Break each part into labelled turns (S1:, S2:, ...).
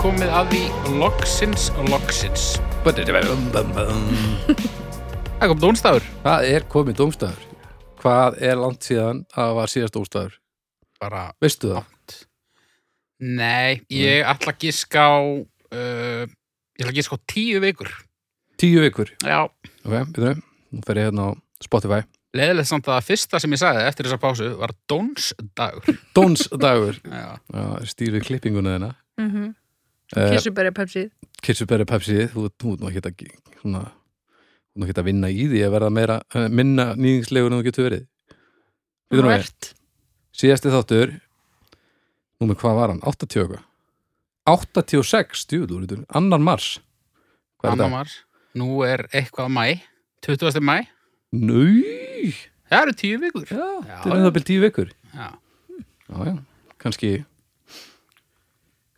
S1: komið að því loksins, loksins. Bum, bum, bum. Það kom dónstafur.
S2: Það er komið dómstæður. Hvað er langt síðan að það var síðast dómstæður?
S1: Bara
S2: Veistu það?
S1: átt. Nei, ég ætla að gíska á, uh, ég ætla að gíska á tíu vikur.
S2: Tíu vikur.
S1: Já.
S2: Ok, byrju. Nú fer ég hérna á Spotify.
S1: Leðilegt samt að það fyrsta sem ég sagði eftir þessa pásu var dónsdagur.
S2: Dómsdagur.
S1: Já.
S2: Já, stýri klippinguna hérna. þeirna.
S3: mm -hmm.
S2: Uh,
S3: Kirsubæri pepsið
S2: Kirsuberi Pepsi, þú þú ert nú ekki að, ge- svona, þú ert nú ekki að vinna í því að verða meira, eh, minna nýðingslegur en þú getur verið. Byrju nú við.
S3: Hvert?
S2: Síðasti þáttur, nú með hvað var hann? 80 og eitthvað. 86, stjúður, annar mars. Hvað er
S1: Annar
S2: það?
S1: mars. Nú er eitthvað mæ, 20. mæ.
S2: Nau!
S1: Það eru tíu vikur.
S2: Já,
S1: Já,
S2: þetta er
S1: já.
S2: ennþá byrjum tíu vikur.
S1: Já.
S2: Já, já, kannski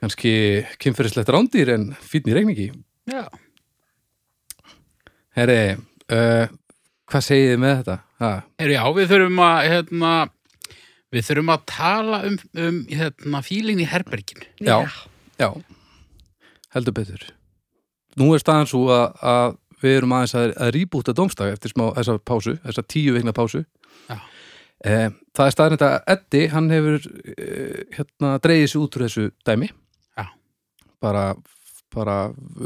S2: kannski kynferðislegt rándýr en fínn í regningi
S1: Já.
S2: Herri, uh, hvað segið þið með þetta? Ha,
S1: Heru, já, við þurfum að, hérna, við þurfum að tala um, um hérna, fílingin í herberginu.
S2: Já. já, heldur betur Nú er staðan svo að, að við erum aðeins að, að rýbúta dómstag eftir smá þessa pásu, þessa tíu vikna pásu
S1: Já.
S2: Eh, það er staðan þetta Eddi, hann hefur eh, hérna dreigið sér út úr þessu dæmi
S1: Já.
S2: bara, bara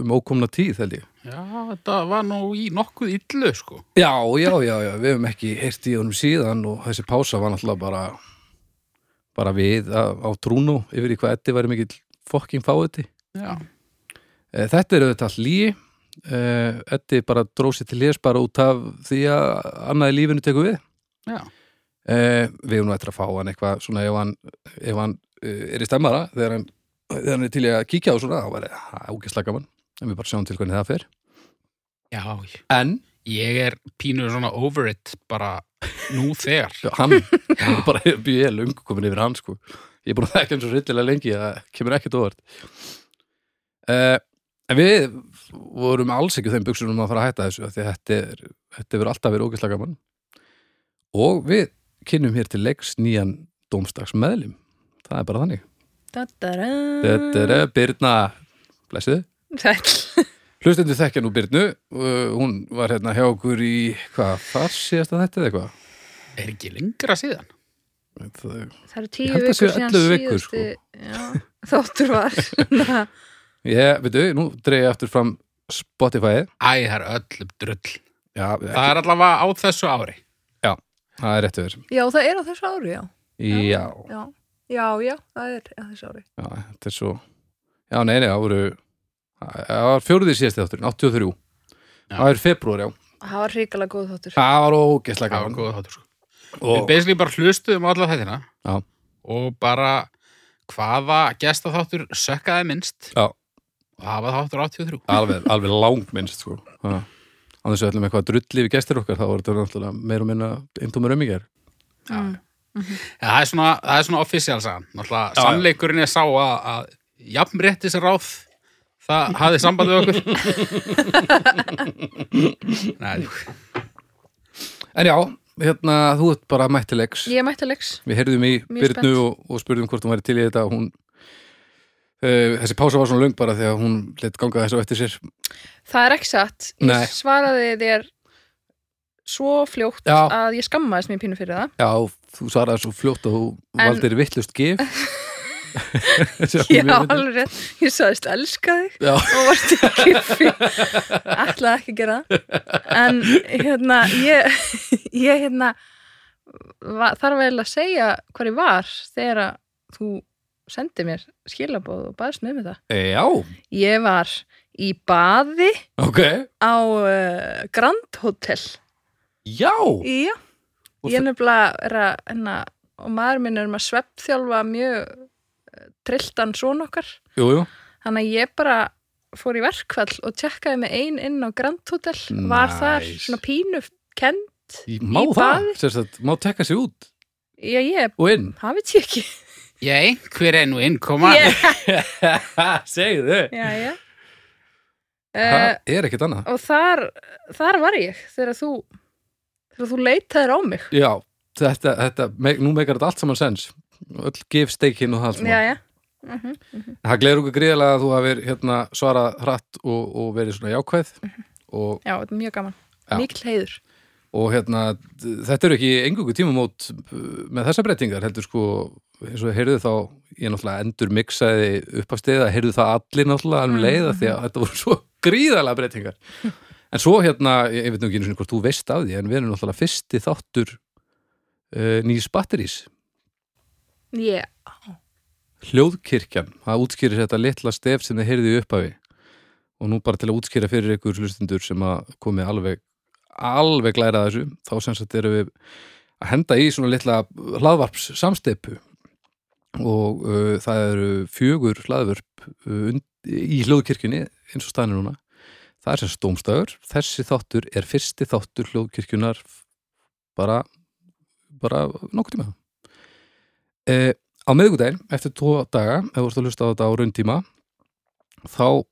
S2: um ókomna tíð held ég
S1: Já, þetta var nú í nokkuð illu, sko.
S2: Já, já, já, já, við hefum ekki heyrt í honum síðan og þessi pása var náttúrulega bara bara við á, á trúnu yfir í hvað Eddi væri mikill fokking fáiði.
S1: Já.
S2: E, þetta eru auðvitað líi e, Eddi bara dróð sér til hés bara út af því að annað í lífinu tekur við.
S1: Já.
S2: E, við hefum nú eftir að fá hann eitthvað svona ef hann, ef hann e, er í stemmara þegar hann, þegar hann er til í að kíkja á svona, þá verið það úkislega gaman en við bara sjáum til hvernig það fer.
S1: Já,
S2: En
S1: ég er pínur svona over it bara nú þegar.
S2: Já, hann, hann bara ég er löngu komin yfir hann sko ég er búin að þekka hann svo rillilega lengi að það kemur ekkert óvart uh, en við vorum alls ekki á þeim buksunum að fara að hætta þessu af því að þetta, er, þetta verður alltaf verið ógæslega gaman og við kynnum hér til leiks nýjan dómstags meðlum það er bara þannig
S3: Da-da-da.
S2: þetta er Birna blessið
S3: Sæll.
S2: hlustendur þekkja nú Birnu uh, hún var hérna hjá okkur í hvað, þar síðast að þetta eða eitthvað
S1: Er ekki lengra síðan?
S2: Það-
S3: Það eru
S2: Ég
S3: tíu
S2: held að
S3: vikur
S2: séu 11 vikur, sko.
S3: já, Þóttur var svona.
S2: Ég, veitu, nú dreig ég aftur fram Spotify
S1: Æ, það er öllum drull.
S2: Já,
S1: Það er allavega á þessu ári.
S2: það er rétt yfir
S3: Já, það er á þessu ári, já
S2: Já,
S3: Já, já, já það er á þessu ári
S2: já, þetta er svo Já, nei, nei, það voru Það var fjóruðið síðasti þátturinn, 83
S1: Já.
S2: Það er februar, já
S3: Það var hrikalega góð þóttur
S2: Það var ógeðslega
S1: Það var
S2: gaman
S1: góða þáttur, sko. Við
S2: og,
S1: basically bara hlustuðum á alla þættina
S2: Já.
S1: og bara hvaða gesta þáttur sökkaði minnst
S2: Já.
S1: og það var þáttur 83.
S2: Alveg, alveg langt minnst, sko Já. Á þessu ætlum eitthvað drulli við gestir okkar þá voru þetta náttúrulega meira og minna eintómur ömmingar
S1: Já.
S3: Mm. Mhm.
S1: Ja, það er svona, það er svona official sagan.
S2: Já,
S1: Náttúrulega,
S2: já.
S1: sannleikurinn er sá að, að jafnréttis ráð það hafði samband við okkur. Nei, djú.
S2: En já, hérna, þú ert bara mættilegs
S3: Ég mætti Lex
S2: Við heyrðum í
S3: Mjög
S2: Byrnu
S3: spennt.
S2: og, og spurðum hvort hún væri til í þetta og hún uh, þessi pása var svona löng bara þegar hún leitt ganga þessu á eftir sér
S3: Það er ekki satt Ég
S2: Nei.
S3: svaraði þér svo fljótt
S2: Já.
S3: að ég skammaðist mér pínu fyrir það
S2: Já, þú svaraði svo fljótt að þú
S3: En-
S2: valdir vittlust gif
S3: Já, alveg rétt, ég sagðist elska þig
S2: Já.
S3: og varst ekki fyrir ætlaði ekki að gera það en hérna ég, ég hérna va, þarf vel að segja hvað ég var þegar að þú sendi mér skilabóð og baðist með með það
S2: Eh, Já,
S3: ég var í baði
S2: ok
S3: á uh, Grand Hotel
S2: Já,
S3: já,
S2: Og
S3: ég
S2: þe-
S3: nefnilega er að hérna, og maður minn er um að sveppþjálfa mjög eh, trilltan svona okkar
S2: jú, jú
S3: þannig að ég bara fór í verkfall og tjekkaði með ein inn á Grand Hotel var
S2: Nice.
S3: þar svona pínu kend,
S2: Má
S3: í
S2: það,
S3: baði?
S2: sérstætt, má tekka sig út
S3: já ég
S2: og inn
S3: það veit ég ekki
S1: Ég, einhver er nú innkoma.
S3: ég,
S2: Segðu
S3: já, já.
S2: Það
S3: Uh,
S2: er ekkert annað
S3: og þar þar var ég þegar þú þegar þú leitaðir á mig
S2: Já, þetta, þetta, me- nú meikar þetta allt saman sens öll gif steikin og það allt
S3: já,
S2: saman
S3: já. Mhm.
S2: Það gleður okkur gríðarlega að þú hafir hérna, svarað hratt og, og verið svona jákvæð og,
S3: Já, þetta er mjög gaman.
S2: Já.
S3: Mikil heiður.
S2: og hérna, d- þetta eru ekki engungu tímamót uh, með þessar breytingar heldur sko, eins og heyrðu þá ég náttúrulega endur miksaði upp af stiða heyrðu það allir náttúrulega alveg leiða því að þetta voru svo gríðarlega breytingar en svo hérna, ég, ég veit nú ekki einu sinni hvort þú veist af því, en við erum náttúrulega fyrsti þáttur uh, nýs batterís
S3: Ég,
S2: hljóðkirkjan, það útskýrir þetta litla stef sem þið heyrðu upp af og nú bara til að útskýra fyrir ykkur hlustundur sem að komið alveg alveg læra að þessu, þá sem sagt erum við að henda í svona litla hlaðvarps samsteipu og uh, það eru fjögur hlaðvörp uh, und- í hljóðkirkjunni eins og staðan er núna það er sem stómstæður, þessi þáttur er fyrsti þáttur hljóðkirkjunar bara bara nokkuð tíma eh, á miðvikudaginn, eftir tvo daga ef þú ert að hlusta á þetta á raun tíma þá uh,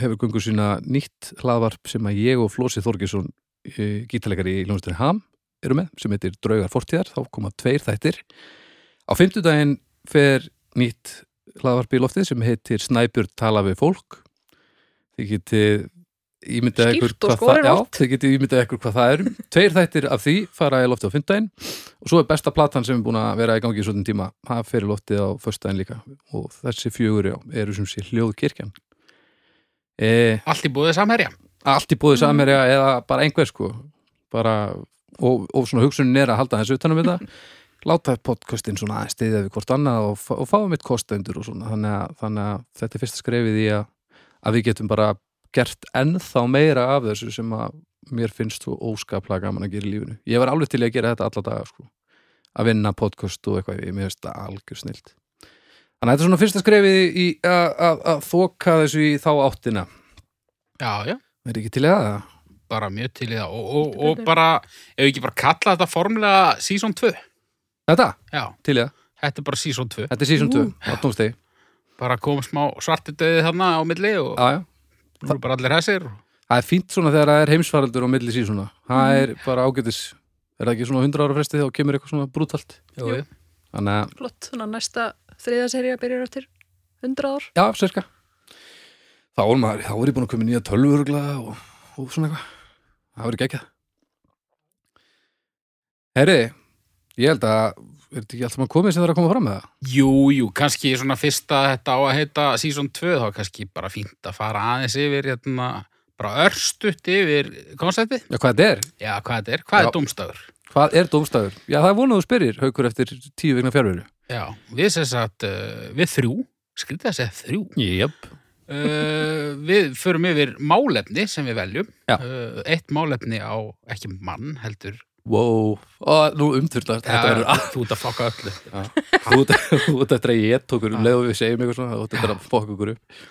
S2: hefur gungur sína nýtt hlaðvarp sem að ég og Flósi Þorgesson uh, gítalegari í Ljónstunni Ham eru með, sem heitir Draugar Fortíðar, þá koma tveir þættir á fimmtudaginn fer nýtt hlaðvarp í loftið sem heitir Snæbjörn tala við fólk þið getið ímyndað
S3: Skýrt
S2: ykkur
S3: og
S2: hvað það- já,
S3: skorinort.
S2: þið getið ímyndað ykkur hvað það er tveir þættir af því fara í loftið á fimmtudaginn og svo er besta platan sem er búin að vera í gangi í svona tíma, það fer í loftið á föstudaginn líka og þessi fjögur já, eru sem sé hljóðkirkjan eh,
S1: Allt í búið samherja.
S2: allt í búið
S3: Mm.
S2: samherja eða bara einhver sko bara, og, og svona hugsunin er að halda þessu utanum þetta láta podcastin svona aðeins stiðja við hvort annað og, fá- og fáum eitt kostendur og svona þannig að, þannig að þetta er fyrsta skrefið í að, að við getum bara gert ennþá meira af þessu sem að mér finnst þú óskaplega gaman að gera í lífinu ég var alveg til í að gera þetta alla daga sko að vinna podcast og eitthvað, ég mér finnst það algjör snilt þannig að þetta er svona fyrsta skrefið í að, að, að þoka þessu í þá áttina
S1: Já, já.
S2: er ekki til í það?
S1: Bara mjög til í það. Og, og,
S3: Heldur
S1: og
S3: betur.
S1: bara, ef við ekki bara kalla þetta formulega season 2.
S2: Þetta?
S1: Já,
S2: Til í það?
S1: þetta er bara season 2.
S2: Þetta er season 2,
S3: Ú.
S2: á tómstegi
S1: Bara kom smá svartidauði þarna á milli og
S2: Já, já.
S1: nú eru bara allir hessir.
S2: Það er fínt svona þegar það er heimsfaraldur á milli sísona Það er bara ágætis Er það ekki svona 100 ára fresti þá kemur eitthvað svona brútalt
S1: Jú, jú.
S2: Þannig að,
S3: flott, svona næsta þriðaserja byrjar eftir 100 ár.
S2: já, sérka Þá er maður, þá er ég búin að koma í nýja tölvurugla og, og svona eitthvað Það verður geggjað Herri, ég held að Er þetta ekki allt sem að komið sem það er að koma fram með það?
S1: Jú, jú, kannski svona fyrsta þetta á að heita season 2, þá er kannski bara fínt að fara aðeins yfir, hérna, bara örstutt yfir konceptið.
S2: Já, hvað þetta er?
S1: Já, hvað þetta er? Hvað
S2: Já.
S1: er dómstafur?
S2: Hvað er dómstæður? Já, það er vonað þú spyrir, haukur eftir tíu vegna fjárveru
S1: Já, við sem sagt, uh, við þrjú, skrítið að segja þrjú,
S2: Jöp
S1: Uh, við förum yfir málefni sem við veljum
S2: Já.
S1: uh, eitt málefni á ekki mann heldur
S2: Wow, og nú umþurlast Þetta verður
S1: þú ert að fokka öllu
S2: Þú ert- þú ert eftir að ég tók um leið og við segjum eitthvað svona, þú ert eftir að fokka okkur upp.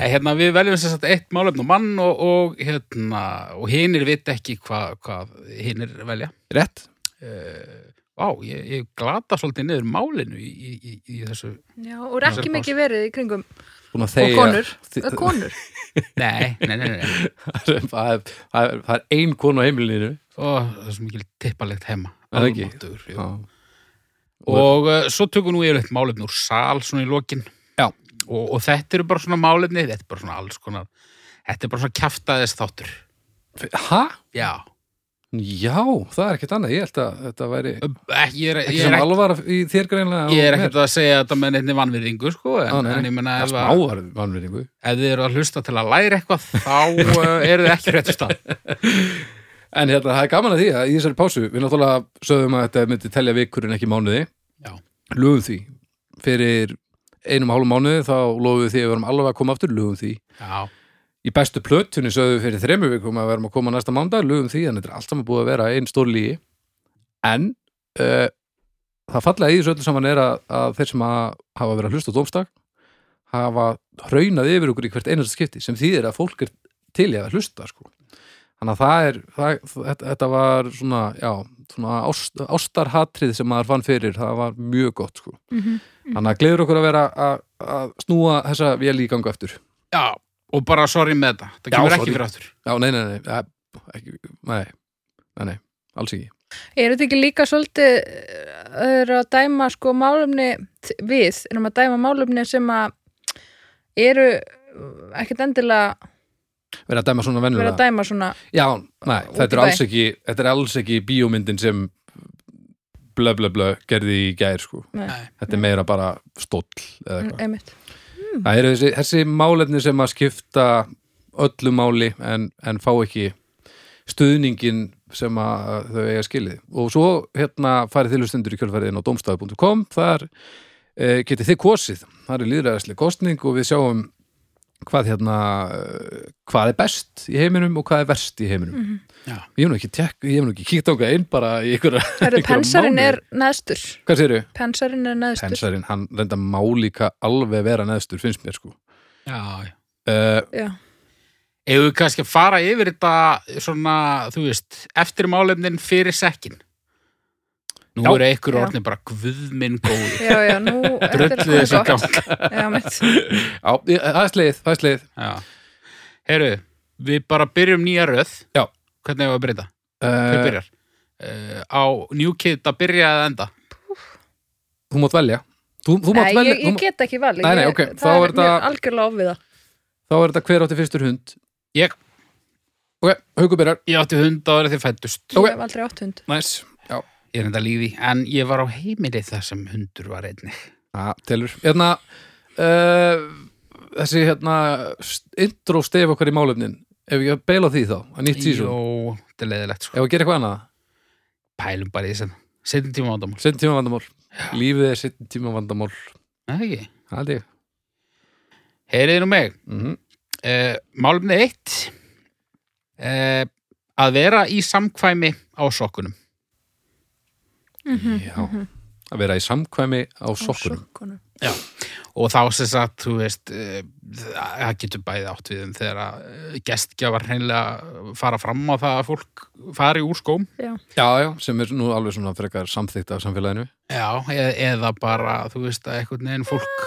S1: Nei, hérna, við veljum sem sagt eitt málefni á mann og, og, hérna, og hinir vita ekki hvað hva hinir velja
S2: Rétt.
S1: uh, Vá, ég, ég glata svolítið niður málinu í, í, í, í þessu
S3: Já, og er ekki
S1: Þessar
S3: mikið verið í kringum.
S2: Búin að
S3: Og
S2: þegja.
S3: konur.
S2: Þi-
S3: Og konur.
S1: Nei, nei, nei, nei, nei.
S2: Það er- það er- það er- það er ein konu á heimilinu.
S1: Ó, það er svo mikil tippalegt heima
S2: Er það ekki?
S1: Almáttugur, jú.
S2: Já.
S1: Og uh, svo tökum nú yfirleitt málefni úr sal svona í lokin.
S2: Já.
S1: Og, og þetta eru bara svona málefni, þetta er bara svona alls konar, þetta er bara svona kjaftaðis þáttur.
S2: Hæ?
S1: Já.
S2: Já, það er ekkert annað. Ég held að þetta væri
S1: Ekki, ég er,
S2: ekki
S1: ég er,
S2: sem
S1: ekki,
S2: alvara í þér greinlega.
S1: ég er ekkert að segja þetta með neittni vannvirðingu, sko, en,
S2: Já, nei, nei.
S1: en ég menna
S2: Það er
S1: ef, að-
S2: smávar vannvinningu.
S1: ef þið eru að hlusta til að læra eitthvað, þá uh, eru þið ekki réttu stað.
S2: En hérna, það er gaman að því að í þessari pásu, við náttúrulega sögum að þetta myndi telja vikur en ekki mánuði.
S1: Já.
S2: Lögum því. Fyrir einum og hálfum mánuði þá lofum við því að við erum alveg að koma aftur, lögum því.
S1: Já.
S2: í bestu plötunni sögðu við fyrir þremur vikum að við erum að koma næsta mándag, lögum því en þetta er allt saman búið að vera einn stór lígi en uh, það fallega í þessu öllu saman er að, að þeir sem að hafa verið að hlusta á dómstak hafa hraunað yfir okkur í hvert einasta skipti sem þýðir að fólk er til í að hlusta sko. þannig að það er það, þetta, þetta var svona, já, svona ást, ástarhatrið sem maður fann fyrir það var mjög gott sko. þannig að gleður okkur að vera að, að snúa þessa vél í ganga eftir
S1: Já, og bara sorry með þetta. Það
S2: Já,
S1: kemur
S2: sorry.
S1: ekki fyrir aftur.
S2: Já, nei, nei, nei, ja, ekki, nei, nei, nei, alls ekki.
S3: Er þetta ekki líka svolítið eh, eru að dæma sko málumni við, erum að dæma málumni sem að eru eh, ekkert endilega
S2: verið að dæma svona
S3: verið
S2: venjulega
S3: að dæma svona
S2: Já, nei,
S3: Út
S2: þetta
S3: í
S2: er,
S3: bæ.
S2: alls ekki, þetta er alls ekki bíómyndin sem blö blö blö gerði í gær sko.
S3: Nei.
S1: Nei.
S2: þetta er meira bara stóll eða eitthvað.
S3: einmitt,
S2: Það eru þessi, þessi málefni sem að skipta öllu máli en, en fá ekki stuðningin sem að þau eiga skilið og svo hérna farið til stundur í kjölfæriðin á domstafi.com þar e, getið þið kosið þar er líðræðislega kostning og við sjáum hvað hérna eh, hvað er best í heiminum og hvað er verst í heiminum
S3: Mhm.
S1: Já.
S2: ég hef nú ekki, tek, ég hef nú ekki kíkt ánga inn bara í einhverja
S3: herru,
S2: einhverja
S3: pensarinn
S2: mánuði.
S3: er neðstur,
S2: hvað séru?
S3: pensarinn er neðstur
S2: pensarinn, hann reynda má líka alveg vera neðstur, finnst mér sko
S1: Já, já.
S2: uh,
S3: já,
S1: Ef við kannski að fara yfir þetta svona, þú veist, eftir málefnin fyrir sekkin. Nú
S2: Já.
S1: eru einhver
S3: Já.
S1: orðin bara guðminn góður.
S3: já, já, nú þetta er
S1: Drullu þessi
S3: komið gott.
S1: gang.
S3: já, mitt,
S2: Já, ég- það er sleið, það er sleið
S1: Já. Heru, við bara byrjum nýja röð.
S2: Já.
S1: Hvernig hefur að breyta? Hver
S2: uh,
S1: byrjar? Uh, á New Kid að byrja eða enda?
S2: Þú mátt velja Þú, þú
S3: nei,
S2: mátt velja,
S3: ég,
S2: þú,
S3: ég
S2: mátt-
S3: get ekki valið
S2: Nei, nei,
S3: Ég-
S2: ok, þá
S3: það
S2: er
S3: er mér
S2: þetta-
S3: algjörlega ofviða
S2: þá er þetta hver átti fyrstur hund
S1: Ég,
S2: Ok, haugur byrjar,
S1: ég átti hund á þeirri þið fættust.
S2: Ok.
S3: ég hef aldrei átt hund
S2: næs Já,
S1: Ég er enda lífi, en ég var á heimili þar sem hundur var einnig.
S2: það telur Hérna, uh, þessi hérna intro stef okkar í málefnin Ef ég beila því þá, að nýtt sísum
S1: Jó, þetta er leiðilegt sko.
S2: Ef að gera eitthvað annað,
S1: Pælum bara í þess að setjum tíma ándamál.
S2: setjum tíma vandamál Lífið er setjum tíma vandamál
S1: Nei, ekki.
S2: Það er ég
S1: Heyriði nú mig.
S2: mm
S1: Uh, málumni eitt uh, að vera í samkvæmi á sokkunum
S2: Já, að vera í samkvæmi á sokkunum
S3: Mhm, Sokkunum.
S1: og þá sem sagt, þú veist uh, það getur bæði átt við um þegar að uh, gestgjafar hreinlega fara fram á það að fólk fari úr skóm
S3: já,
S2: Já, já, sem er nú alveg svona frekar samþykkt af samfélaginu
S1: Já, eða, eða bara, þú veist, að eitthvað neginn fólk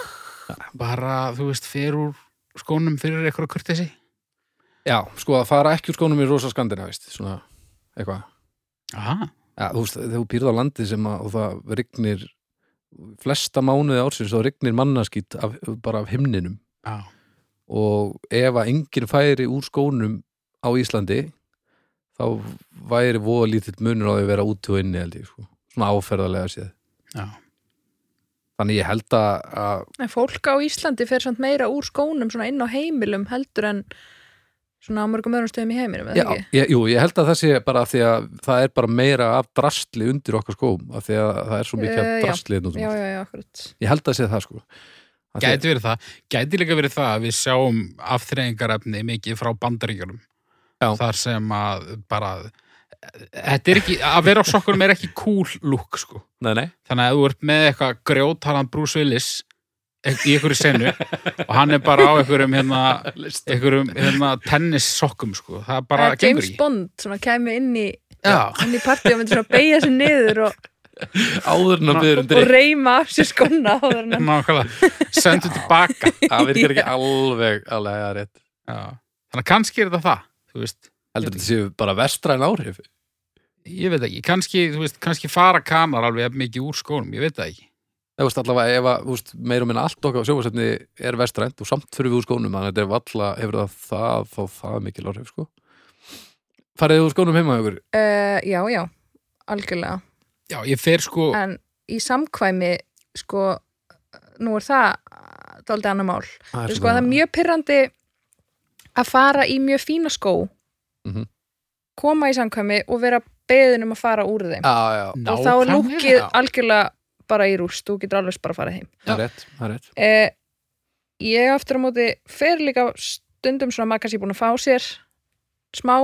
S1: bara, þú veist, fer úr skónum fyrir eitthvað kurtesi
S2: Já, sko að fara ekki úr skónum í rosa skandinavist, svona eitthvað.
S1: Aha,
S2: Já, þú veist, þegar þú býrð á landi sem að og það rignir flesta mánuði ársins þá rignir mannaskýt af, bara af himninum
S1: já,
S2: og ef að enginn færi úr skónum á Íslandi þá væri voða lítill munur á því að vera út og inni held ég, sko. svona áferðarlega séð.
S1: já
S2: Þannig ég held að, að
S3: En fólk á Íslandi fer samt meira úr skónum svona inn á heimilum heldur en svona á mörgum öðrum stöðum í heiminum, eða
S2: Já,
S3: ekki?
S2: ég, jú, ég held að það sé bara af því að það er bara meira af drastli undir okkar skóm, af því að það er svo mikið
S3: Eh,
S2: af
S3: já.
S2: drastli hérna út um
S3: Já,
S2: allt.
S3: já, já, akkurat.
S2: Ég held að sé það sko Af því-
S1: Gæti verið það, gæti líka verið það að við sjáum afþreyingarefni mikið frá bandaríkjunum
S2: Já.
S1: þar sem að bara þetta er ekki, að vera á sokkunum er ekki cool look, sko
S2: Nei, nei
S1: þannig að ef þú ert með eitthvað grjótalan Bruce Willis í einhverju senu og hann er bara á einhverjum hérna, einhverjum hérna tennissokkum, sko, það bara
S3: Eða
S1: gengur
S3: Eh, James
S1: ekki
S3: Bond svona kæmi inn í,
S1: Já,
S3: inn í partí og myndi svona beigja sér niður og,
S2: Áður en að við erum
S3: og
S2: drikk
S3: reyma af sér skóna áður en hann-
S1: nákvæmlega, sendu tilbaka
S2: Það virkar ekki alveg alveg að rétt
S1: Já. Þannig að kannski er þetta það, þú veist
S2: Heldur þetta séu bara vestræn áhrif
S1: Ég veit ekki, kannski, þú veist, kannski fara kanar alveg jafn mikið úr skónum, ég veit það ekki
S2: Það veist allavega ef að þú veist, meira og minna allt okkar sjófarsefni er vestrænt og samt fyrir við úr skónum þannig að þetta er valla hefur það það þá það mikil áhrif sko Farið þið úr skónum heima ykkur?
S3: Eh, Já, já, algjörlega.
S1: Já, ég fer sko,
S3: En í samkvæmi, sko, nú er það dálítið annar mál.
S2: Það
S3: sko, það er mjög pyrrandi að fara í mjög fína skó
S2: Mhm.
S3: koma í samkvæmi og vera beðin um að fara úr
S2: Já,
S3: þeim
S2: já,
S3: og þá er
S1: nákvæmlega.
S3: lúkið algjörlega bara í rúst, þú getur alveg bara að fara heim
S2: það er rétt, það er rétt
S3: eh, ég aftur á móti fer líka stundum svona maður kannski búin að fá sér smá,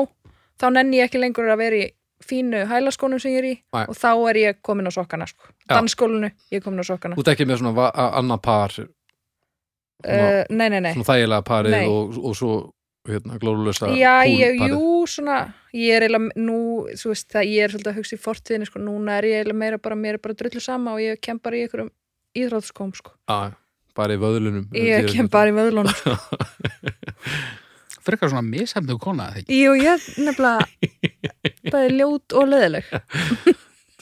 S3: þá nenni ég ekki lengur að vera í fínu hælaskónum sem ég er í
S2: Nei.
S3: og þá er ég komin á sokkana sko.
S2: Já.
S3: dansskólinu, ég er komin á sokkana
S2: Þú tekið með svona va- a- annað par svona,
S3: uh, nei, nei, nei
S2: svona þægilega parið
S3: Nei.
S2: og, og svo hérna, glórulösa
S3: Já, ég, jú, svona ég er eiginlega, nú, þú veist það ég er svolítið að hugsa í fortíðinni, sko, núna er ég eiginlega meira bara, mér er bara drullu sama og ég kem bara í einhverjum íþrótskóm, sko
S2: Já, bara í vöðlunum hérna-
S3: ég kem bara í vöðlunum, sko
S1: frekar svona misefndu kona, eða ekki?
S3: Jú, ég er nefnilega bæði ljót og leðileg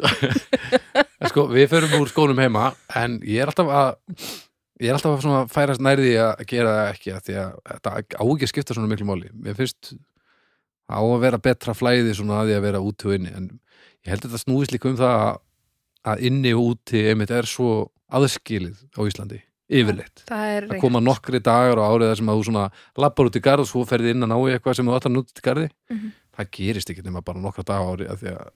S2: En sko, sko, við förum úr skónum heima en ég er alltaf að ég er alltaf að svona færast nærði að gera það ekki af því að þetta á ekki að skipta svona miklu máli mér finnst á að vera betra flæði svona að því að vera úti og inni en ég held að þetta snúist líka um það að- að inni og úti einmitt er svo aðskilið á Íslandi yfirleitt
S3: það er
S2: að koma nokkri dagar á árið þar sem að þú svona lappar út í garð og svo ferði inn að ná í eitthvað sem þú ætlar að nút í garði
S3: Mhm.
S2: það gerist ekki nema bara nokkra dagar á árið af því að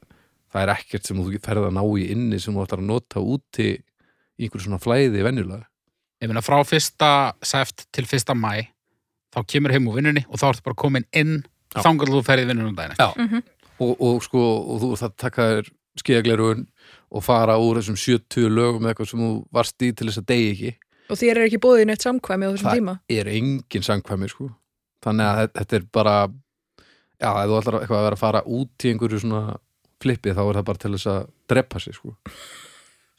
S2: það er ekkert sem þú ferði að ná í inni sem þú ætlar að nota úti í einhverju svona flæði venjulega
S1: Ég meina frá fyrsta sæft til fyrsta mæ þá kemur heim úr vinnunni og þá ertu bara komin inn
S2: Já.
S1: þangar þú ferði vinnunum um daginn eftir.
S2: og, og sko, og þú það taka þér skíðaglerugun og fara úr þessum 70 lögum eða eitthvað sem þú varst í til þess að degi ekki
S3: og þér er ekki bóðið neitt samkvæmi á þessum
S2: Það-
S3: tíma
S2: er engin samkvæmi sko þannig að þe- þetta er bara já, ef þú ætlar eitthvað að vera að fara út í einhverju svona flippi þá er það bara til þess að drepa sig sko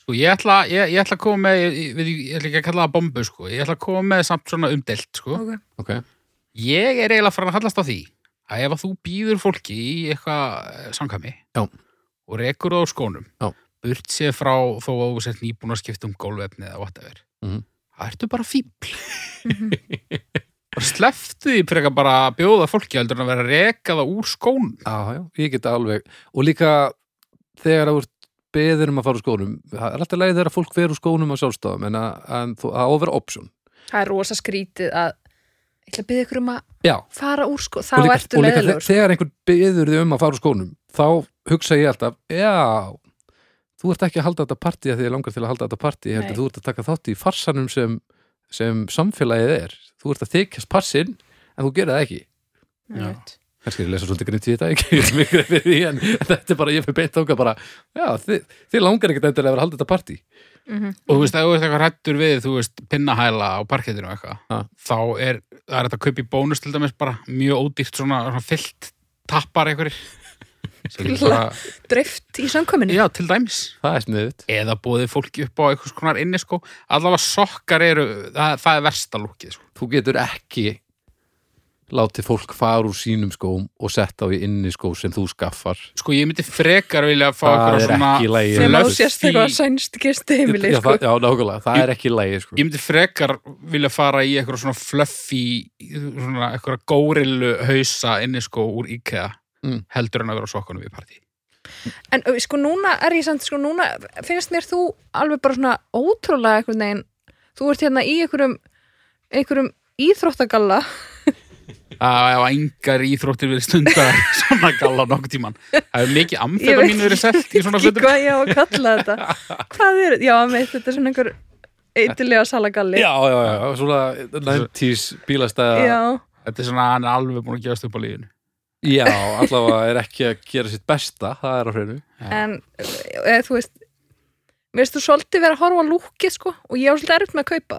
S1: Sko ég ætla, ég, ég ætla að koma með ég, ég, ég ætla ekki að kalla það bombu sko ég ætla að koma með samt svona umdelt sko
S3: okay.
S2: ok,
S1: Ég er eiginlega farin að hallast á því að ef að þú býður fólki í eitthvað samkami
S2: Já.
S1: og rekur það á skónum
S2: Já.
S1: burt sér frá þó að þú sért nýbúin að skipta um gólvefni eða whatever
S2: Mhm.
S1: það ertu bara fíbl bara sleftu því preka bara að bjóða fólki heldur en að vera rekaða úr skónum
S2: já, já, ég get alveg og líka þegar að þú ert beðir um að fara úr skónum það er alltaf leið þegar að fólk fer úr skónum á sjálfstofum en að, en þú, það á að vera option
S3: það er rosa skrítið að ég ætla að byrja ykkur um að
S2: já,
S3: fara úr sko þá
S2: og líka,
S3: ertu
S2: og líka þe-
S3: leiðilegur sko.
S2: þegar einhver beður þig um að fara úr skónum þá hugsa ég alltaf, já þú ert ekki að halda þetta partí að því ég langar til að halda þetta partí, ég held
S3: Nei.
S2: að þú ert að taka þátt í farsanum sem, sem samfélagið er þú ert að þykjast passin en þú gerir það ekki
S3: sko. Einmitt.
S2: kannski er ég að lesa svolítið grint í þetta ekki ég er mjög greið fyrir því en þetta er bara, ég fyrir beint þóka bara já, þið, þið langar ekkert endilega að vera að halda þetta partí
S3: Mhm.
S1: og þú veist, ef þú veist eitthvað hrættur við þú veist, pinnahæla á parkettinu og
S2: Ha.
S1: eitthvað þá er, það er þetta að kaupa í bónus til dæmis bara mjög ódýrt svona, svona fyllt tappar einhverjir Sem er bara,
S3: dreift í samkvæminu
S1: já, til dæmis
S2: það er sniðut
S1: eða bóðið fólki upp á einhvers konar inni sko. allavega sokkar eru það, það er versta lúkið sko.
S2: þú getur ekki látið fólk fara úr sínum skóm og setta á í inni skó sem þú skaffar
S1: sko ég myndi frekar vilja fá
S2: Það
S1: einhverja
S2: er
S1: svona
S2: ekki í lagi.
S3: sem á
S1: fluffy-
S3: sérst eitthvað sænst gisti heimili
S2: já,
S3: sko.
S2: það, já, nákvæmlega, það
S1: Ég-
S2: er ekki lægi sko.
S1: ég myndi frekar vilja fara í einhverja svona fluffy svona einhverja górilu hausa inni sko úr IKEA
S2: Mm.
S1: heldur en að vera á sokkunum við partí
S3: En ö, sko núna er ég samt, sko núna finnst mér þú alveg bara svona ótrúlega einhvern veginn, þú ert hérna í einhverjum, einhverjum íþróttagalla
S1: að ef engar íþróttir verið stundar svona gala nokkuð tíman það er mikið
S3: Ég
S1: amfeta
S3: veit
S1: mínu verið selt í svona
S3: ekki
S1: hlutum
S3: hvað ég á að kalla þetta hvað er, já meitt, þetta er svona einhver eitilega salagalli
S2: já, já, já, já, svona 90s bílastæða já.
S3: já,
S1: þetta er svona, hann er alveg búin að gefast upp á lífinu
S2: allavega er ekki að gera sitt besta það er á hreinu
S3: en eð, þú veist mér finnst þú svolítið vera að horfa á lúkið sko og ég á svolítið erfitt með að kaupa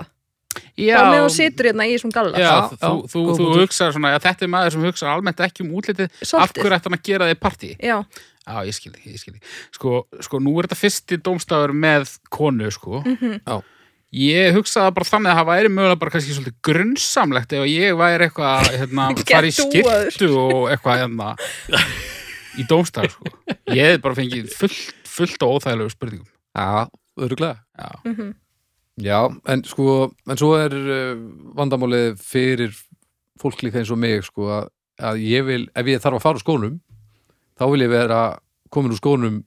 S1: já,
S3: bara með þú situr hérna í þessum galla
S1: Já,
S2: Já,
S1: þú,
S2: já,
S1: þú,
S2: góð
S1: þú
S2: punktur.
S1: hugsar svona, já, þetta er maður sem hugsar almennt ekki um útlitið, af
S3: svolítið,
S1: hverju ætti hann að gera þig partí?
S3: já,
S1: Já, ég skil ekki, ég skil ekki. Sko, sko, nú er þetta fyrsti dómstafur með konu, sko.
S2: Já.
S1: Ég hugsaði bara þannig að það væri mögulega bara kannski svolítið grunnsamlegt ef ég væri eitthvað, hérna, fara í
S3: Getúaður.
S1: skirtu og eitthvað, hérna, í dómstafur, sko. Ég hef bara fengið fullt, fullt og óþægilegu spurningum.
S2: já, öruglega
S1: Já.
S3: mm
S2: já, en sko, en svo er uh, vandamálið fyrir fólk líka eins og mig sko, að, að ég vil, ef ég þarf að fara úr skónum þá vil ég vera komin úr skónum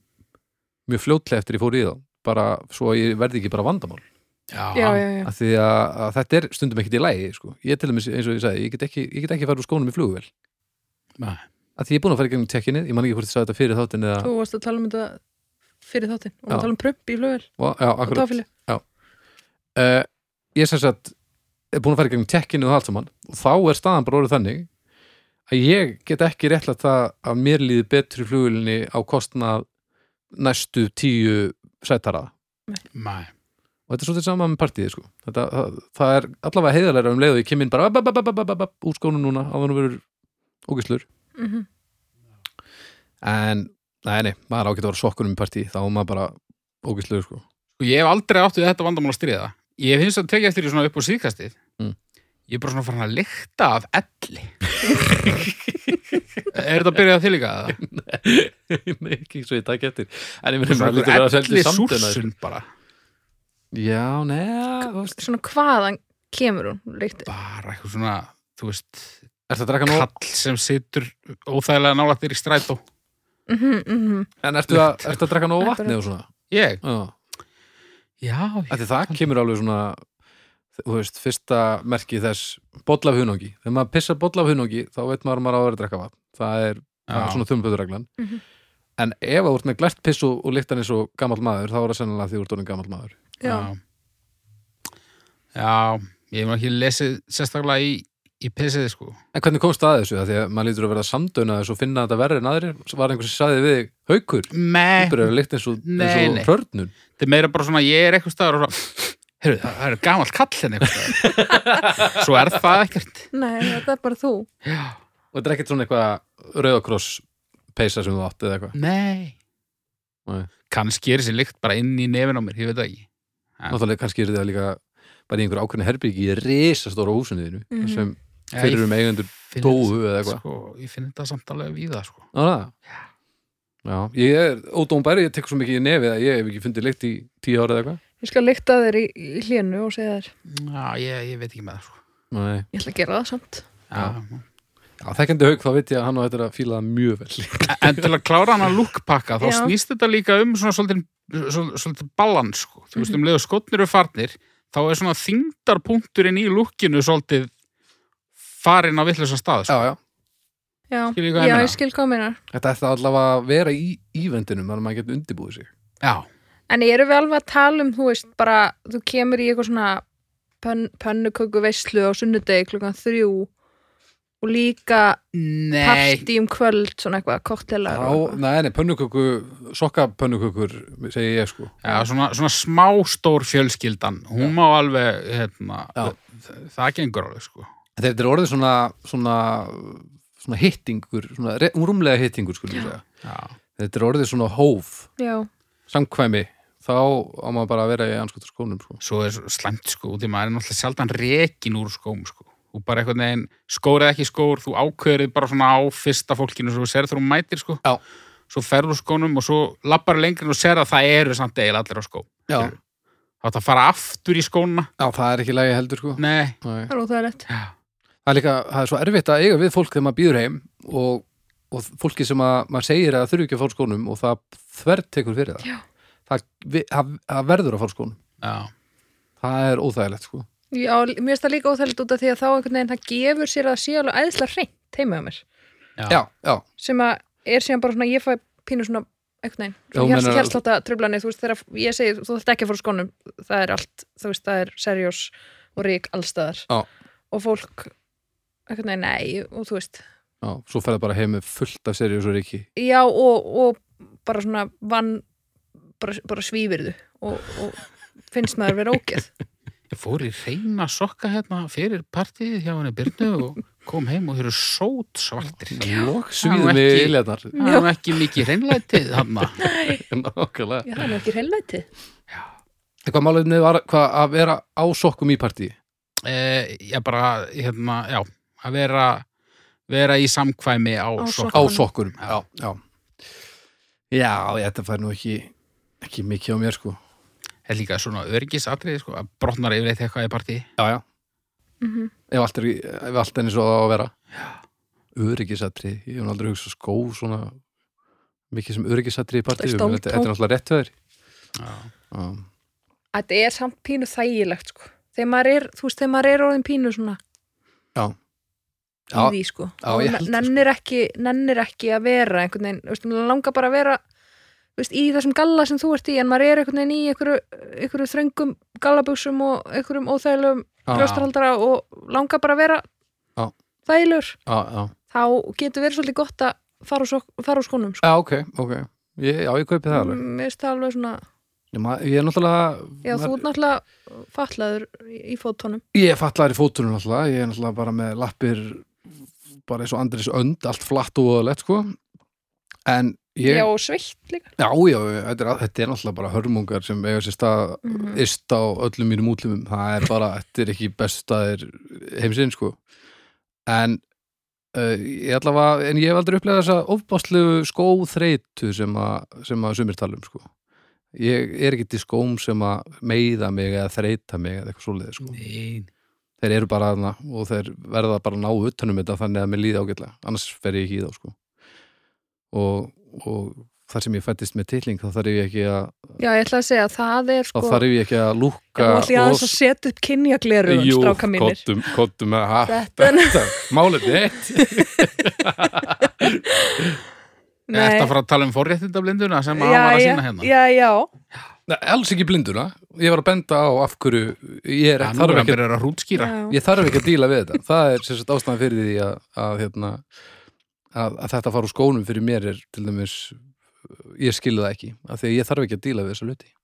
S2: mjög fljótlega eftir ég fór í þá bara svo að ég verði ekki bara vandamál
S1: Já,
S3: já, já, já.
S2: að því að, að þetta er stundum ekkit í lægi sko. ég til dæmis, eins og ég sagði, ég get ekki, ég get ekki fara úr skónum í flugvél
S1: Nei.
S2: að því ég er búin að fara í gegnum tekkinni, ég man ekki hvort ég sagði þetta fyrir þáttin eða,
S3: þú varst að tala um þetta fyrir þáttinn, og
S2: Já.
S3: tala um prump í flugvel
S2: og, já,
S3: og
S2: akkurat
S3: táfili
S2: uh, ég sem sagt er búin að fara í gegnum tekkinni og allt saman og þá er staðan bara orðið þannig að ég get ekki réttlega það að mér líði betri í flugvélinni á kostnað næstu tíu sætara
S1: Nei.
S2: og þetta er svolítið sama með partíði sko. þetta, það, það er allavega heiðalega um leið og ég kem inn bara bap, bap, bap, bap, bap, bap, úr skónum núna á þannig verður ógislur
S3: mm -hmm.
S2: en, nei, nei, maður á ekki að vera sokkunum í partí, þá er maður bara ógistlegur sko.
S1: Sko, ég hef aldrei átt við þetta vandamál að stríða. Ég hef hins að tekja eftir í svona upp á síðkastið.
S2: Mm.
S1: ég er bara svona farin að lykta af elli er þetta að byrja að þýlika það?
S2: Nei, ekki svo ég takk eftir En ég myndi að
S1: Svona
S2: lítur að
S1: einhver
S2: seldi
S1: elli
S2: samtuna
S1: súrsun bara
S2: Já, neða þú veist.
S3: svona hvaðan kemur hún lyktin?
S1: bara eitthvað svona, þú veist
S2: Ertu að drekka nú
S1: kall sem situr óþægilega nálægt þér í strætó
S3: Mm -hmm, mm
S2: En ertu að, ertu að drekka nú
S3: Akkurat.
S2: vatni og svona
S1: ég,
S2: Já,
S1: já, ég,
S2: Ætli það kemur alveg svona Þú veist, fyrsta merki þess Bolla af hunangi, þegar maður pissar bolla af hunangi Þá veit maður að maður á að vera að drekka vatn Það er það er
S1: já.
S2: svona þumböðureglan
S3: Mhm.
S2: En ef að þú ert með glært piss og, og lyktan eins og gamall maður, þá er það sennilega því þú ert orðin gamall maður.
S3: Já.
S1: já, ég hef nú ekki lesið sérstaklega í, í pissið sko
S2: En hvernig komst það að þessu? Það því að maður lítur að vera samdönaðis og finna þetta verri en aðrir. Svo var einhver sem saði við þig, haukur,
S1: Meh,
S2: þú byrjar að lykta eins og,
S1: Eh, Nei,
S2: eins
S1: nei.
S2: og hrörnun.
S1: þetta er meira bara svona ég er eitthvað staðar og svona heyrðu, það, það er gamalt kall henni eitthvað staðar svo er það ekkert
S3: Nei, þetta er bara þú
S1: já,
S2: Og þetta er ekkert svona eitthvað rauðakross peisa sem þú átt eða eitthvað.
S1: nei
S2: Nei.
S1: kannski er þessi lykt bara inn í nefin á mér, ég veit það ekki Ja.
S2: Náttúrulega kannski er þetta líka bara í einhver ákveðni herbyggi í risastóra húsinu þínu
S3: Mhm.
S2: sem
S1: Já,
S2: fyrir
S1: ég
S2: um eigendur
S1: finn
S2: dóu eða
S1: þetta,
S2: eitthvað.
S1: sko, ég finn þetta samt alveg við það sko.
S2: Á, það? Já, ég er ódómbæri, ég tek svo mikið í nefið að ég hef ekki fundið lykt í tíu ára eða eitthvað.
S3: Ég skal lykta þér í, í hlénu og segja þér
S1: já, ég, ég veit ekki með það sko.
S2: Nei.
S3: Ég ætla að gera það samt
S1: já.
S2: Já, þekkjandi haug, þá veit ég að hann á þetta að fíla það mjög vel.
S1: en til að klára hann að lúkpakka þá
S3: Já.
S1: snýst þetta líka um svona svolítið, svol- svolítið balans sko. þú veist, um leið og skotnir eru farnir þá er svona þingdarpunkturinn í lúkinu svolítið farinn á vittlösa stað sko.
S2: Já, já.
S3: Já,
S1: Skilur ég hvað ég
S3: já
S1: meina?
S3: ég skil hvað minnar
S2: Þetta ætti allavega að vera í ívendinum þannig að maður getur undirbúið sig.
S1: já,
S3: En eru við alveg að tala um, þú veist, bara þú kemur í eitthvað svona pön, pönnuköku veislu á sunnudegi klukkan þrjú og líka
S1: nei
S3: partí um kvöld, svona eitthvað, koktela
S2: Já, nei, nei, pönnuköku, sokkapönnukökur, segi ég sko.
S1: já, svona, svona smá stór fjölskyldan hún má alveg hérna,
S2: Já.
S1: það, það gengur alveg sko.
S2: En Þetta er orðið svona, svona, svona hittingur, svona re- rúmlega hittingur, skulum við segja.
S1: já,
S2: Þetta er orðið svona hóf,
S3: Já,
S2: samkvæmi, þá á maður bara að vera í anskotur skónum sko.
S1: svo er svo slæmt sko út í maður er náttúrulega sjaldan rekin úr skóm sko og bara einhvern veginn skór eða ekki skór þú ákveðrið bara svona á fyrsta fólkinu svo serð þú mætir sko
S2: Já.
S1: svo ferð úr skónum og svo lappar lengri og serð að það eru samt eiginlega allir á skó
S2: Já.
S1: Skilurðu. þá átt að fara aftur í skóna
S2: Já, það er ekki lægi heldur sko.
S1: nei,
S2: Nei.
S3: það er óþægilegt
S2: það er líka, það er svo erfitt að eiga við fólk þegar maður býður heim og, og fólki sem að, maður segir að þurfi ekki að fá úr skónum og það þvert tekur fyrir það
S3: Já.
S2: það, vi, það, það verður að fá úr skónum
S1: já,
S2: það er óþægilegt sko
S3: Já, mér finnst það líka óþægilegt út af því að þá einhvern veginn það gefur sér að það sé alveg æðsla hreint heima á mér
S1: já,
S2: já, já,
S3: sem að er síðan bara svona, ég fæ pínu svona einhvern
S2: Já, þú
S3: veginn,
S2: meinar-
S3: hérst þetta tröflani þú veist, þegar ég segi, þú ætti ekki að fóra skónum það er allt, þú veist, það er serjós og rík allstaðar
S2: Já.
S3: og fólk, einhvern veginn, nei og þú veist,
S2: já, svo ferði bara heim með fullt af seriós og ríki
S3: já og, og bara svona vann bara, bara svífirðu og, og finnst maður vera ógeð
S1: ég fór í reyna sokka hérna fyrir partíð hjá henni Byrnu og kom heim og þeir eru sót svartir
S2: og
S1: Já,
S2: svíðum
S1: ekki-
S2: við iljarnar
S1: það er nú ekki mikið reynlætið hann
S2: nákvæmlega
S3: já, það er nú ekki reynlæti
S2: eitthvað máliðni var hvað, að vera á sokkum í partí
S1: Eh, ég bara, hérna, já, að vera, vera í samkvæmi á,
S3: Á
S1: sokkum.
S2: á
S3: Sokkunum.
S2: sokkurum já, já, já, ég, þetta fær nú ekki ekki mikið á mér sko
S1: Það er líka svona örgisatriði, sko, að brotnar yfirleitt eitthvað í partí.
S2: já, já
S3: mm -hmm.
S2: ef allt er, ef allt er eins og það á að vera öryggisatri ég hef aldrei hugsað skó svona mikið sem öryggisatri í partí
S3: Stór
S2: þetta, þetta er
S3: tóm.
S2: náttúrulega rétt höður
S1: Já.
S3: þetta er samt pínu þægilegt sko. þegar maður er, þú veist, þegar maður er orðin pínu svona í því sko
S2: Já,
S3: og
S2: ég
S3: ne-
S2: held það, sko.
S3: nennir ekki, nennir ekki að vera einhvern veginn, þú veist, maður langar bara að vera þú veist, í þessum galla sem þú ert í en maður er einhvern veginn í einhverju, einhverju þröngum gallabuxum og einhverjum óþægilegum brjóstarhaldara og langar bara að vera
S2: Já.
S3: þægilegur
S2: já,
S3: þá getur verið svolítið gott að fara úr, sok- fara úr skónum sko.
S2: já, ok, ok ég, já, ég kaupi það alveg
S3: Mm, mér finnst það alveg svona
S2: ég, ma- ég er náttúrulega
S3: já, þú
S2: maður-
S3: ert náttúrulega fatlaður í í fótunum
S2: ég er fallaður í fótunum náttúrulega ég er náttúrulega bara með lappir bara eins og Andris önd, allt flatt og lett sko en ég, já,
S3: Já, og sveitt líka.
S2: já, þetta er, þetta er náttúrulega bara hörmungar sem eiga sér stað
S3: Mhm.
S2: ist á öllum mínum útlumum það er bara, þetta er ekki best staðir heimsinn sko en uh, ég allavega en ég hef aldrei upplegað þessa ofbástlegu skóþreytu sem að, sem að sumir tala um sko ég er ekki til skóm sem að meiða mig eða þreyta mig eða eitthvað svoleiði sko
S1: Nei.
S2: þeir eru bara þarna og þeir verða bara að ná utanum þetta þannig að mér líði ágætlega annars fer ég ekki í þá sko og, og þar sem ég fættist með tilling þá þarf ég ekki að
S3: Já, ég ætla að segja að það er sko...
S2: þá þarf ég ekki að lúkka
S3: Þú ætla ég aðeins að setja upp kynjagleru
S2: Jú,
S3: stráka mínir.
S2: kottum, kottum að ha,
S3: Þetta,
S2: þetta, málið þitt
S1: Nei. Þetta
S3: nei.
S1: frá að tala um forréttindablinduna sem að
S3: Já,
S1: var að
S3: já,
S1: sína hérna.
S3: já, já.
S2: Nei, alls ekki blinduna, ég var að benda á af hverju, ég er,
S1: Það nú er
S2: þarf
S1: að
S2: ekki
S1: byrja að hrútskýra.
S3: já.
S2: ég þarf ekki að díla við þetta það er sem sagt ástæðan fyrir því að, að, hérna, að, að þetta fara úr skónum fyrir mér er til dæmis ég skilu það ekki, af því að ég þarf ekki að díla við þessa hluti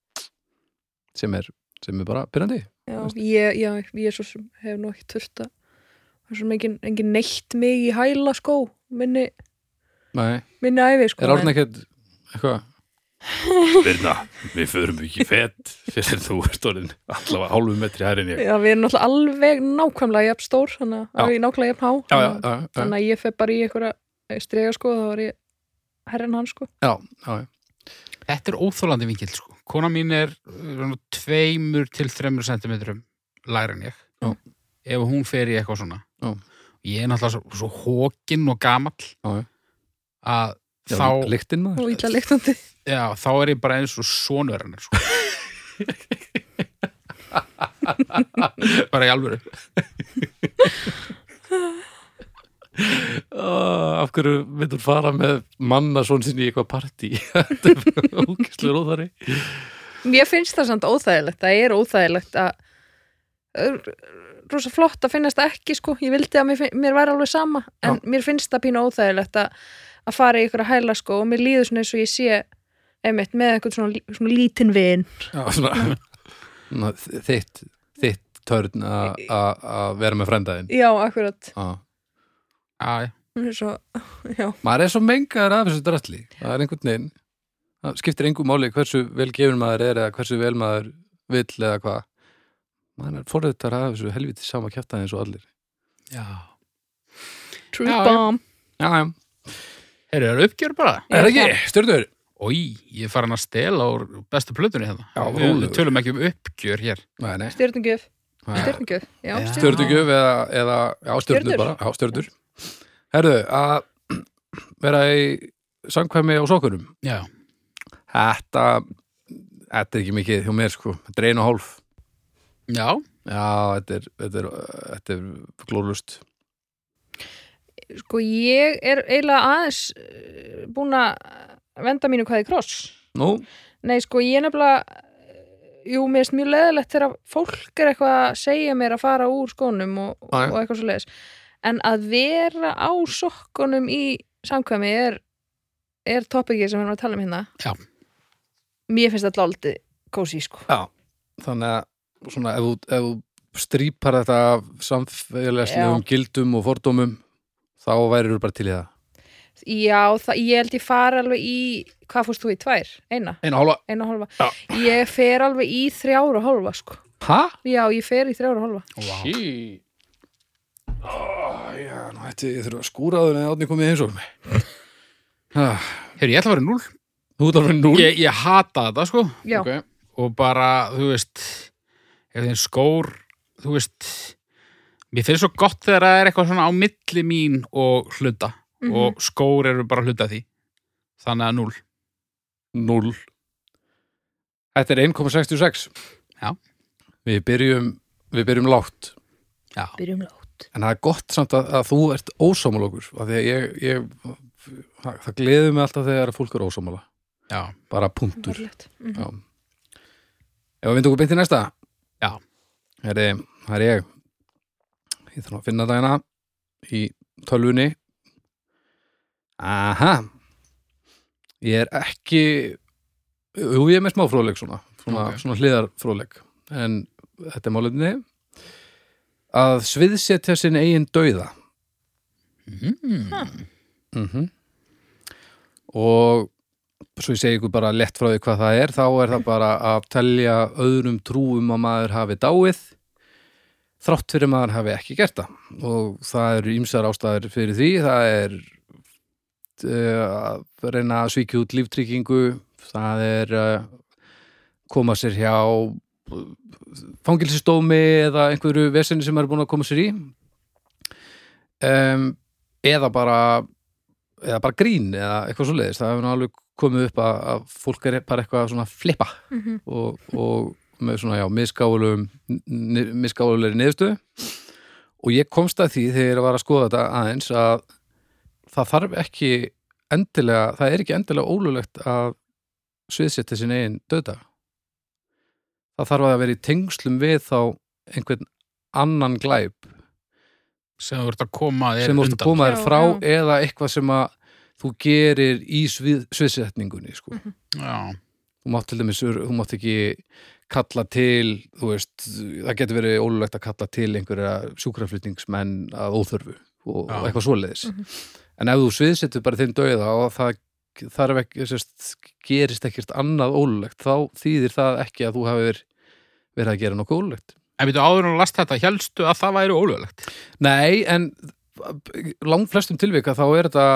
S2: sem er, sem er bara pyrrandi
S3: Já, ég, já, ég svo sem hef nú ekki þurft að það er svona engin, engin neitt mig í hæla skó minni,
S2: Nei,
S3: minni æfi sko
S2: er árna
S3: en-
S2: ekkert eitthvað Virna, við förum ekki fett fyrir þú ert orðin allavega hálfu metri hær en ég
S3: Já, við erum náttúrulega alveg nákvæmlega jafn stór þannig
S2: Já.
S3: að við nákvæmlega jafn há
S2: Já, já,
S3: þannig að-
S2: já, já,
S3: þannig að ég fer bara í einhverja strega sko þá var ég herrin hann sko
S2: já, já, já.
S1: Þetta er óþólandi vingill, sko. Kona mín er uh, tveimur til þremur sentimetrum læri en ég.
S2: Já.
S1: Ef hún fer í eitthvað svona.
S2: Já.
S1: Ég er náttúrulega svo, svo hókin og gamall
S2: Já, já.
S1: að
S2: já
S1: þá,
S2: Lyktin maður
S3: og ítla leiktandi
S1: já, þá er ég bara eins og sonur hennar, sko. bara í alvöru.
S2: Oh, af hverju myndur fara með manna svona sinni í eitthvað partí Þetta er ógæslega róðari
S3: Mér finnst það samt óþægilegt, það er óþægilegt að rosa flott að finnast það ekki sko, ég vildi að mér, finn- mér væri alveg sama en mér finnst það pínu óþægilegt að, að fara í ykkur að hæla sko og mér líður svona eins og ég sé einmitt með eitthvað svona, lí- svona lítinn vin
S2: Já, svona Ná, þitt, þitt törn að að- að vera með frændaðinn
S3: Já, akkurat
S2: maður
S1: Já, já.
S3: Hún er svo, já,
S2: er svo mengaður af þessu drastli það er einhvern veginn það skiptir engu máli hversu vel gefur maður er eða hversu vel maður vill eða hvað maður er forðutar af þessu helviti sama kjæftaði eins og allir
S1: Já.
S3: truth
S1: Já, já.
S3: bomb
S2: Já, já,
S1: Heyrðu, það er uppgjör bara.
S2: er það ekki, stjórnur
S1: Ói, ég er farin að stela úr bestu plötunni hérna.
S2: Já,
S1: við,
S2: rólegur.
S1: við tölum ekki um uppgjör hér.
S2: Nei, nei,
S3: Stjörnugjöf,
S2: það er-
S3: stjörnugjöf Já,
S1: Já.
S3: stjörnugjöf
S2: Stjörnugjöf eða, eða já, stjörnur
S3: Stjörnur.
S2: bara, já, stjörnur Herðu, að vera í samkvæmi á sokkunum
S1: Já,
S2: Þetta, þetta er ekki mikið hjá mér sko, drein og hálf
S1: já,
S2: Já, þetta er, þetta er, þetta er glórlust
S3: Sko, ég er eiginlega aðeins eh, búin að venda mínu hvað í kross
S2: Nú,
S3: Nei, sko, ég nefnilega jú, mér finnst mjög leðilegt þegar fólk er eitthvað að segja mér að fara úr skónum og,
S2: Já, já.
S3: og eitthvað svo leiðis en að vera á sokkunum í samkvæmi er er topikið sem við erum að tala um hérna
S1: Já.
S3: Mér finnst þetta aldrei kósi, sko
S2: þannig að svona, ef þú, ef þú strýpar þetta af samfélagslegum gildum og fordómum þá værirðu bara til í það
S3: Já, það, ég held ég fara alveg í hvað fórst þú í tvær? Eina?
S2: Einu hálfa
S3: Eina og hálfa?
S2: Já.
S3: Ég fer alveg í þrjára og hálfa, sko
S2: Hæ?
S3: Já, ég fer í þrjára og hálfa
S1: Vá.
S2: Sí Ó, Ah, já, nú hætti ég þurfa að skúra áður en átni komið heimsókn ah,
S1: Heyrðu, ég ætla að vera núl.
S2: Þú ert alveg núl
S1: Ég, ég hata þetta, sko.
S3: Já,
S2: Ok.
S1: og bara, þú veist ef þeim skór, þú veist mér finnst svo gott þegar það er eitthvað svona á milli mín og hluta
S3: Mhm.
S1: og skór eru bara hluta af því þannig að núl,
S2: Núl Þetta er 1,66
S1: Já.
S2: Við byrjum, við byrjum lágt
S1: já,
S3: byrjum látt
S2: En það er gott samt að, að þú ert ósámála okkur af Því að ég, ég það, það gleður mig alltaf þegar fólk er ósámála
S1: já,
S2: Bara punktur
S3: Mhm.
S2: Já. Ef við myndum okkur beint í næsta
S1: Já.
S2: Heri, Það er ég Ég þarf að finna það hérna í tölvunni Aha Ég er ekki Jú, ég er með smá fróðleik svona Svona,
S1: Ok.
S2: svona hliðar fróðleik En þetta er málefni Að sviðsetja sinn eigin dauða
S3: Hmm.
S1: mm.
S2: mm Mhm. Og svo ég segi ykkur bara lett frá því hvað það er, þá er það bara að telja öðrum trúum að maður hafi dáið þrátt fyrir að maður hafi ekki gert það og það eru ýmsar ástæður fyrir því, það er eh, að reyna að svíkja út líftryggingu, það er að koma sér hjá fangilsistómi eða einhverju vesenni sem maður er búin að koma sér í um, eða bara eða bara grín eða eitthvað svo leiðist það hefur nú alveg komið upp að, að fólk er bara eitthvað svona að flippa
S3: Mhm.
S2: og, og með svona já, misgáfulegum misgáfulegri niðurstöðu og ég komst að því þegar ég var að skoða þetta aðeins að það þarf ekki endilega, það er ekki endilega ólulegt að sviðsetja sin eigin döðdag það þarf að vera í tengslum við þá einhvern annan glæp
S1: sem þú ert að koma þér
S2: sem þú ert að koma þér
S3: Já,
S2: frá
S3: já.
S2: eða eitthvað sem að þú gerir í svið, sviðsetningunni sko.
S3: mhm.
S1: Já,
S2: þú mátt til dæmis, ör- þú mátt ekki kalla til, þú veist það getur verið ólulegt að kalla til einhverja sjúkraflutningsmenn að óþörfu og, og
S1: Já.
S2: eitthvað svoleiðis en ef þú sviðsetur bara þeim dauða og það þarf ekki, sérst, gerist ekkert annað ólulegt, þá þýðir það ekki að þú hafir verið að gera nokkuð ólulegt
S1: en við þú áður en last þetta helstu að það væri ólöglegt
S2: Nei, en langflestum tilvika þá er þetta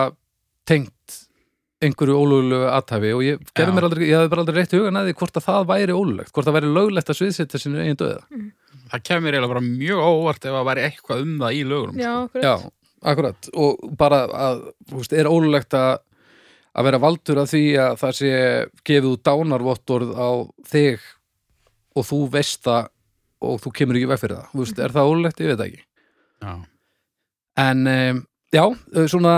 S2: tengt einhverju ólöglegu aðtæfi og ég gerði
S1: Já.
S2: mér aldrei, ég hafði bara aldrei reytt hugan að því hvort að það væri ólöglegt, hvort það væri löglegt að sviðsetja sinu eigin döða.
S1: það kemur eiginlega bara mjög óvart ef það væri eitthvað um það í lögurum
S3: Já, akkurat.
S2: Já, akkurat og bara að, þú veist, er ólöglegt að að vera valdur að því að það sé gefið út dánarvottorð á þig og þú veist það og þú kemur ekki veg fyrir það, þú veist, er það ólöglegt? Ég veit það ekki.
S1: Já.
S2: En um, já, eh, svona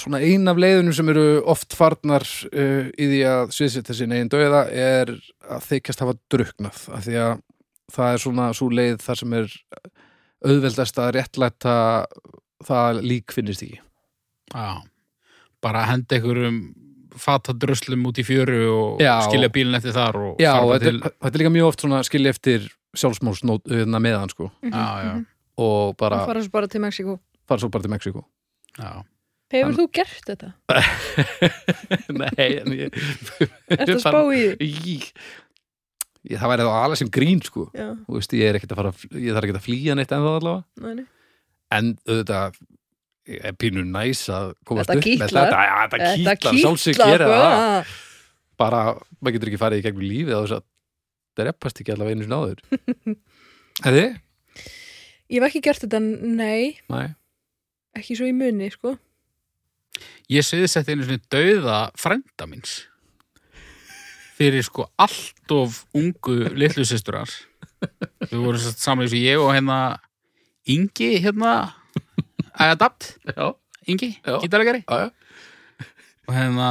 S2: svona ein af leiðunum sem eru oft farnar uh, í því að sviðsetja sinni einn dauða er að þykjast hafa druknað af því að það er svona svo leið þar sem er auðveldast að réttlæta það að lík finnist ekki.
S1: Já. bara henda einhverjum fatadröslum út í fjöru og
S2: Já.
S1: skilja bílinn eftir þar og
S2: Já,
S1: fara
S2: og
S1: bara
S2: þetta, er- þetta er líka mjög oft svona skilja eftir sjálfsmálsnót hérna, meðan sko
S1: Já, já,
S2: og
S3: Bara...
S2: bara
S3: Mhm, fara svo bara til Mexiko.
S2: fara svo bara til Mexiko.
S1: já
S3: Hefur
S2: Hann-
S3: þú gert þetta?
S2: Nei, en ég
S3: Ertu að spá í því?
S2: Í, ég, það væri þá alveg sem grín sko
S3: Já,
S2: Þú veist, ég er ekkert að fara að- ég þarf ekkert að flýja neitt ennþá allavega
S3: næni.
S2: en auðvitað er pínu næs að komast
S3: Þetta
S2: upp með
S3: kitlar.
S2: þetta, ja, þetta kýtlar, sjálfsög gera
S3: sko.
S2: það bara, maður getur ekki farið í gegnum lífið á þess að það reppast ekki allavega einu sinni áður er þið?
S3: Ég hef ekki gert þetta, nei,
S2: Nei,
S3: ekki svo í munni, sko.
S1: Ég sviðsetti einu svona dauða frænda míns fyrir sko allt of ungu litlu systur hans Við vorum satt saman eins og ég og hérna Ingi hérna Adapt,
S2: já,
S1: Ingi,
S2: Já.
S1: gítalegari
S2: já, já
S1: og hérna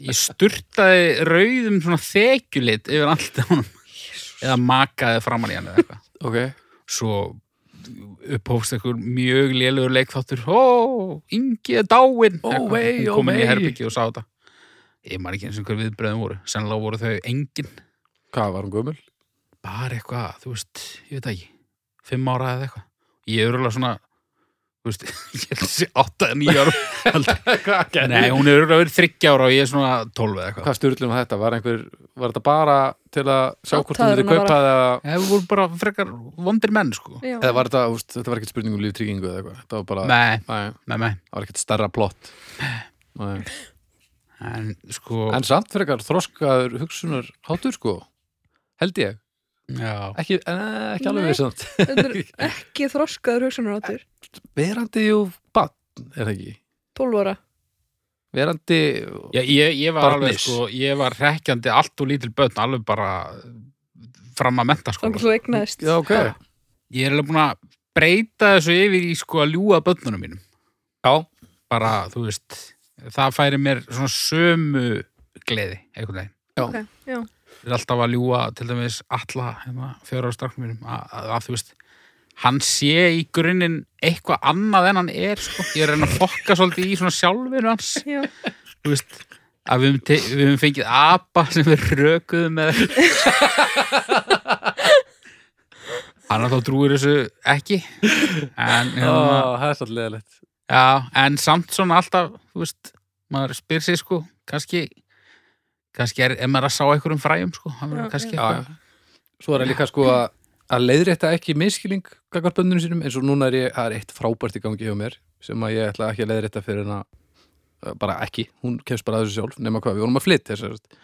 S1: ég sturtaði rauðum svona þekjulit yfir allt á honum eða makaði framan í hann eða eitthvað
S2: ok,
S1: svo upphófst einhver mjög lélugur leikþáttur ó, Ingi er dáinn
S2: Ó,
S1: Eitthvað.
S2: vei,
S1: Hún
S2: ó,
S1: kom inn í
S2: vei.
S1: herbyggi og sá þetta ég maður ekki eins og einhver viðbröðum voru sennilega voru þau engin
S2: hvað var hún gömul?
S1: bara eitthvað, þú veist, ég veit það ekki fimm ára eða eitthvað ég er örgulega svona þú veist, ég held að sé átta eða nýja ára
S2: hvað gerði?
S1: nei, hún er örgulega verið þryggja ára og ég er svona tólf eða eitthvað
S2: hvað styrlum þetta? Var, einhver, var þetta bara til að sjá hvort hún
S3: Háttaðurinn
S2: myndi kaupa eða,
S1: Ef við vorum bara frekar vondir menn, sko
S3: Já.
S2: eða var þetta, úst, þetta var ekkert spurning um líftryggingu eða eitthvað, þetta var bara
S1: Nei,
S2: Nei,
S1: nei, nei
S2: það var ekkert starra plott Nei.
S1: En sko,
S2: en samt frekar þroskaður hugsunar hátur sko held ég,
S1: já
S2: ekki, eh, ekki alveg
S3: Nei.
S2: við samt
S3: Þetta er ekki þroskaður hugsanaráttur.
S2: verandi jú bann er það ekki,
S3: 12 ára.
S2: verandi
S1: Já, ég, ég var
S2: Barnis.
S1: alveg, sko, ég var rekkjandi allt og lítil börn, alveg bara fram að menta, sko.
S3: Þannig að þú egnaðist.
S2: já ok,
S1: Ég er alveg búin að breyta þessu yfir í, sko, að ljúga börnunum mínum.
S2: já,
S1: Bara, þú veist, það færi mér svona sömu gleði, einhvern veginn.
S3: Ok, já.
S1: Ég er alltaf að ljúga, til dæmis, alla, hérna, fjóra á strafnum mínum, að, að, að, þú veist, hann sé í grunninn eitthvað annað en hann er, sko. Ég er að reyna að fokka svolítið í svona sjálfinu hans.
S3: Já,
S1: þú veist að við höfum, te- við höfum fengið apa sem við rökuðum með hann þá trúir þessu ekki en,
S2: Ó,
S1: hérna,
S2: það er svolítið leðilegt
S1: já, en samt svona alltaf þú veist, maður spyr sig sko kannski kannski er, ef maður er að sá einhverjum fræjum sko, það verður
S3: Já,
S1: kannski
S2: já.
S1: eitthvað
S2: Svo er það líka sko að, að leiðrétta ekki miskiling gagvart bönnunum sínum eins og núna er ég, það er eitt frábært í gangi hjá mér sem að ég ætla ekki að leiðrétta fyrir en að eh, bara ekki, hún kemst bara að þessu sjálf nema hvað, við vorum að flytja þess að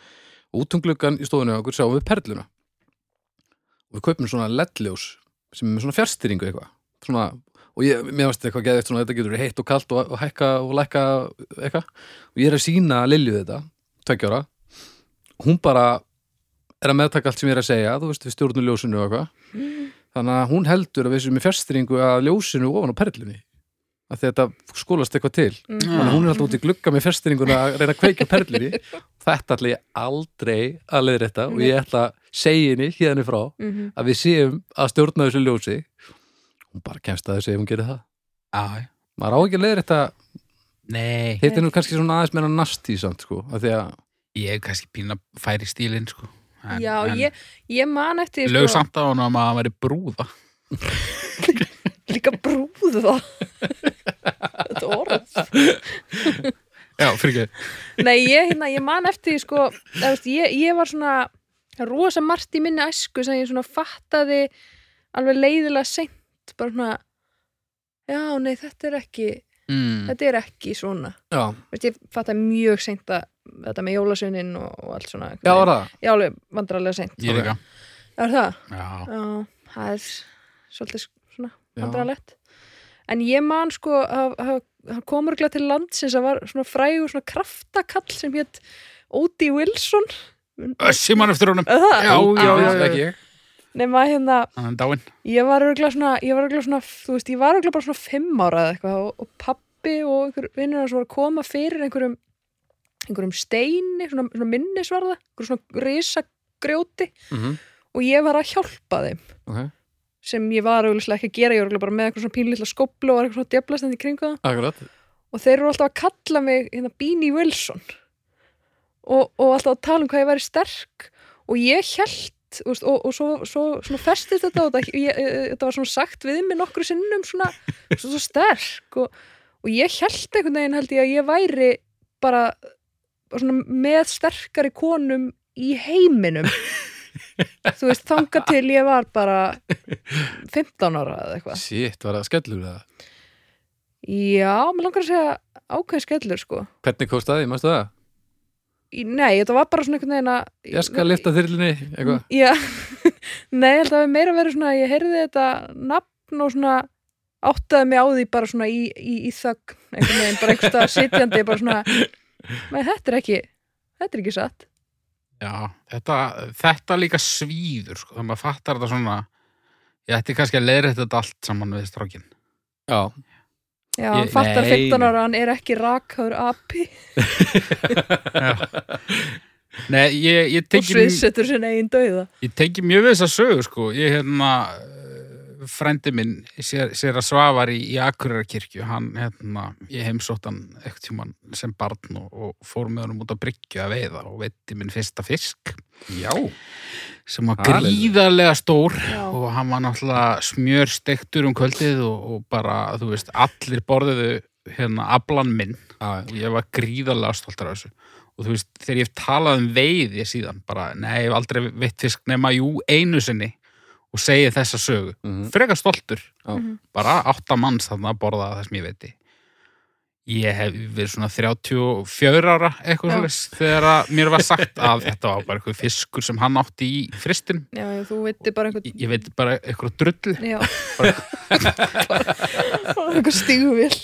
S2: út um gluggan í stofunni á okkur sjáum við perluna og við kaupum svona leddljós sem er með svona fjárstyringu eitthvað svona, og ég, mér varst eitthvað geðið svona þetta getur verið heitt og kalt og, og hækka og lækka eitthvað, og ég er að sína Lilju þetta, tveggjára hún bara er að meðtaka allt sem ég er að segja, þú veist, við stjórnum ljósinu og eitthvað.
S3: Mhm.
S2: Þannig að hún heldur að við séum í fjastringu að ljósinu ofan á perlunni. Að þetta skólast eitthvað til.
S3: Mm.
S2: Þannig að hún er alltaf út í glugga með fjastringuna að reyna að kveika perlunni. þetta ætla ég aldrei að leiðrétta og ég ætla að segja henni hérna frá
S3: Mhm.
S2: að við séum að stjórna þessu ljósi. Hún bara kemst að þessu ef hún gerir það.
S1: Já, já.
S2: Maður á ekki að leiðrétta
S1: nei,
S2: þetta er nú kannski svona aðeins meira nasty samt, sko, af því að-
S1: ég er kannski pína færi stílinn sko en,
S3: Já,
S1: en
S3: ég, ég man eftir sko,
S1: lög samt á hann að maður væri brúða
S3: líka brúðu það Þetta orð
S1: já, fyrir
S3: Nei, ég, hérna, ég man eftir því, sko, eða, veist, ég, ég var svona rosa margt í minni æsku sem ég svona fattaði alveg leiðilega seint bara svona já, nei, þetta er ekki
S1: mm.
S3: þetta er ekki svona
S2: Já,
S3: veist, ég fattaði mjög seint að þetta með jólasönin og, og allt svona
S2: já, var það.
S3: ég alveg vandrarlega seint
S1: ég er ekki
S3: er það?
S1: já,
S3: Já, það er s- svolítið svona
S2: Já.
S3: vandrarlegt en ég man sko að hann komur glæð til landsins að var svona frægur svona kraftakall sem hétt Ódi Wilson
S1: össi mann eftir honum
S3: Er það?
S1: Já, já, já, já.
S2: ekki ég.
S3: nema hérna,
S1: hann er dáinn
S3: ég var örgulega svona ég var örgulega svona, þú veist, ég var örgulega bara svona fimm ára eða eitthvað og, og pappi og einhver vinnur hans var að koma fyrir einhverjum einhverjum steini, svona, svona minnisvarða einhverjum svona risagrjóti
S2: Mhm,
S3: og ég var að hjálpa þeim
S2: ok.
S3: sem ég var auðvitað ekki að gera, ég var auðvitað bara með eitthvað svona pínlilla skóplu og var eitthvað svona djöflastandi kringu það
S2: Akkurat.
S3: og þeir eru alltaf að kalla mig hérna Beanie Wilson og, og alltaf að tala um hvað ég væri sterk og ég held veist, og, og svo, svo svona festist þetta og þetta, ég, eh, þetta var svona sagt við mig nokkru sinnum svona, svona, svona sterk og, og ég held einhvern veginn held ég að ég væri bara, bara svona með sterkari konum í heiminum þú veist þanga til ég var bara 15 ára eða eitthvað
S2: Sitt, var það skellur það?
S3: já, mér langar að segja ákveðin skellur sko
S2: Hvernig komst það því, mástu það?
S3: Í- Nei, þetta var bara svona einhvern veginn að
S2: Ég skal lifta þyrlinni, eitthvað.
S3: Já, nei, ég held að við meira verið svona ég heyrði þetta nafn og svona áttaði mig á því bara svona í, í, í þögn, einhvern veginn, bara einhvers staðar sitjandi, bara svona nei, þetta er ekki, þetta er ekki satt
S1: já, þetta, þetta líka svíður sko, þannig að maður fattar þetta svona ég ætti kannski að leiðrétta þetta allt saman við strákin
S2: Já.
S3: Já, hann
S2: Ég-
S3: fattar
S2: nei.
S3: 15 ára, hann er ekki rakhaður api
S1: nei, ég, ég
S3: og
S1: tengi
S3: sviðsetur sinna eigin dauða
S1: Ég tengi mjög við þessa sögu sko ég hérna eh, frændi minn sér, sér að svafar í, í Akureyrakirkju hann hérna, ég heimsótt hann ekkert tjúman sem barn og, og fór með honum út á bryggju að veiða og veitti minn fyrsta fisk
S2: Já.
S1: sem var
S2: Halleluja.
S1: gríðarlega stór
S3: Já,
S1: og hann var náttúrulega smjörstektur um kvöldið og, og bara, þú veist, allir borðuðu hérna ablan minn
S2: Já,
S1: og ég var gríðarlega stoltar af þessu og þú veist, þegar ég hef talað um veiði síðan, bara, nei, ég hef aldrei veitt fisk nema jú einu sinni og segi þessa sögu,
S2: Mhm.
S1: frekar stoltur
S2: Já.
S3: Mhm.
S1: bara átta manns þarna að borða það sem ég veiti ég hef verið svona 34 ára eitthvað
S3: Já.
S1: svolítið, þegar að mér var sagt að þetta var bara eitthvað fiskur sem hann átti í fristin,
S3: já þú veitir bara
S1: ég,
S3: einhvern
S1: ég veit bara eitthvað drull,
S3: Já, bara einhver stíguvill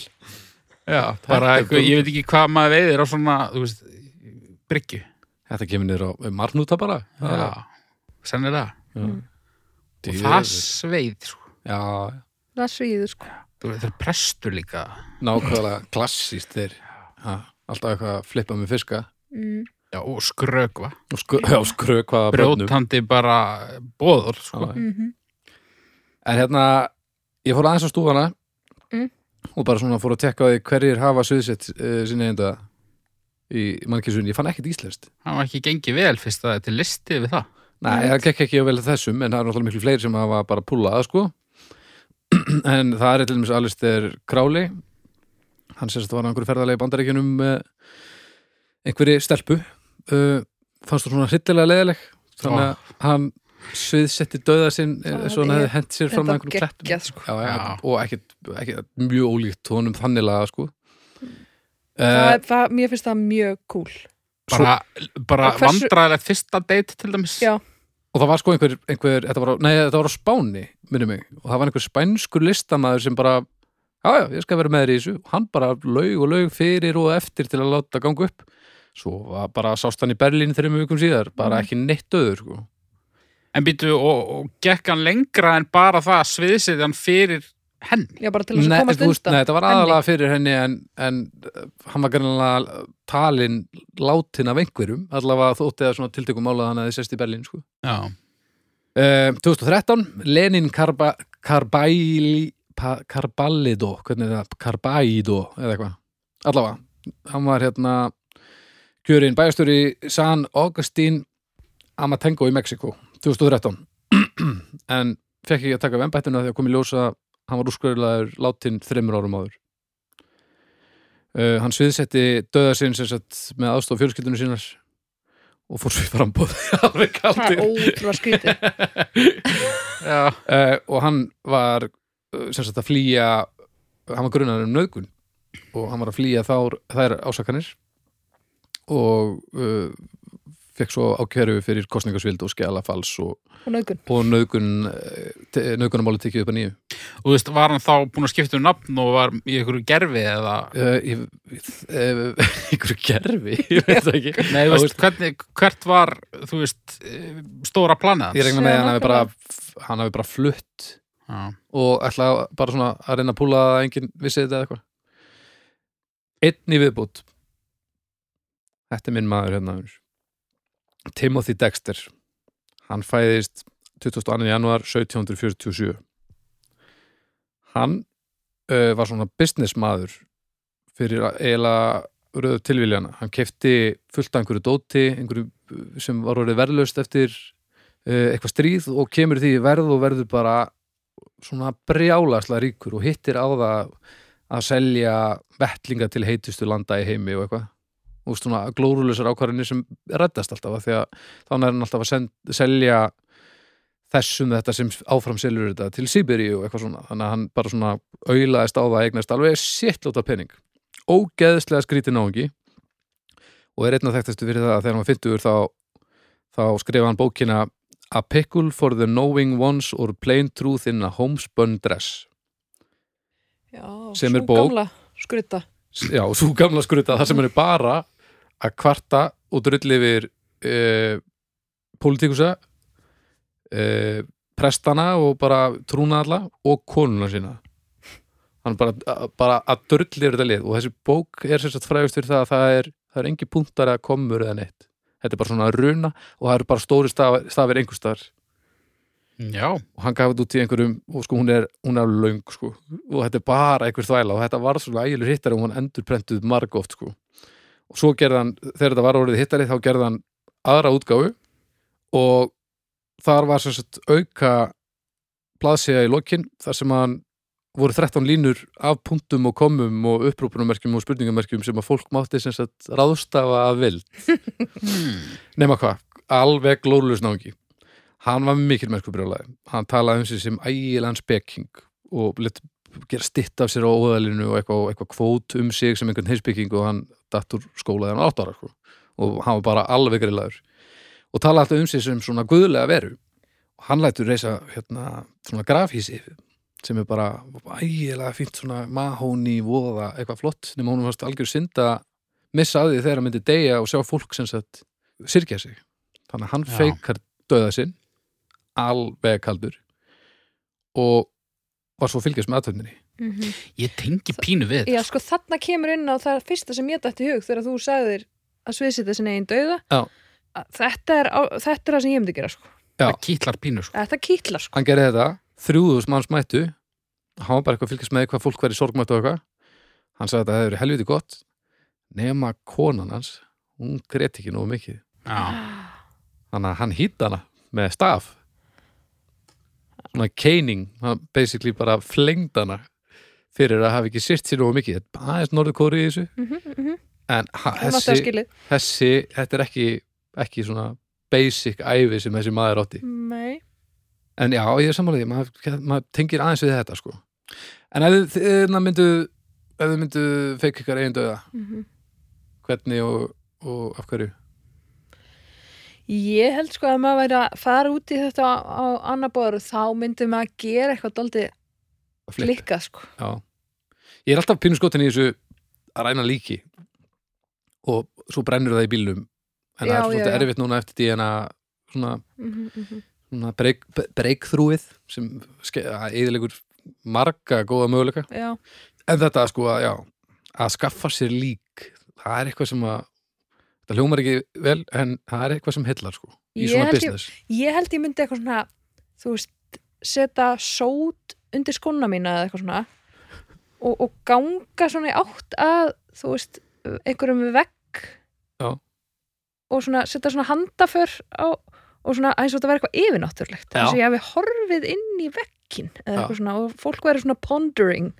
S1: já, bara
S2: Þetta er
S1: eitthvað, ég veit ekki hvað maður veiðir á svona, þú veist bryggju,
S2: Þetta kemur nýr á marnúta bara.
S1: já, sennilega og
S2: Djöfull.
S1: það sveið sko.
S2: Já,
S3: Það svíður sko
S1: Þú veist, það er prestur líka
S2: nákvæmlega klassíst þeir. Ha, alltaf eitthvað að flippa með fiska.
S3: mm.
S1: já, og skrökva,
S2: Og skrö, já, skrökvaða börnum.
S1: brjótandi bara bóður sko.
S2: Já.
S3: Mm -hmm.
S2: En hérna, ég fór aðeins á stúfana
S3: Mm.
S2: og bara svona fór að tekka á því hverjir hafa suðsett uh, sinni einda í mannkísun. Ég fann ekkert íslenskt.
S1: það var ekki gengið vel fyrst að þetta er listið við það
S2: Nei, það gekk ekki á vel að þessum en það er náttúrulega miklu fleiri sem hafa bara púlað sko. en það er til dæmis Alistair Crowley hann sérst var á einhverju ferðalegi bandaríkjunum uh, einhverju stelpu uh, fannst þú svona hryllilega leðileg þannig að hann sviðsetti döða sinn
S3: Ah. Það
S2: eins og hann
S3: er-
S2: hefði hent sér fram að
S3: þetta
S2: einhverjum klettum
S3: geggjað sko.
S2: já, já,
S1: Já.
S2: og ekkit, ekkit mjög ólíkt honum þannig laga sko
S3: það,
S2: uh,
S3: er- það, mér finnst það mjög cool
S1: bara, bara
S3: Og hversu-
S1: vandræðilegt fyrsta date til dæmis
S3: Já.
S2: og það var sko einhver, einhver þetta var, á- nei, þetta var á Spáni minni mig, og það var einhver spænskur listamaður sem bara, já já, ég skal vera með þér í þessu og hann bara laug og laug fyrir og eftir til að láta ganga upp svo var bara sást hann í Berlín þreymum vikum síðar bara
S3: Mhm.
S2: ekki neitt öður sko.
S1: en býtu og, og gekk hann lengra en bara það að sviðsetja hann fyrir henni
S3: já, bara til þess
S2: Nei,
S3: að komast
S2: þú veist,
S3: undan
S2: Nei, þetta var
S3: henni.
S2: aðalega fyrir henni en, en uh, hann var greinlega talin látin af einhverjum allavega þótti það svona tiltökum mála hann að þið sest í Berlín sko.
S1: já,
S2: uh, 2013, Lenin Karba, Karbæli pa, Karbalido, hvernig er það? Karbæido eða eitthvað allavega, hann var hérna kjörin bæjastur í San Augustín Amatengo í Mexiko 2013 en fekk ekki að taka vembættinu því að kom í ljósa hann var úrskurðlaður látin þreymur árum áður uh, hann sviðsetti döða sinn sem sagt með aðstof fjölskyldunum sínar og fór svo í frambúð alveg
S3: það
S2: kaldir
S3: er ótrúlega skrítið
S1: já,
S2: uh, og hann var uh, sem sagt að flýja hann var grunnar um nöðgun og hann var að flýja þár, þær ásakanir og uh, fekk svo ákjöru fyrir kostningasvild og skjalafals og,
S3: og nögun
S2: og nöðgun uh, nöðgunamáli tekið upp að nýju
S1: og þú veist, var hann þá búin að skipta um nafn og var í einhverju gerfi eða
S2: uh, ég- eh, einhverju gerfi ég veit það ekki
S1: Nei, þú veist, hvernig, hvert var, þú veist, eh, stóra planið
S2: ég
S1: hans?
S2: regna með að hann hafi bara
S3: nákvæmlega.
S2: hann hafi bara flutt
S1: Já.
S2: og ætla bara svona að reyna að púla að enginn vissi þetta eða eitthvað einn í viðbútt þetta er minn maður hérna vinur. Timothy Dexter hann fæðist 22. januar 1747 hann uh, var svona business maður fyrir að eiginlega röðu tilviljana hann kefti fullt af einhverju dóti einhverju uh, sem var orðið verðlaust eftir uh, eitthvað stríð og kemur því í verð og verður bara svona brjálasla ríkur og hittir á það að selja vettlinga til heitustu landa í heimi og eitthvað og svona glórulisar ákvarðinni sem reddast alltaf af því að þannig er hann alltaf að send, selja þessum þetta sem áfram selur þetta til Sibiri og eitthvað svona þannig að hann bara svona auðlaðist á það að eignast alveg sittlóta pening ógeðslega skrítin áhengi og er einna þekktastu fyrir það að þegar hann var 50 þá, þá skrifa hann bókina A pickle for the knowing ones or plain truth in a homespun dress
S3: já,
S2: Sem er
S3: sú
S2: bók.
S3: gamla skrýta
S2: S- Já, svo gamla skruta það sem er bara að kvarta og drulli yfir uh, pólitíkusa uh, prestana og bara trúna alla og konuna sína hann bara, a- bara að drulli yfir þetta lið og þessi bók er sem sagt frægust fyrir það að það er, það er engi punktar að komur eða neitt þetta er bara svona að runa og það eru bara stóri staf, stafir einhverstaðar
S1: Já,
S2: og hann gaf þetta út í einhverjum og sko hún er, hún er löng sko og þetta er bara einhver þvæla og þetta var svona ægileg hittari og hann endurprentuð marg oft sko og svo gerði hann, þegar þetta var orðið hittari þá gerði hann aðra útgáfu og þar var sem sagt auka blaðsíða í lokin þar sem hann voru 13 línur af punktum og komum og upprúpunumerkjum og spurningamerkjum sem að fólk mátti sem sagt ráðstafa að vild nema hvað, alveg glóðlös náungi hann var mikil merkubrjólaði hann talaði um sig sem ægilegan spekking og let gera stitt af sér á óðalinu og eitthvað, og eitthvað kvót um sig sem einhvern heimspeking og hann datt úr skóla þegar hann var átt ára sko. og hann var bara alveg grillaður og talaði alltaf um sig sem svona guðlega veru og hann lætur reysa hérna, svona grafhísi sem er bara ægilega fínt svona mahóni, voða, eitthvað flott nema hún varst algjör synda missa að því þegar hann myndi deyja og sjá fólk sem sagt syrkja sig þannig að hann
S1: Já.
S2: feikar döða sinn alveg kaldur og var svo að fylgjast með aðtöfninni
S3: Mhm.
S1: ég tengi pínu við
S3: já,
S1: þetta.
S3: sko þarna kemur inn á það fyrsta sem ég dætti í hug þegar þú sagðir að sviðsita sinni einn dauða
S2: Já.
S3: Að þetta er, á- þetta er það sem ég myndi gera sko.
S2: já.
S1: það kýtlar pínu, sko.
S3: þetta kýtla sko.
S2: hann gerði þetta, 3000 manns mættu hann var bara eitthvað að fylgjast með hvað fólk væri sorgmættu og eitthvað hann sagði að þetta hefði verið helviti gott nema konan hans, hún grét ekki nógu mikið
S1: Já,
S3: Ah.
S2: þannig að hann hýtt hana með staf svona keining hann basically bara flengd hana fyrir að hafa ekki sýrt sér nógu mikið aðeins norður kóri í þessu
S3: Mhm, mhm.
S2: en ha-
S3: Hún átti að
S2: þessi,
S3: skilið.
S2: þessi þetta er ekki, ekki svona basic ævi sem þessi maður átti
S3: Nei.
S2: en já, ég er samanlega því, maður, maður tengir aðeins við þetta sko en ef þið- þið na, myndu ef þið myndu feik ykkar eigin döða
S3: Mhm.
S2: hvernig og, og af hverju
S3: Ég held sko að maður væri að fara út í þetta á, á annar borð þá myndi maður að gera eitthvað doldið
S2: Að flippa?
S3: flikka sko.
S2: Já. Ég er alltaf pínu skotin í þessu að ræna líki og svo brennur það í bílum en það
S3: Já,
S2: er svolítið
S3: já, já.
S2: erfitt núna eftir DNA svona,
S3: Mm -hmm.
S2: svona break, breakthroughið sem ske- að eðilegur marga góða möguleika
S3: Já,
S2: en þetta sko að, já, að skaffa sér lík það er eitthvað sem að það hljómar ekki vel en það er eitthvað sem heillar sko í
S3: Ég
S2: svona
S3: held ég-
S2: business
S3: ég held ég myndi eitthvað svona þú veist, setja sót undir skóna mína eða eitthvað svona og, og ganga svona í átt að þú veist, einhverjum vekk
S2: Já.
S3: og svona setja svona handaför á, og svona eins og þetta væri eitthvað yfirnáttúrlegt
S2: Já.
S3: eins og ég hafi horfið inn í vekkin eða
S2: Já.
S3: eitthvað svona og fólk væri svona pondering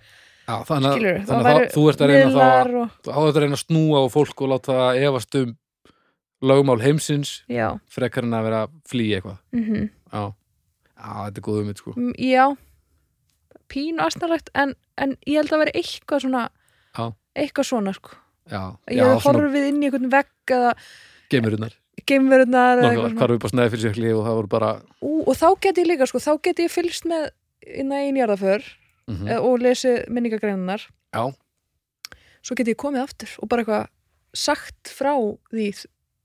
S2: já, þannig, að-
S3: skilur,
S2: þannig að þá- þú ert að reyna þá að
S3: og,
S2: þá þetta að reyna að snúa á fólk og láta það efast um lögumál heimsins
S3: já,
S2: frekar en að vera að flýja eitthvað
S3: mm
S2: já, já þetta er góð um sko.
S3: Mm, Já, pínu astanlegt en, en ég held að vera eitthvað svona
S2: Já.
S3: eitthvað svona sko
S2: já,
S3: ég
S2: já
S3: já,
S2: svona
S3: horfið inn í einhvern vegg eða
S2: gemurinnar
S3: geimverunar eða eitthvað svona.
S2: hvar við bara snæði fyrir sér hlið og það voru bara
S3: Ú, og þá get ég líka sko, þá get ég fylgst með hérna inn að einjarðaför
S2: mm
S3: mm. og lesið minningagreinarnar
S2: Já.
S3: svo get ég komið aftur og bara eitthvað sagt frá því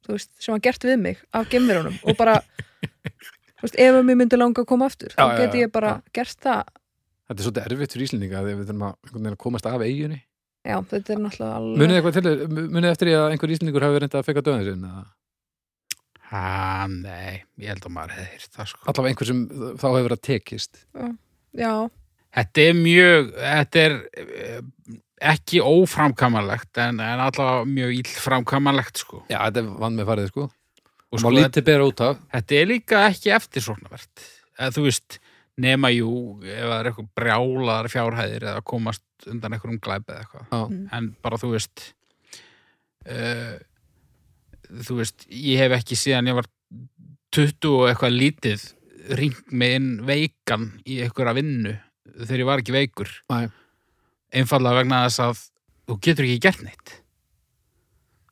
S3: þú veist, sem var gert við mig af geimverunum og bara þú veist, ef mér myndi langa að koma aftur
S2: Já, já,
S3: þá get
S2: já,
S3: ég bara gert það
S2: þetta er svolítið erfitt fyrir Íslendinga þegar við þurfum að, einhvern veginn að komast af eiginni
S3: já, þetta er náttúrulega alveg
S2: munið eitthvað til, munið eftir því að einhver Íslendingur hafi reynda að feka döðin sinn eða?
S1: Ha, nei, ég held að maður hefði hýrt það sko.
S2: allavega einhver sem þá hefur verið að tekist
S3: já,
S1: Þetta er mjög, þetta er eh, ekki óframkamanlegt en, en allavega mjög illframkamanlegt sko.
S2: já, þetta er vann með farið sko
S1: Og
S2: og
S1: sko,
S2: má lítið bera út af
S1: þetta er líka ekki eftirsóknarvert. Eða, þú veist, nema jú, ef það er eitthvað brjálaðar fjárhæðir eða komast undan einhverjum glæp eða eitthvað.
S2: Já.
S3: Mm.
S1: En bara þú veist, uh, þú veist, ég hef ekki síðan ég var 20 og eitthvað lítið ringt með inn veikan í einhverja vinnu þegar ég var ekki veikur.
S2: Nei.
S1: Einfallega vegna þess að þú getur ekki gert neitt.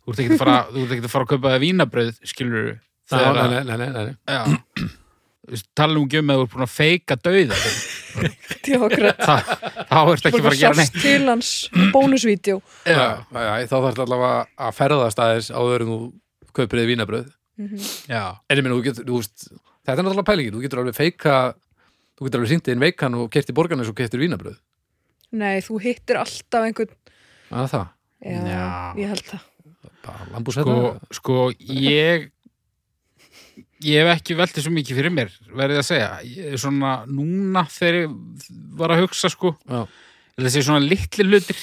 S1: Þú ert ekki að fara, þú ert ekki að, fara að kaupa það vínabröð, skilur þú?
S2: Nei, nei, nei, nei, nei, nei.
S1: Já. Þú veist, tala um ekki um að þú ert búin að feika dauða þinn.
S3: djókrat
S1: Þa, þá ert ekki að fara að gera neitt.
S3: til hans bónusvídeó
S2: Já, já, já, þá þarf allavega að ferðast aðeins áður en þú kaupir þið vínabröð
S1: Já.
S2: En ég minn, þú getur, þú veist, þetta er náttúrulega pælingin, þú getur alveg feika, þú getur alveg sínt inn veikan og keftir borgarnes og keftir vínabröð.
S3: nei, þú hittir alltaf einhvern
S2: Það er það,
S3: já,
S1: Já.
S3: ég held það
S2: bara lambúsætna.
S1: Sko, sko, ég ég hef ekki velt þessu mikið fyrir mér, verðið að segja. Ég er svona núna þegar ég var að hugsa, sko,
S2: Já.
S1: þessi svona litli hlutir,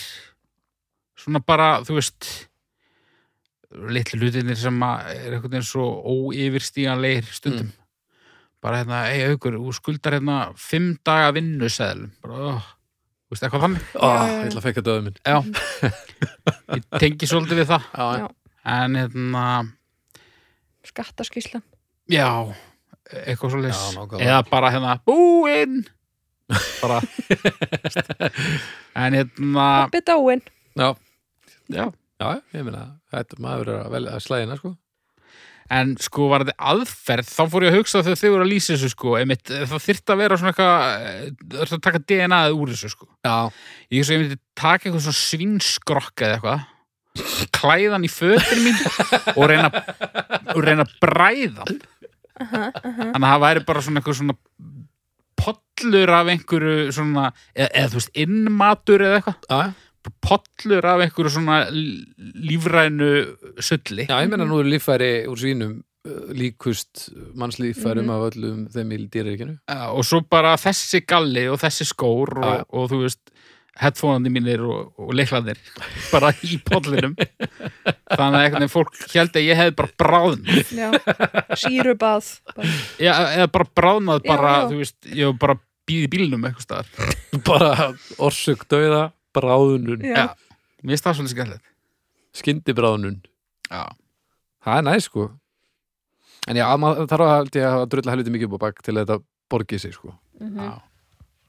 S1: svona bara, þú veist, litli hlutinir sem að er einhvern veginn svo óyfirstíganlegir stundum. Bara hérna, ei, aukur, þú skuldar hérna fimm daga vinnuseðlum. Bara, oh, þú veist, eitthvað þannig.
S2: Ó,
S3: Já, já, já.
S2: ég ætla að feika döðu minn.
S1: Já, ég tengi svolítið við það.
S2: Já,
S3: Já.
S1: En hérna,
S3: skattaskíslan
S1: Já, eitthvað svo leys
S2: Já, nákvæmlega.
S1: Eða bara hérna, búinn Bara En hérna
S3: pappi dáin
S2: já,
S1: já.
S2: já, ég meina, þetta maður er að velja að slæðina, sko.
S1: En sko var þetta aðferð Þá fór ég að hugsa þegar þið voru að lýsa þessu sko einmitt, Það þyrfti að vera svona eitthvað Það þyrfti að taka DNA-ið úr þessu sko
S2: Já,
S1: Ég hugsa að ég myndi taka eitthvað svona svinskrokka eða eitthvað Klæðan í fötin mín Og reyna Og reyna að bræða hann. Þannig að það væri bara svona eitthvað svona Pollur af einhverju svona Eða, eða þú veist, innmatur eða eitthvað
S2: já,
S1: Pollur af einhverju svona l- Lífrænu sulli
S2: já, ég meina nú er líffæri úr svínum uh, líkust mannslíffærum
S3: Mhm.
S2: af öllum þeim í dýraríkinu.
S1: Já, Eh, Og svo bara þessi galli og þessi skór Og,
S2: Já, já.
S1: og þú veist headphoneandi mínir og, og leiklaðir bara í pollinum þannig að einhvern veginn fólk held að ég hefði bara bráðn
S3: já, sírubað bara.
S1: Já, eða bara bráðnað
S3: Já,
S1: bara,
S3: já.
S1: þú veist, ég var bara býð í bílnum eitthvað staðar.
S2: Bara orsök döða, bráðunun.
S3: já.
S1: Mér finnst það svolítið skemmtilegt.
S2: skyndibráðnun
S1: Já.
S2: það er næ sko en já, maður þarf að held ég að drulla helviti mikið upp á bak til að þetta borgið sig sko
S1: Já.
S3: Mhm.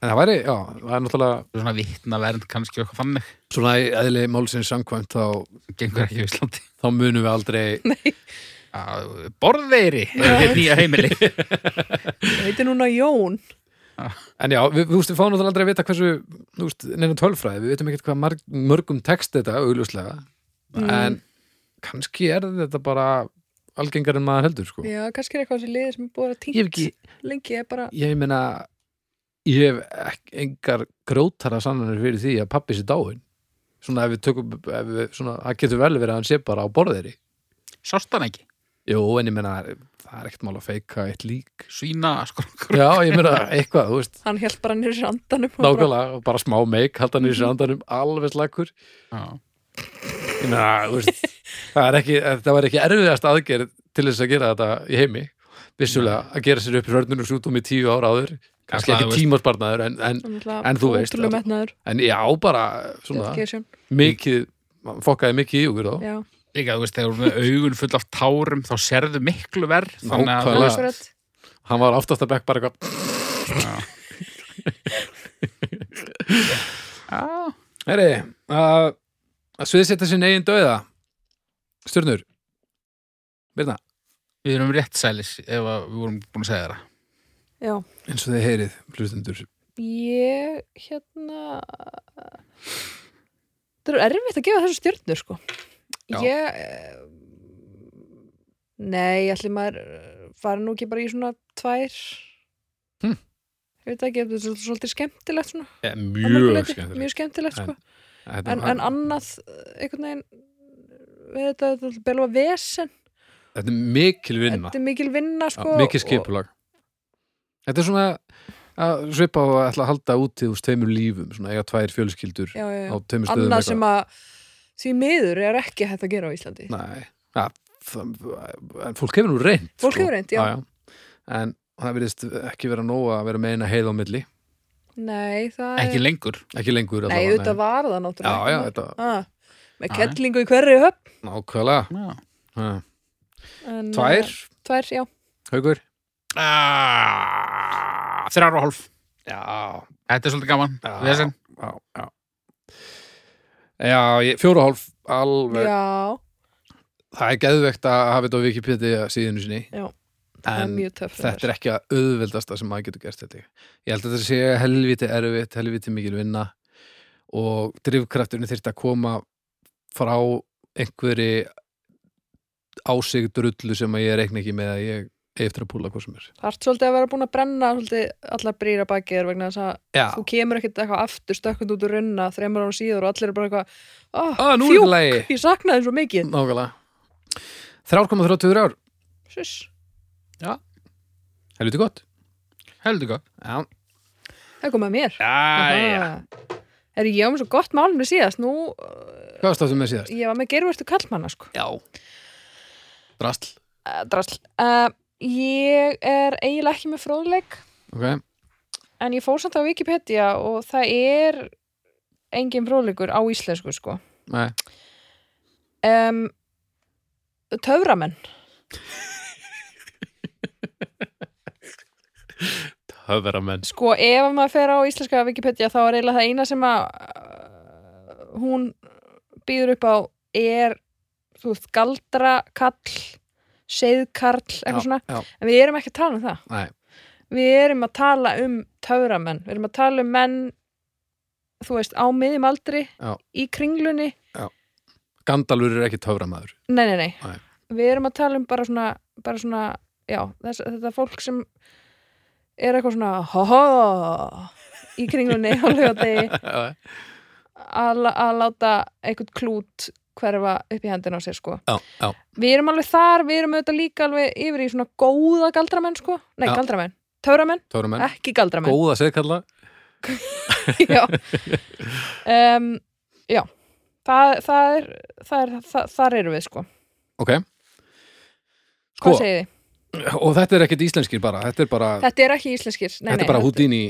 S2: en það væri, já, það er náttúrulega
S1: Það er svona vittnavernd kannski okkar þannig
S2: svona í eðli málsins samkvæmt þá,
S1: gengur ekki í Íslandi
S2: þá munum við aldrei
S1: Já, Borðeyri er nýja heimili
S3: Það heitir núna Jón
S2: En já, við, við, við fáum náttúrulega aldrei að vita hversu þú veist, neina tölfræði, við veitum ekkert hvað marg, mörgum text þetta augljóslega en kannski er þetta bara algengar en maður heldur sko.
S3: Já, kannski er eitthvað sem liðið sem er búið að
S2: Ég hef
S3: týnt
S2: ekki,
S3: lengi er bara
S2: ég meina ég hef ekki, engar grótara sannanir fyrir því að pappi sér dáin svona ef við tökum ef við, svona, það getur vel verið að hann sé bara á borðeri
S1: Sostan ekki,
S2: Jú, en ég meina, það er ekkert mál að feika eitt lík
S1: svína sko. skrokkur
S2: Já, ég meina eitthvað, þú veist
S3: hann held bara nýr andanum og bara-
S2: Nákvæmlega, bara Mhm. smá meik, halda hann í sér andanum alveg slakur Na, veist, það er ekki, þetta var ekki erfiðast aðgerð til þess að gera þetta í heimi vissulega að gera sér upp hörnunum sjútum í tíu ára áður kannski
S1: það,
S2: ekki
S1: veist.
S2: tímasparnaður en, en,
S3: Svo náttúrulega
S2: En þú veist,
S3: ótrúlega
S2: að-
S3: metnaður,
S2: en já, bara svona,
S3: dedication,
S2: mikið fokkaði mikið í okkur þá
S3: já,
S1: Líka, þú veist, þegar hún er augun full af tárum þá sérðu miklu verð þannig að
S2: Nákvæmlega.
S3: nákvæmlega.
S2: hann var aftast að bekk bara eitthvað
S1: Já,
S2: Heri, að, að sviðsetja sinn eigin döiða stjörnur Birna,
S1: Við erum rétt sælis ef að við vorum búin að segja það
S3: já,
S2: eins og þið heyrið hlustendur,
S3: ég hérna það er erfitt að gefa þessu stjörnur sko
S2: Já.
S3: ég eh, nei, allir maður eh, fara nú ekki bara í svona tvær
S2: Hm.
S3: ég veit ekki, þetta er svol- svolítið skemmtilegt svona,
S2: ja,
S3: að mörgu
S2: mjög
S3: leyti,
S2: skemmtilegt
S3: mjög skemmtilegt
S2: En-
S3: sko
S2: Þetta
S3: en,
S2: er-
S3: en annað eh, einhvern veginn við þetta, þetta er belva vesen
S2: þetta er mikil vinna
S3: þetta er mikil vinna
S2: Já,
S3: sko
S2: mikið skipulag Þetta er svona að svipa á að ætla að halda úti úr tveimur lífum, svona eiga tvær fjölskyldur
S3: og, já, já,
S2: á
S3: já.
S2: tveimur stöðum
S3: annað sem að því miður er ekki hægt að gera á Íslandi
S2: Nei, ja, en fólk hefur nú reynd
S3: fólk
S2: sko.
S3: hefur reynd, já,
S2: Já, já. En það virðist ekki vera nóg að vera meina heið á milli,
S3: nei, það
S1: Ekki lengur
S2: ekki lengur
S3: Nei,
S2: allavega,
S3: auðvitað var það
S2: Já,
S3: náttúrulega
S2: já, þetta
S3: ah,
S1: Já,
S3: Með
S1: já.
S3: kettlingu í hverri höfn
S2: nákvæmlega
S1: Já.
S2: Ha.
S3: en,
S2: Tvær,
S3: eh, Tvær, já
S2: haugur
S1: Ah, Þrjár og hálf
S2: Já,
S1: Þetta er svolítið gaman
S2: Já.
S1: Vesen.
S2: já, já Já, ég- fjóra og hálf alveg
S3: Já,
S2: það er geðvegt að hafa þetta á Wikipedia síðinu sinni
S3: Já, það er
S2: en
S3: mjög töff
S2: þetta er ekki að auðveldasta sem maður getur gert þetta ég held að þetta sé helviti erfitt helviti mikil vinna og drifkrafturinn þyrfti að koma frá einhverju ásig drullu sem að ég reikna ekki með að ég eigi eftir að púla hvað sem er
S3: Það ert svolítið að vera búin að brenna svolítið allar brýra bakið vegna þess að
S2: Já,
S3: þú kemur ekkert eitthvað aftur stökkund út úr runna þremur ára síður og allir er bara eitthvað oh,
S2: að Ah, nú er
S3: Fjúk,
S2: þetta lagi
S3: ég saknaði þér svo mikið
S2: Nákvæmlega 3,34 ár,
S3: Sviss.
S2: helviti gott
S1: Heldur góð
S2: Já,
S3: Það kom að mér Ah.
S1: Jæja.
S3: Er ég á með svo gott málum síðast Nú, eh,
S2: hvað státtum með síðast?
S3: ég var með gervertu kallmanna sko
S2: Já Drastl
S3: uh, Drasl uh, Ég er eiginlega ekki með fróðleik
S2: okay.
S3: En ég fór samt á Wikipedia og það er engin fróðleikur á íslensku sko.
S2: Nei.
S3: Um, töframenn.
S2: Höfveramenn
S3: Sko ef maður fer á íslenska Wikipedia þá er eiginlega það eina sem að uh, hún býður upp á er þú veist, galdra, kall, seiðkarl, eitthvað svona.
S2: já,
S3: En við erum ekki að tala um það.
S2: Nei.
S3: Við erum að tala um töframenn. Við erum að tala um menn, þú veist, á miðjum aldri,
S2: Já.
S3: í kringlunni,
S2: Gandalfur er ekki töframæður
S3: Nei, nei, nei.
S2: Nei.
S3: Við erum að tala um bara svona, bara svona já, þess, þetta fólk sem er eitthvað svona ho-ho í kringlunni á lögadegi
S2: Já,
S3: að la- að láta eitthvað klút hverfa upp í hendina á sér, sko.
S2: já,
S3: Við erum alveg þar, við erum auðvitað líka alveg yfir í svona góða galdramenn, sko. Nei,
S2: Já.
S3: galdramenn. Töframenn,
S2: töframenn
S3: ekki galdramenn.
S2: Góða seðkalla
S3: já. Um, já. Það, það er, það er, það, þar erum við, sko.
S2: Ok, Sko.
S3: Hvað segið þið?
S2: og þetta er ekkert íslenskir bara Þetta er bara,
S3: Þetta er ekki íslenskir. Nei,
S2: þetta
S3: nei,
S2: er bara Houdini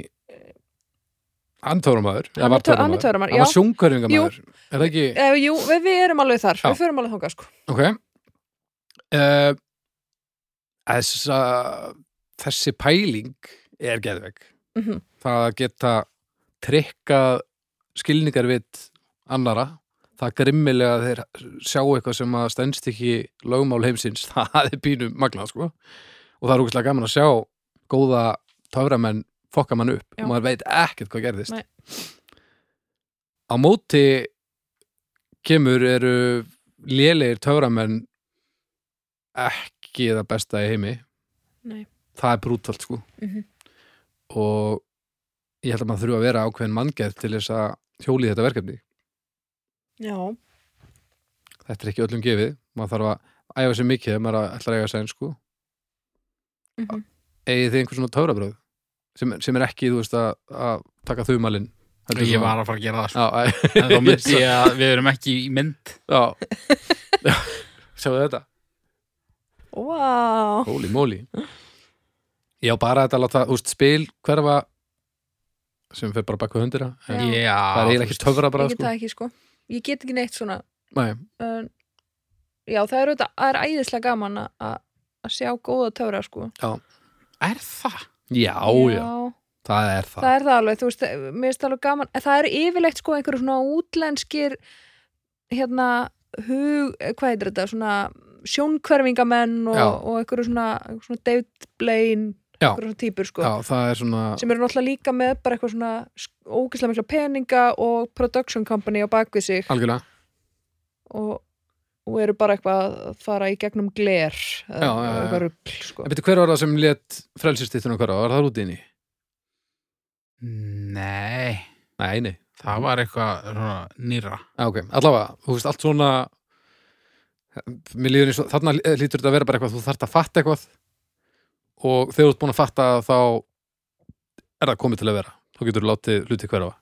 S2: Antóramæður
S3: Hann er tö- hann er töframæður,
S2: Hann var
S3: já.
S2: sjóngarfingamæður Er það ekki?
S3: Eh, jú, við, við erum alveg þar,
S2: Já.
S3: við förum alveg þangað sko.
S2: Ok uh, Þessa Þessi pæling er geðveg
S3: mm
S2: Það að geta trikka skilningar við annara það grimmilega að þeir sjá eitthvað sem að stendst ekki lögmál heimsins það er pínu magnað sko og það er úkislega gaman að sjá góða töframenn fokka mann upp
S3: Já.
S2: og maður veit ekkert hvað gerðist
S3: Nei.
S2: á móti kemur eru lélegir töframenn ekki það besta í heimi
S3: Nei.
S2: það er brútalt sko
S3: Mhm.
S2: og ég held að maður þurfa að vera ákveðin manngeð til þess að hjóli þetta verkefni
S3: Já,
S2: þetta er ekki öllum gefið maður þarf að æfa sér mikið ef maður ætlar að eiga sér einsku
S3: Mhm.
S2: eigið þið einhver svona töfrabröð sem, sem er ekki, þú veist, að, að taka þumalinn
S1: Ég var að fara að gera það sko.
S2: já, æ,
S1: En þá myndi ég að við erum ekki í mynd
S2: já. já, sjáðu þetta
S3: wow
S2: Holy moly já, bara þetta að láta, þú veist, spil hverfa sem fer bara bakku hundina
S3: Já.
S2: en
S1: Já
S2: það er eiginlega ekki
S1: þú veist.
S3: Ég
S2: töfrabröð
S3: get
S2: sko.
S3: það ekki sko Ég get ekki neitt svona
S2: Nei,
S3: uh, Já, það er auðvitað það er æðislega gaman að- að að sjá góða töfra sko
S1: Er það?
S2: já, já, það er það,
S3: Það er það alveg, þú veist, mér finnst alveg gaman en það eru yfirleitt sko einhverju svona útlenskir hérna hug, eh, hvað heitir þetta, svona sjónkverfingamenn og,
S2: Já.
S3: og einhverju svona, einhverju svona David Blaine
S2: Já.
S3: einhverju svona típur sko,
S2: já, það er svona
S3: sem eru náttúrulega líka með bara eitthvað svona sk- ógeðslega mikla peninga og production company á bakvið sig
S2: algjörlega
S3: og, og eru bara eitthvað að fara í gegnum gler eða
S2: Já, já, já.
S3: eitthvað rugl sko.
S2: En veitir hver var það sem let frelsistýttuna hverfa? Var það rútinni?
S1: Nei
S2: Nei, nei.
S1: Það var eitthvað svona, nýra
S2: Ah, ok, allavega, þú veist, allt svona mér líður eins og þarna lítur þetta að vera bara eitthvað, þú þarft að fatta eitthvað og þegar þú ert búin að fatta það, þá er það komið til að vera þú getur látið hluti hverfa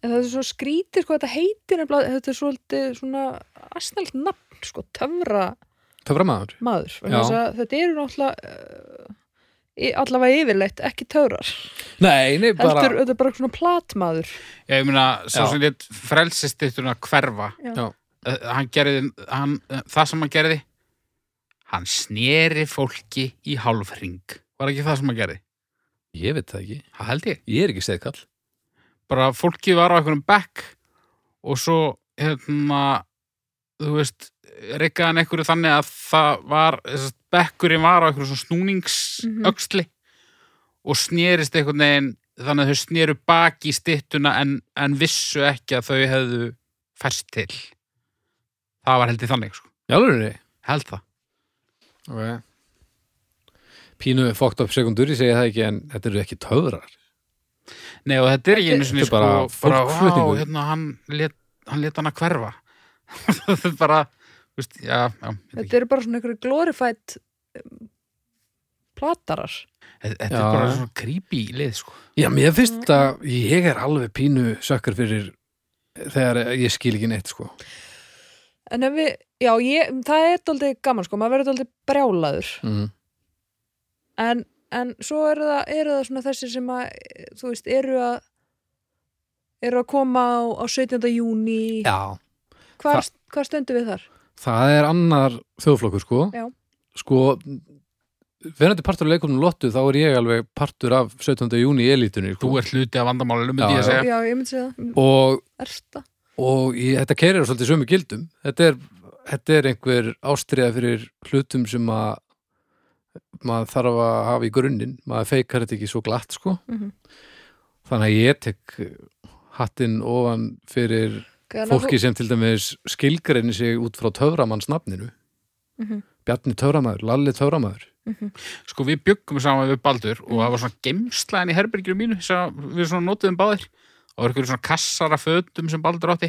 S3: en það er svo skrítið sko, þetta heitir nefnilega, þetta er svolítið svona asnælt nafn, sko, töfra
S2: Töframaður?
S3: maður
S2: Já.
S3: vegna þess að þetta eru náttúrulega uh, í- allavega yfirleitt, ekki töfrar
S2: Nei, nei, bara
S3: heldur, þetta er bara svona platmaður
S1: Já, ég meina, svo
S2: Já.
S1: sem létt frelsistittuna hverfa
S3: Já.
S2: Já.
S1: Eh, Hann gerði, hann, eh, það sem hann gerði Hann sneri fólki í hálfring Var ekki það sem hann gerði?
S2: Ég veit það ekki,
S1: Það held ég
S2: ég er ekki segkall
S1: Bara fólki var á einhverjum bekk Og svo, hérna, þú veist Rikkaði hann einhverju þannig að það var þess að Bekkurinn var á einhverju svona
S3: Mhm.
S1: snúningsöxli Og snerist einhvern veginn Þannig að þau sneru baki í styttuna en, en vissu ekki að þau hefðu fæst til Það var held ég þannig, sko
S2: Já, alveg,
S1: Held það
S2: ok Pínu fókt upp sekundur, ég segi það ekki en þetta eru ekki töfrar
S1: Nei og þetta er ekki einu sinni
S2: Þetta er bara
S1: sko, bara,
S2: fólkflutningur.
S1: vá, hérna, hann let, hann let hann að hverfa þetta er bara þú veist, já, já, þetta,
S3: þetta eru bara svona einhverju glorified um, platarar
S1: þetta, þetta
S2: Já.
S1: er bara svona creepy lið sko.
S2: Já, mér finnst að ég er alveg pínu sökkar fyrir þegar ég skil ekki neitt, sko.
S3: en ef við, já, ég, það er daldið gaman sko, maður verður daldið brjálaður
S2: Mm.
S3: en, en svo eru það, eru það svona þessir sem að, e, þú veist, eru að eru að koma á, á 17. júni
S2: Já.
S3: hvað, hvað stöndum við þar?
S2: Það er annar þjóðflokkur, sko.
S3: Já.
S2: Sko, verðandi partur af leikumnum Lottu, þá er ég alveg partur af 17. júni í elitunni,
S1: þú
S2: sko.
S1: ert hluti af vandamálinu myndi
S2: Já,
S1: ég að segja
S3: Já, ég myndi segja það,
S2: Og,
S3: ersta
S2: og ég, þetta keirir svolítið sömu gildum. Þetta er, þetta er einhver ástriða fyrir hlutum sem að maður þarf að hafa í grunninn. Maður feikar þetta ekki svo glatt, sko. Þannig að ég tek hattinn ofan fyrir fólki sem til dæmis skilgreinir sig út frá töframannsnafninu
S3: Mhm.
S2: Bjarni töframæður, Lalli töframæður
S1: sko við byggum saman við Baldur og það var svona gemslaðin í herberginu mínu sem við svona notuðum báðir og var einhverjum svona kassara fötum sem Baldur átti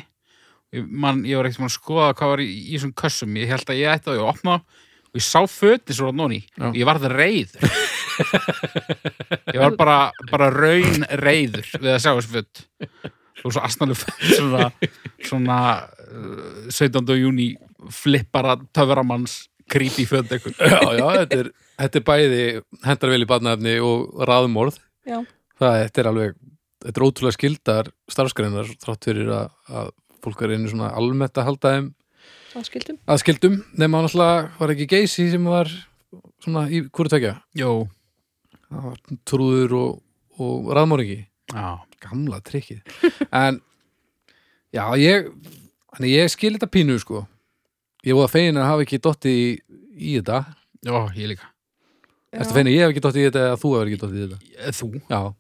S1: ég, man, ég var ekkert búinn að skoða hvað var í, í svona kössum ég held að ég ætti að ég opna þá og ég sá föti svo rátt nóni
S2: Já.
S1: og ég varð reyður ég var bara, bara raun reyður við að sjá þessu fött og svo asnalu fött svona, svona uh, 17. júni flippara töframanns creepy fött eitthvað
S2: Já, já, þetta er, þetta er bæði hendar vel í barnaefni og raðmorð
S3: Já.
S2: það þetta er alveg þetta er ótrúlega skildar starfskreinar þrátt fyrir að, að fólk er einu svona almennt að halda þeim
S3: áskildum
S2: að skildum nema náttúrulega var ekki geysi sem var svona í hverju tekja
S1: Jó,
S2: það var trúður og, og raðmóringi
S1: já,
S2: gamla trikkið en já ég þannig ég skil þetta pínu sko ég voða fegin að hafa ekki dotti í, í þetta
S1: já, ég líka
S2: Ertu fegin að ég hef ekki dotti í þetta eða þú hefur ekki dotti í þetta
S1: Eh, Þú,
S2: já
S1: ég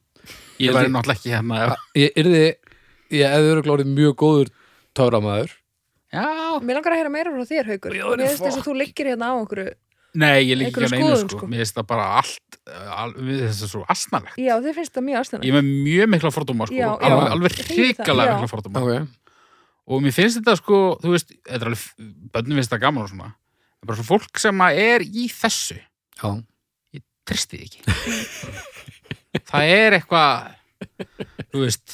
S2: Ég
S1: væri
S2: líka.
S1: náttúrulega ekki hérna ef-
S2: ég yrði ég hefði verið glórið mjög góður töframæður
S1: Já,
S3: Mér langar að heyra meira frá þér, Haukur
S2: Já,
S3: Mér finnst þess
S2: fuck.
S3: að þú liggir hérna á okkur
S1: nei, ég líka
S3: Einhverjum
S1: ekki hérna einu
S3: skoðun,
S1: sko
S3: sko.
S1: Mér finnst það bara allt eh, al, við þess að svo asnalegt
S3: Já, þið finnst það mjög ástæðan
S1: Ég er með mjög mikla fordóma sko
S3: Já, já.
S1: Alveg, alveg
S3: Ég fíla það,
S1: hrikalega
S3: já.
S1: mikla fordóma
S3: Hérna.
S2: okay.
S1: Og mér finnst þetta sko, þú veist Þetta er alveg, bönnum finnst það gaman og svona Það er bara svo fólk sem að er í þessu
S2: já,
S1: tristi því ekki það er eitthvað þú veist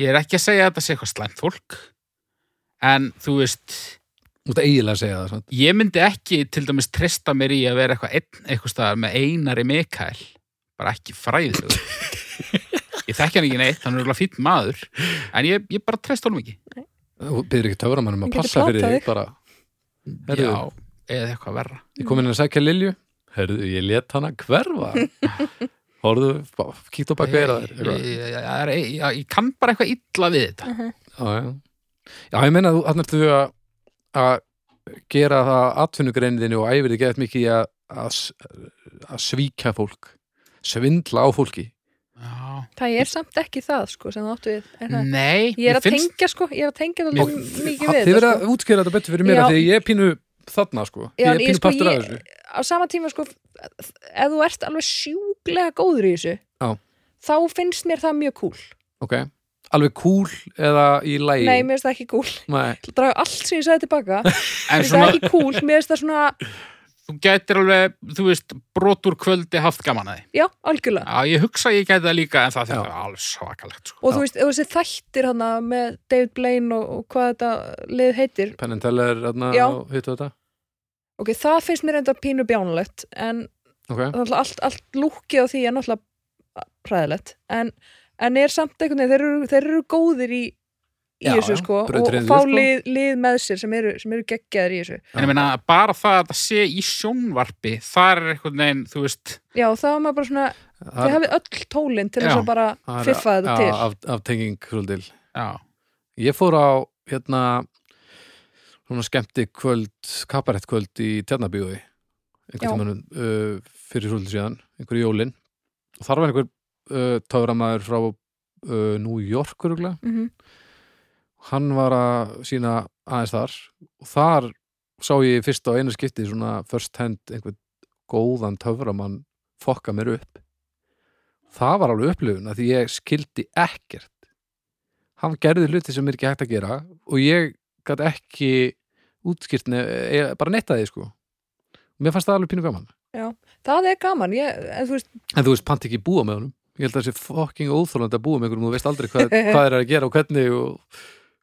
S1: ég er ekki að segja að þetta sé eitthvað slæmt fólk en þú veist
S2: þú ert eiginlega að segja það svona.
S1: ég myndi ekki til dæmis trista mér í að vera eitthvað einn eitthvað staðar með einari Mikael bara ekki fræðilegur ég þekki hann ekki neitt, hann er alveg fýtt maður en ég, ég bara tresta honum ekki
S2: þú byrðir ekki töframænum
S3: Ég
S2: að
S3: geti
S2: passa fyrir þig
S3: plantað þig.
S2: bara, Heyrðu.
S1: já, eða eitthvað verra
S2: ég kom inn að sækja Lilju herðu, ég let hana hverfa horðu, kíkt á bak vera
S1: ég,
S2: þér
S1: ég,
S2: eitthvað.
S1: ég, ég, ég, ég, ég, ég kann bara eitthvað illa við þetta
S3: Mhm.
S2: já, já. já, ég meina að þú hann ertu að, að gera það atvinnugreininni og æfir þig gett mikið í að, að, s- að svíkja fólk svindla á fólki
S1: já,
S3: Það er samt ekki það, sko, sem þú áttu við er
S2: Mm.
S3: það?
S1: nei
S3: Ég er
S1: mér
S3: að tengja, sko, ég er að tengja
S1: Mér-
S3: það mikið
S2: Ha,
S3: við
S2: þið verða
S3: þetta, sko.
S2: að útskýra þetta betur fyrir mér
S3: Já.
S2: af því að ég er pínu þarna sko
S3: Já,
S2: ég
S3: en
S2: er
S3: ég
S2: pínu
S3: sko,
S2: partur af
S3: ég-
S2: þessu
S3: á sama tíma sko, ef þú ert alveg sjúklega góður í þessu
S2: Já.
S3: þá finnst mér það mjög cool
S2: ok, alveg cool eða í lægi
S3: Nei, mér finnst það ekki cool Ég
S2: Nei.
S3: ætla að draga allt sem ég sagði tilbaka Mér
S1: en
S3: finnst það ekki cool, mér finnst það svona
S1: þú gætir alveg, þú veist, brot úr kvöldi haft gaman að því.
S3: Já, algjörlega
S1: Já, ég hugsa að ég gæti það líka en það
S2: Já.
S1: þetta er alveg svakalegt, sko.
S3: Og þú veist, ef þessi þættir hana með David Blaine og, og hvað þetta lið heitir
S2: Penn and Teller, hérna,
S3: Já.
S2: og hittu þetta
S3: Ok, það finnst mér enda pínu bjánulegt en
S2: ok,
S3: náttúrulega allt, allt lúkið á því er náttúrulega hræðilegt en, en er samt einhvern veginn þeir eru, þeir eru góðir í, í
S2: Já,
S3: þessu
S2: já,
S3: sko, og
S2: brautriðið,
S3: fá
S2: sko.
S3: lið, lið með sér sem eru, sem eru geggjaðir í þessu
S1: En ég meina, bara það að það sé í sjónvarpi, það er einhvern veginn, þú veist,
S3: Já, þá er maður bara svona, þið hafið öll tólin til
S1: Já,
S3: þess að bara
S2: það er-
S3: fiffa þetta
S2: já,
S3: til
S2: af, af tenging hrjóldil
S1: já,
S2: ég fór á hérna svona skemmti kvöld kabarett kvöld í Tjarnabíói einhvern
S3: Já.
S2: tímann uh, fyrir hrjóldil síðan, einhver jólin og þar var einhver uh, töframæður frá uh, New York öruglega
S3: mm
S2: hann var að sína aðeins þar og þar sá ég fyrst á einu skipti svona first hand einhvern góðan töframann fokka mér upp það var alveg upplifun að því ég skildi ekkert hann gerði hluti sem er ekki hægt að gera og ég gat ekki útskýrt nef, bara neitt að því sko mér fannst það alveg pínu gaman
S3: Það er gaman, ég, en þú veist,
S2: en þú veist, panti ekki búa með honum ég held að það sé fucking óþólandi að búa með einhverjum og þú veist aldrei hvað, hvað er að gera og hvernig og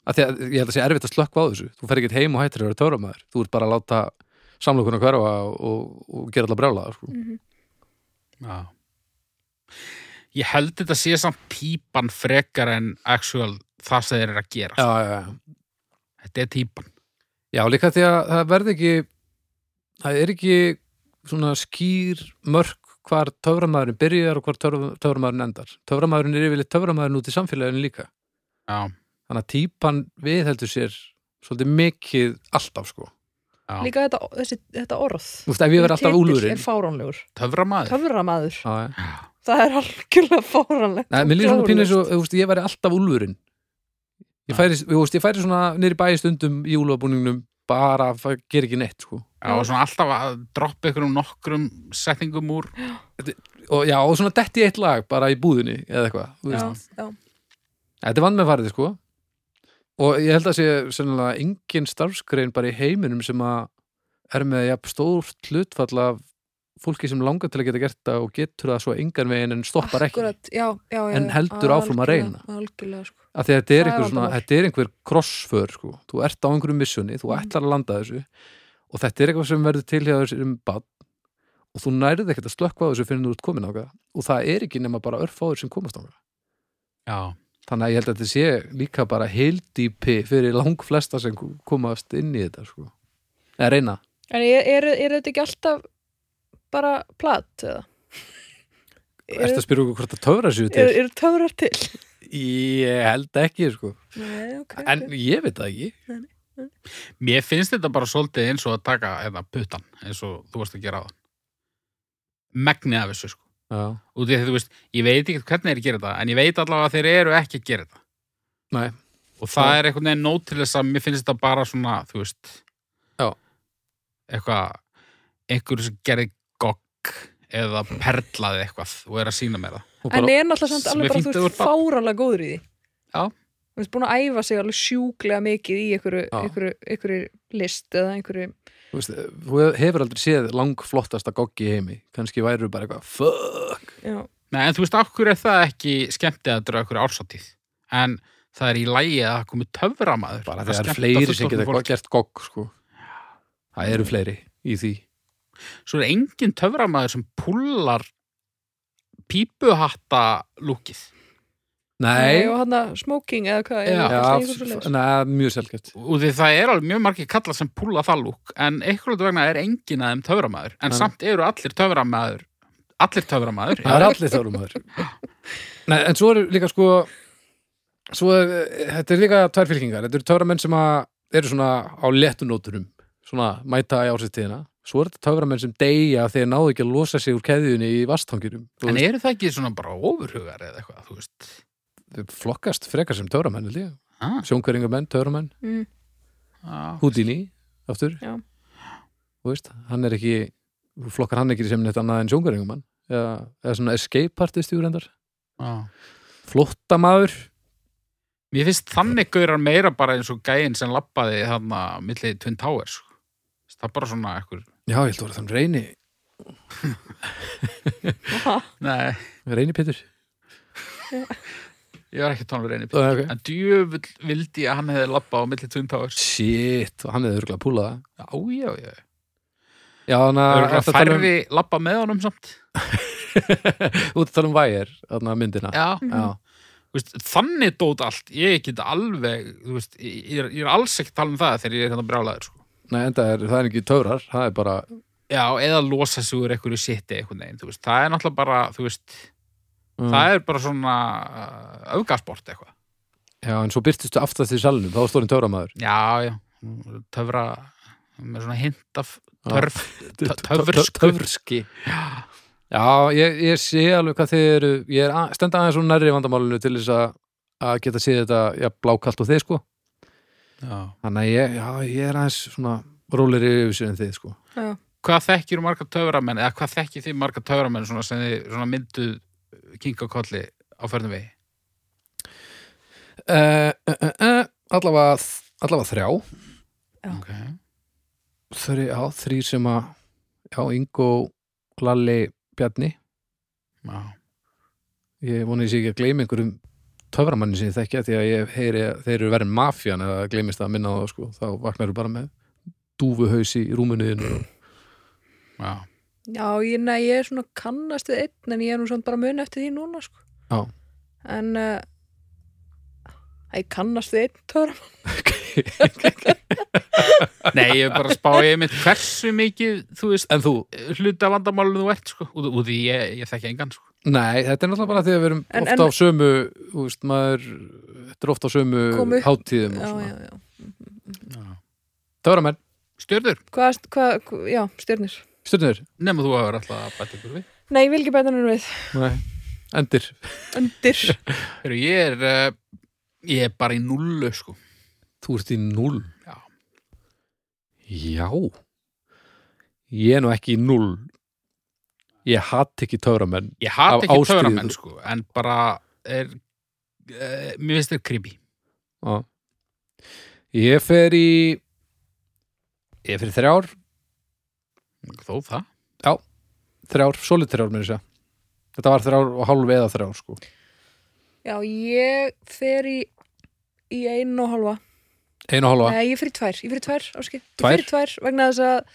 S2: að því að ég held að sé erfitt að slökka á þessu þú fer ekkert heim og hættir að vera töframæður þú ert bara að láta samlokuna hverfa og, og gera allar brjála sko.
S1: já. Ég held þetta sé samt pípan frekar en actual það sem þeir eru að gera.
S2: já, já, já.
S1: Þetta er típan.
S2: já, líka því að það verði ekki það er ekki svona skýr mörk hvar töframæðurinn byrjar og hvar töfra- töframæðurinn endar töframæðurinn er yfirleitt töframæðurinn út í samfélaginu líka
S1: Já,
S2: þannig að típan viðheldur sér svolítið mikið alltaf sko
S1: já.
S3: líka þetta, þessi, þetta orð
S2: Þú veist, ef ég verði alltaf
S3: Titill
S2: úlfurinn
S3: er fáránlegur,
S1: töframaður.
S3: töframaður
S2: Já, já.
S1: Já.
S3: það er algjörlega fáránlegt
S2: Nei,
S3: og
S2: mér líður svona pínu eins og,
S3: glórulaust.
S2: þú veist, ég væri alltaf úlfurinn Ég færi, þú veist, ég færi svona niður í bæi stundum í úlfabúningnum bara að fæ- gera ekki neitt, sko
S1: Já, og svona alltaf að droppa ykkur um nokkrum setningum úr.
S2: og já, og svona detti í eitt lag bara í búðinni eða eitthvað, þú veist,
S3: já, já.
S2: þetta er vann með farið, sko og ég held að sé sennilega engin starfsgrein bara í heiminum sem að er með jafn stórt hlutfall af fólki sem langar til að geta gert það og getur það svo engan veginn en stoppar ekki
S3: Akkurat, já, já, já,
S2: En
S3: já,
S2: heldur áfram að
S3: algjörlega, algjörlega, sko.
S2: að því að þetta er,
S3: Það er
S2: einhver svona,
S3: vandamál.
S2: þetta er einhver crossför sko. þú ert á einhverju missjoni, þú
S3: Mhm.
S2: ætlar að landa þessu og þetta er eitthvað sem verður tilhjáður um bann og þú nærið ekkert að slökkva á þessu fyrir þú ert komin ákveða og það er ekki nema bara örfáður sem komast ákveða
S1: já,
S2: þannig að ég held að þetta sé líka bara heildýpi fyrir langflesta sem komast inn í þetta sko. eða reyna
S3: En er, er, er þetta ekki alltaf bara plat eða?
S2: Ertu að spyrja okkur hvort það töfra sér til?
S3: eru, eru töfrar til?
S2: Ég held ekki sko.
S3: Nei, ok.
S2: en ég veit það ekki
S1: mér finnst þetta bara svolítið eins og að taka eða putan eins og þú varst að gera á það megnið af þessu sko
S2: Já.
S1: og því að þú veist, ég veit ekki hvernig þeir gera þetta en ég veit allavega að þeir eru ekki að gera þetta
S2: Nei.
S1: og það er einhvern veginn nót til þess að mér finnst þetta bara svona, þú veist
S2: Já.
S1: eitthvað einhverju sem gerði gogg eða perlaði eitthvað og er að sína mér það
S2: Og
S3: En
S2: bara,
S3: ég er náttúrulega samt
S1: Sem er
S3: alveg bara,
S1: fínt
S3: þú
S1: að þú
S3: veist,
S1: ert barn.
S3: fáralega góður í því.
S1: Já.
S3: Þú veist, búin að æfa sig alveg sjúklega mikið í einhverju,
S2: Já.
S3: einhverju, einhverju list eða einhverju...
S2: þú, veist, þú hefur aldrei séð langflottasta goggi í heimi kannski væru bara eitthvað fuck
S3: Já.
S1: Nei, en þú veist, okkur er það ekki skemmtið að draga okkur ársatíð en það er í lægi að það komi töframaður
S2: bara
S1: að
S2: þegar það er
S1: skemmta
S2: fleiri sem geta
S1: fullorðnu fólki.
S2: gert gogg sko. það eru fleiri í því
S1: svo er engin töframaður sem púlar pípuhatta lúkið
S2: Nei,
S3: Og hann að smoking eða hvað.
S1: Já.
S3: eða
S2: já,
S3: eitthvað
S2: f-
S3: svoleiðis.
S2: neða, mjög selgjöft
S1: og því það er alveg mjög margir kallar sem púla það lúk en einhverjum vegna er engin að þeim töframæður en
S2: Nei.
S1: samt eru allir töframæður allir töframæður
S2: Það er allir þjálfumæður Nei, en svo eru líka sko svo er, þetta er líka tvær fylkingar þetta eru töframenn sem að eru svona á léttunótunum svona mæta í ásittíðina svo er þetta töframenn sem deyja af því að náðu ekki að losa sig úr keðjunni í vastanginum
S1: en eru það ekki svona bara ofurhugar eða eitthvað þú veist
S2: flokkast frekar sem töframenn held ég.
S1: ah,
S2: sjónkværingamenn, töframenn,
S3: Mm.
S1: á,
S2: Houdini aftur
S3: Já.
S2: Þú veist, hann er ekki þú flokkar hann ekki sem neitt annað en sjónkværingamann eða, eða svona escape artist í úrendar
S1: á.
S2: flóttamaður
S1: mér finnst þannig gaurar meira bara eins og gæinn sem lappaði þarna millið Twin Towers sko. það er bara svona ekkur
S2: Já, ég held að voru þann reyni
S3: Aha.
S1: nei,
S2: Reyni Pétur
S1: ég var ekki tónlega reynið
S2: uh, okay.
S1: en djöfull vildi ég að hann hefði lappað á millið Twin Towers
S2: Shit, hann hefði örgulega púlað það.
S1: já, já, já
S2: Já, þannig
S1: það
S2: að
S1: eru
S2: ertu að tala um-
S1: færri lappa með honum samt
S2: Þú ert að tala um vægir Þannig að myndina
S1: já,
S2: Já.
S1: Þú veist, þannig dót allt, ég get alveg þú veist, ég, ég er, ég er alls ekki að tala um það þegar ég er hérna brjálaður sko.
S2: Nei, enda er, það er ekki töfrar Það er bara
S1: já, eða losa sig úr einhverju sitti einhvern veginn, þú veist, það er náttúrulega bara þú veist,
S2: um,
S1: það er bara svona uh, öfgasport eitthvað
S2: Já, en svo byrtistu aftast í salnum Þá stóðin töframaður
S1: já, já, töfra með svona hint af törf tö-
S2: Töf-
S1: töfrsku
S2: Töfrski Já, ég, ég sé alveg hvað þið eru Ég er að, stenda aðeins svona nærri vandamálinu Til þess að, að geta séð þetta Já, blákalt og þið sko
S1: já.
S2: Þannig að ég, já, ég er aðeins svona Róleri yfir sér en þið sko
S3: Já.
S1: hvað þekkir marga töframenn eða hvað þekkir þið marga töframenn svona sem þið svona mynduð kinkakolli á förnum vegi
S2: uh, uh, uh, uh, Allavega Allavega þrjá
S3: Já.
S1: okay.
S2: þri, já, þrýr sem að já, Ingo, Lalli, Bjarni
S1: já.
S2: ég vona ég sé ekki að gleyma einhverjum töframanni sem ég þekkja því að ég heyri að þeir eru verið mafjan eða gleymist að minna á það sko, þá vaknar þú bara með dúfuhaus í rúmunuðinu
S1: Já.
S3: Já, ég, nei, ég er svona kannast við einn en ég er nú svona bara mun eftir því núna sko.
S2: Já.
S3: En uh, ég kannast við einn töfrar.
S1: Nei, ég er bara að spá ég einmitt hversu mikið, þú veist,
S2: en þú,
S1: hluti af vandamálunum þú ert, sko, út út því ég, ég þekki engan, sko.
S2: nei, þetta er náttúrulega bara því að við erum
S3: En-
S2: ofta
S3: en-
S2: á sömu þú veist, maður, þetta er ofta á sömu
S3: Kom upp-
S2: hátíðum
S3: Já,
S2: og
S3: já,
S2: svona,
S3: já.
S2: töframenn,
S1: Stjörður,
S3: Hvað, hvað, hvað, já, stjörnir.
S2: stjórnir
S1: nema þú hefur alltaf að bæta ykkur við.
S3: Nei, ég vil ekki bæta hennar við.
S2: endir,
S3: Undir.
S1: Heru, ég er, uh, ég er bara í nullu, sko.
S2: þú ert í null
S1: Já.
S2: Já Ég er nú ekki í null Ég hatt ekki töframenn
S1: Ég
S2: Af
S1: hat ekki
S2: ástríðu.
S1: töframenn, sko, en bara er, uh, mér finnst þér creepy.
S2: Já. Ég fer í Ég fer í þrjár
S1: Þó það.
S2: Þrjár, solid þrjár mér þess að segja. Þetta var þrjár og hálf eða þrjár sko
S3: Já, ég fer í, í einu og halva.
S2: Einu og hálfa,
S3: Nei, ég fer í tvær. Ég fer í tvær, áski.
S2: Tvær?
S3: Ég fer í tvær vegna þess að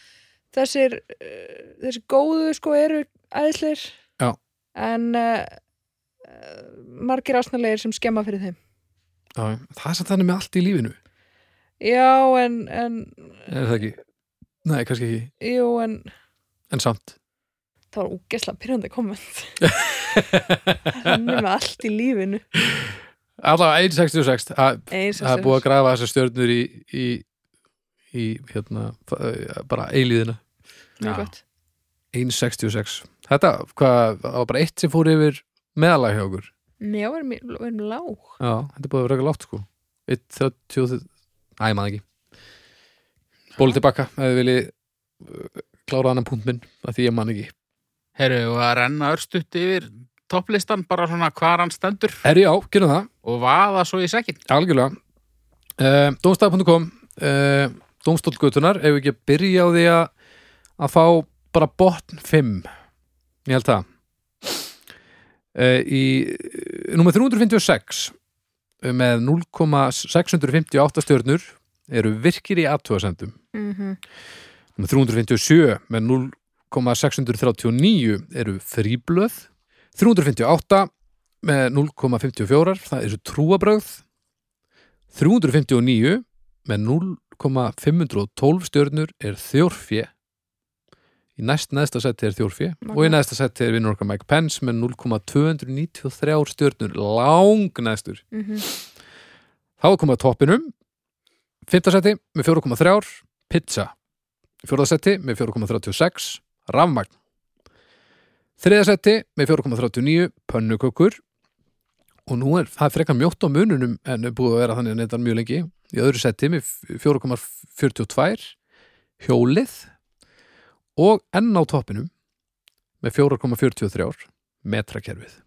S3: þessir, uh, þessir góðu sko eru æðisleir.
S2: Já.
S3: En uh, uh, margir ásnalegir sem skemma fyrir þeim
S2: Já, það er samt þannig með allt í lífinu
S3: já, en, en
S2: er það ekki? Nei, kannski ekki,
S3: jú, en
S2: en samt
S3: það var úgesla pyrrandi komment þannig með allt í lífinu
S2: Alla 166, það
S3: eins
S2: það
S3: og
S2: er búið að
S3: sér
S2: grafa þessar stjörnur í, í, í hérna, eh, bara eilíðina
S3: mjög
S1: Já.
S3: gott
S2: 166 Þetta, hvað, það var bara eitt sem fór yfir meðalag hjá okkur
S3: já, við erum, í- við erum lág
S2: Já, þetta er búið að vera ekki látt sko 1, 30, æ, maður ekki Bóli tilbaka ef þið viljið uh, klára þannig punkt minn að því ég man ekki
S1: Herru, og að renna örstutt yfir topplistan, bara svona hvar hann stendur
S2: Herri, já, gerum það
S1: og vaða svo í sekkin.
S2: Algjörlega uh, Dómstaf.com uh, Dómstólgötunar, ef við ekki að byrja á því að að fá bara botn 5 ég held það uh, í uh, nummer 356 eh, með 0,658 stjörnur eru virkir í aðtúasendum
S3: mm
S2: Númer 357 með 0,639 eru fríblöð 358 með 0,54 það eru trúabröð 359 með 0,512 stjörnur er þjórfje í næst neðsta seti er þjórfje
S3: Magnað.
S2: og í næsta seti er vinnur okkar Mike Pence með 0,293 stjörnur lang næstur þá er komið að toppinum Fymtasæti með 4,3 Pizza Fjórðasæti með 4,36 Rafmagn Þriðasæti með 4,39 Pönnukökur Og nú er það er frekar mjótt á mununum en er búið að vera þannig að neyta mjög lengi Í öðru sæti með 4,42 Hjólið Og enn á toppinum með 4,43 Metrakerfið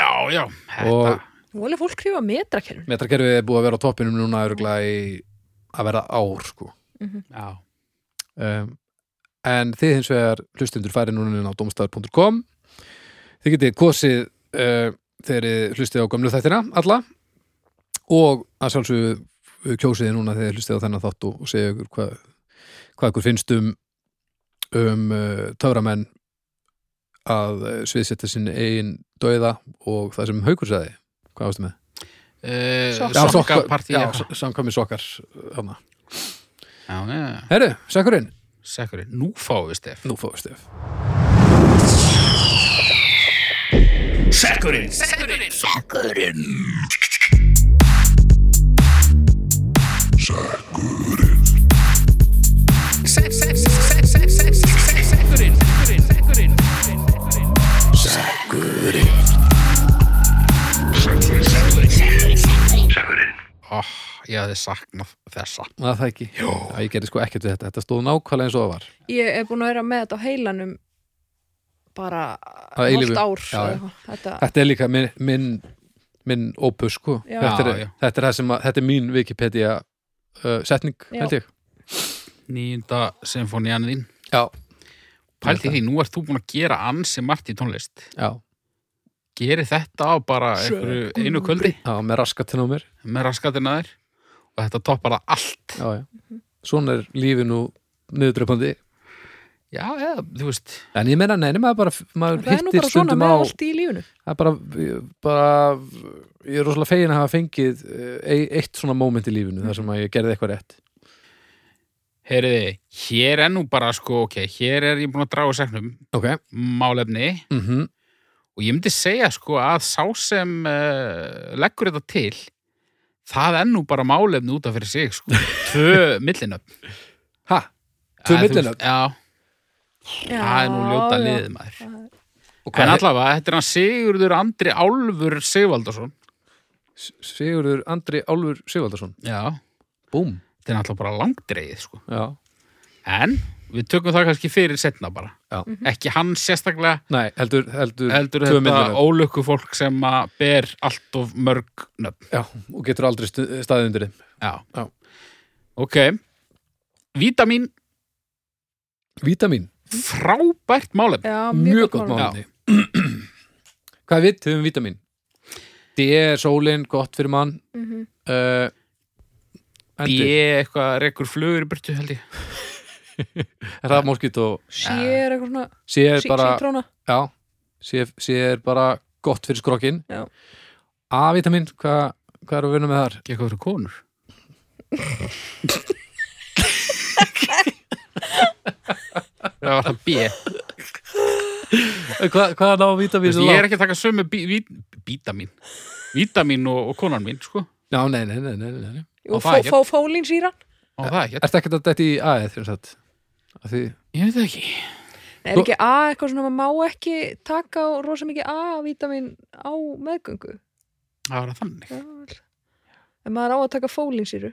S1: Já, já, þetta.
S2: Og-
S3: Vóli fólk hrifa metrakerfin
S2: Metrakerfið er búið að vera á toppinum núna örgulega í að vera ár sko
S1: Já,
S2: um, en þið hins vegar hlustundur færi núna inn á domstafur.com þið getið kosið uh, þegar þið hlustið á gömlu þættina alla og að sjálfsögðu kjósið þið núna þegar þið hlustið á þennan þátt og, og segja ykkur hvað hvað ykkur finnst um um uh, töframenn að uh, sviðsetja sinn eigin dauða og það sem haukur sagði hvað varstu með?
S1: uh,
S3: Sokka.
S2: Já,
S1: sokkapartí.
S2: já,
S1: Já, já,
S2: samkvæmi sokkar hana.
S1: já, já,
S2: Herru, sekkurinn,
S1: sekkurinn. Nú fáum við stef.
S2: nú fáið stef
S1: Oh, ég hafði saknað þessa.
S2: að það ekki Jó. að ég gerði sko ekkert við þetta, þetta stóð nákvæmlega eins og það var
S3: ég er búin að vera með þetta á heilanum bara
S2: Að eilífu.
S3: hálft ár
S2: Já,
S3: eða
S2: já.
S3: eitthvað. þetta,
S2: þetta er líka minn, minn, minn opus sko
S3: Já.
S2: þetta er,
S1: Já, já.
S2: þetta er það sem að, þetta er mín Wikipedia uh, setning,
S3: Já.
S2: held ég
S1: Nýjunda symfónían þín.
S2: já,
S1: Pælti því, nú ert þú búin að gera ansi margt í tónlist.
S2: já,
S1: Geri þetta á bara einhverju, einu kvöldi
S2: já, með raskatinn á mér
S1: með raskatinn að þér og þetta toppar það allt.
S2: já, já.
S3: Mhm.
S2: svona er lífið nú niðurdröpandi,
S1: Já, eða, þú veist,
S2: en ég meina neini maður bara, maður
S3: það er nú bara
S2: hittir
S3: svona
S2: stundum
S3: með
S2: á
S3: allt í lífinu
S2: það er bara, bara ég er rosalega fegin að hafa fengið e, eitt svona moment í lífinu, þar sem að ég gerði eitthvað rétt
S1: heyriði, hér er nú bara sko, ok, hér er ég búin að draga úr seknum
S2: ok,
S1: málefni
S2: mhm
S1: og ég myndi segja sko að sá sem uh, leggur þetta til það er nú bara málefni út af fyrir sig sko, tvö millinöfn
S2: ha, Tvö
S1: Að þú-
S2: millinöfn?
S1: Já, það er nú ljóta
S3: já.
S1: liðið maður
S2: og
S1: En
S2: hvað
S1: allavega, þetta er hann Sigurður Andri Álfur Sigvaldarsson
S2: Sigurður Andri Álfur Sigvaldarsson
S1: Já,
S2: Búm
S1: þetta er náttúrulega bara langdreið sko.
S2: Já.
S1: En við tökum það kannski fyrir setna bara
S2: Já.
S1: Ekki hann sérstaklega
S2: Nei, heldur, heldur,
S1: heldur
S2: tvö
S1: þetta
S2: myndunöfn.
S1: ólöku fólk sem að ber allt of mörg nöfn
S2: Já, og getur aldrei stu- staðið undir þeim
S1: Já,
S2: Já.
S1: Ok Vítamín,
S2: Vítamín,
S1: frábært málefni
S3: já,
S2: mjög, gott
S3: mál.
S2: málefni Hvað við höfum vítamín? D er sólin, gott fyrir mann
S3: Mhm.
S2: uh,
S1: B
S2: Endur,
S1: eitthvað rekur flugur í burtu held ég
S2: er það morskitt og
S3: sér eitthvað svona
S2: C er
S3: sí-
S2: bara
S3: sítróna
S2: Já, C, C er bara gott fyrir skrokkin
S3: Já.
S2: A-vitamin, hvað hva er að vinna með þar?
S1: Ekki eitthvað fyrir konur Það var það B
S2: Eh, Hva, hvað er á vitamin?
S1: Ég er ekki að taka sömu bí, ví, vítamin Vítamin og, og konan mín, sko
S2: Já, nei, nei, nei, nei, nei, nei.
S1: Á
S3: Jú,
S1: það
S3: fó,
S1: ekki.
S3: fó, fólinsýran
S1: Og það ekki,
S2: Ertu ekkert að detti í A-ið þegar satt? Því,
S1: ég veit það ekki
S3: Er
S2: Þú-
S3: ekki A eitthvað svona maður má ekki taka á rosa mikið A-vítamin á meðgöngu?
S1: Það var það þannig
S3: Já, vel. En maður á að taka fólinsýru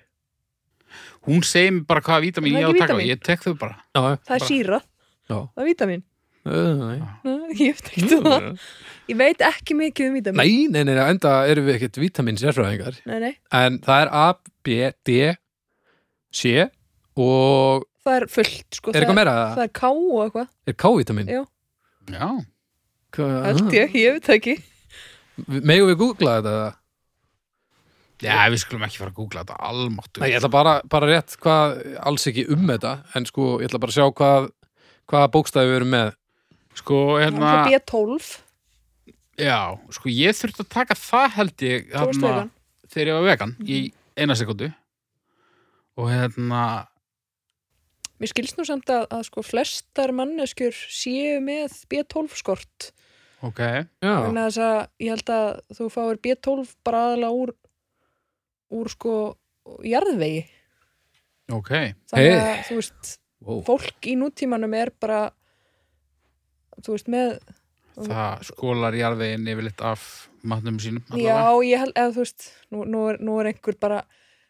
S1: Hún segir mér bara hvaða vítamin
S3: Það
S1: ég
S3: er
S1: á að taka
S3: ekki
S1: og
S3: vítamin.
S1: Ég tek þau bara
S2: já, já,
S3: Það er
S1: Bara-
S3: síra,
S2: já.
S3: það er vítamin
S2: Eh, Nei.
S3: Ég veit ekki það Ég veit ekki mikið um vítamin
S2: Nei, nei, nei, nei, enda erum við ekkert vítamin sérfræðingar
S3: Nei, nei,
S2: En það er A, B, D, C og
S3: það er fullt sko,
S2: er
S3: það,
S2: eitthvað meira?
S3: það er K og eitthvað,
S2: Er K-vitamin?
S3: Já.
S1: Já,
S2: Ah.
S3: held ég, ég veit það ekki
S2: Megum við googla þetta? eða?
S1: Já við skulum ekki fara að googla þetta almáttu
S2: Nei, ég ætla bara, bara rétt hvað alls ekki um þetta En sko, ég ætla bara að sjá hvað hvaða bókstæði við erum með
S1: Sko, hérna
S3: Það er B12
S1: Já, sko ég þurfti að taka það held ég
S2: Hérna-
S3: Tókstu
S1: þarna-
S3: vegan?
S1: þegar ég var vegan í
S3: Mhm.
S1: eina sekundu og hérna
S3: Mér skilst nú samt að, að sko, flestar manneskjur séu með B12 skort
S1: ok,
S2: Já,
S3: þannig að þess að ég held að þú fáir B12 bara aðalega úr úr sko jarðvegi
S1: ok
S3: þannig
S2: Hey.
S3: að þú veist,
S2: wow.
S3: fólk í nútímanum er bara þú veist með
S1: það skólar jarðveginn yfirleitt af matnum sínum allavega.
S3: já, ég held, eða þú veist nú, nú, er, nú er einhver bara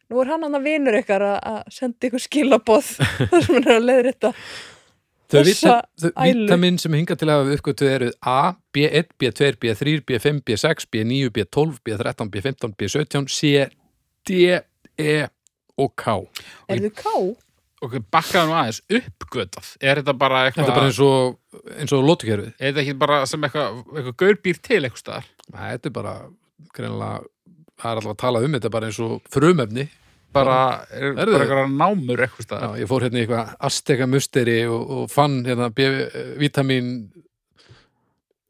S3: nú er hann annað vinur ykkar að- að senda ykkur skilaboð þar sem hann er að leiðir þetta
S2: Þau
S3: Þessa
S2: vita- þau
S3: ælu.
S2: vítamin sem hinga til að við uppgötu eru A, B1, B2, B3, B5, B6, B9, B12, B13, B15, B17, C, D, E og K.
S3: er þú ká?
S1: ok, bakkaðu nú aðeins, uppgötað er þetta bara
S2: Þetta
S1: eitthvað
S2: er bara eins og, eins og lótukerfið.
S1: er þetta ekki bara sem eitthvað, eitthvað gaurbýr til eitthvað staðar
S2: Þetta er bara, greinilega, það er alltaf að tala um þetta bara eins og frumefni.
S1: bara, er,
S2: Herðu.
S1: bara eitthvað námur eitthvað
S2: Já,
S1: staðar
S2: ég fór hérna í eitthvað Azteka musteri og, og fann hérna B, vitamin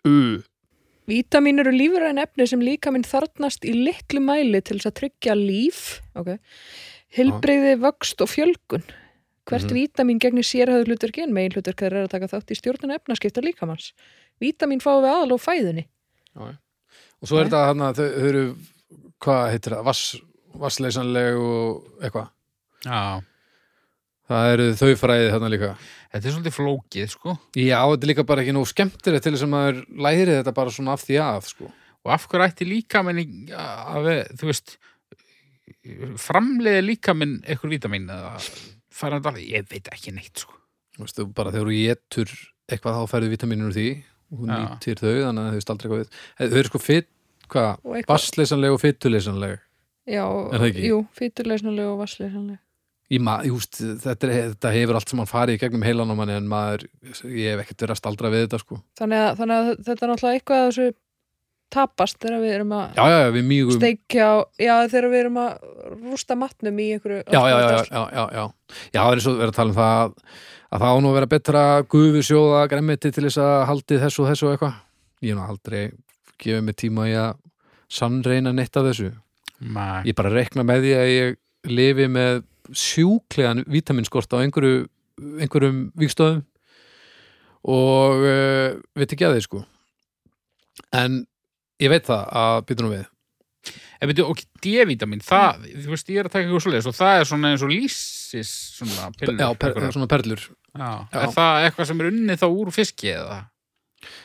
S2: U.
S3: Vítamin eru lífræn efni sem líka minn þarnast í litlu mæli til þess að tryggja líf, okay. hilbrigði, vöxt og fjölgun. Hvert
S2: Mhm.
S3: vítamin gegnir sérhæðu hlutverki en megin hlutverk þeirra er að taka þátt í stjórnuna efnaskipta líkamanns. Vítamin fáum við aðal og fæðunni.
S2: Og svo er þetta hérna, þau þau eru, hvað heitir það, vass, vassleysanleg og eitthvað.
S1: já,
S2: Það eru þau fræðið þarna líka.
S1: þetta er svolítið flókið sko
S2: Já, þetta er líka bara ekki nóg skemmtilegt til þess að maður læri þetta bara svona af því að, sko.
S1: og af hverju ætti líkaminn í- að, að þú veist framleiði líkaminn eitthvað vítamin eða fara þetta alveg, ég veit ekki neitt sko.
S2: Þú Veistu, bara þegar þú getur eitthvað þá færðu vitamínur úr því og þú
S1: Já.
S2: nýtir þau, þannig að þau veist aldrei eitthvað við. Þau eru sko fytt, hvað,
S3: Og eitthvað,
S2: vassleysanleg og fyttuleysanleg.
S3: já,
S2: Er það ekki?
S3: jú, fytuleysnuleg og vassleysanleg.
S2: Ég ma, ég húst, þetta, er- þetta hefur allt sem hann farið í gegnum heilan á manni en maður, ég hef ekkert verið að staldra við þetta, sko.
S3: Þannig að, þannig að þetta er náttúrulega eitthvað að þessu tapast þegar við erum að
S2: Já, um- já, já, við mýgum.
S3: steikja, já, þegar við erum að rústa matnum í einhverju.
S2: Já, já, já, já, já, já. Já, það er svo verið að tala um það að- að það á nú að vera betra gufu sjóða gremmiti til þess að haldið þessu og þessu og eitthvað. Ég hef nú aldrei gefið mig tíma í að sannreina neitt af þessu.
S1: Nei.
S2: Ég bara rekna með því að ég lifi með sjúklegan vítaminskort á einhverju, einhverjum vikstöðum og uh, veit ekki að því sko. En ég veit það að býtum nú við.
S1: En veitu, og D-vitamin, það, þú veist, ég er að taka eitthvað svoleiðis og það er svona eins og lýsis svona pillur.
S2: Já, per,
S1: eitthvað.
S2: svona perlur.
S1: já.
S2: já.
S1: Er það eitthvað sem er unnið þá úr fiski eða?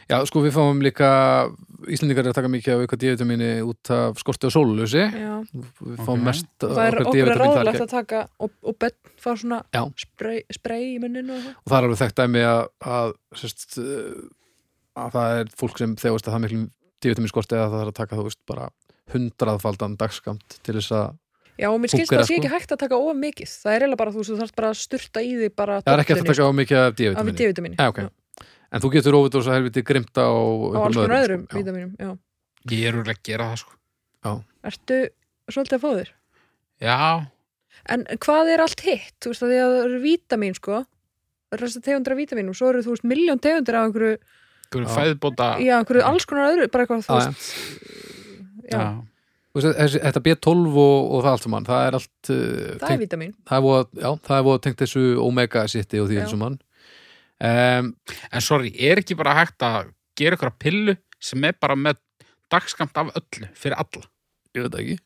S2: Já, sko við fáum líka Íslendingar er að taka mikið af eitthvað D-vitamíni út af skorti og sólulösi
S3: já.
S2: við fáum
S1: Ok.
S2: mest
S3: það er
S2: okkar
S3: okkur er
S2: D-vítamín þar
S3: ráðlegt að taka og, og bönn fá svona
S2: Já.
S3: sprey, sprey í munninu og það
S2: og það er alveg þekkt dæmi að, að, sérst, eh, að það er fólk sem þegar veist að það er miklum D-vitamín skorti að það er að taka þú veist bara hundraðfaldan dagskamt til þess að
S3: já og mér skilst
S2: Fúnkera,
S3: það sé
S2: sko.
S3: ekki hægt að taka of mikið það er eiginlega bara þú veist þú þarfst bara að sturta í því bara
S2: það er ekki hægt að taka á mikið af
S3: af
S2: D-vitamíni
S3: D-vitamíni
S2: Já, ok. en þú getur ofið þess að helviti grimta og
S3: og alls konar
S2: sko.
S3: öðrum
S2: Já.
S3: vítamínum já.
S1: Ég er úr að gera það, sko.
S3: ertu svolítið að fá þér
S1: Já,
S3: en hvað er allt hitt þú veist að því að það eru vítamín sko það eru þess að tegundra vítamínum svo eru þú veist miljón tegundir af einhverju
S1: Einhverju
S2: Já.
S1: fæðbóta
S3: já, einhverju alls konar öðru, bara eitthvað þú
S2: Já,
S3: veist já,
S1: Já.
S2: Þú veist, þessi- Þetta B12 og, og það allt saman það er allt uh,
S3: það er
S2: tengt,
S3: vítamin
S2: það er voða, já, það er voða tengt þessu omega sitti og því
S3: Já.
S2: eins og mann um,
S1: En sorry, er ekki bara hægt að gera ykkur pillu sem er bara með dagskamt af öllu fyrir alla
S2: Ég veit það ekki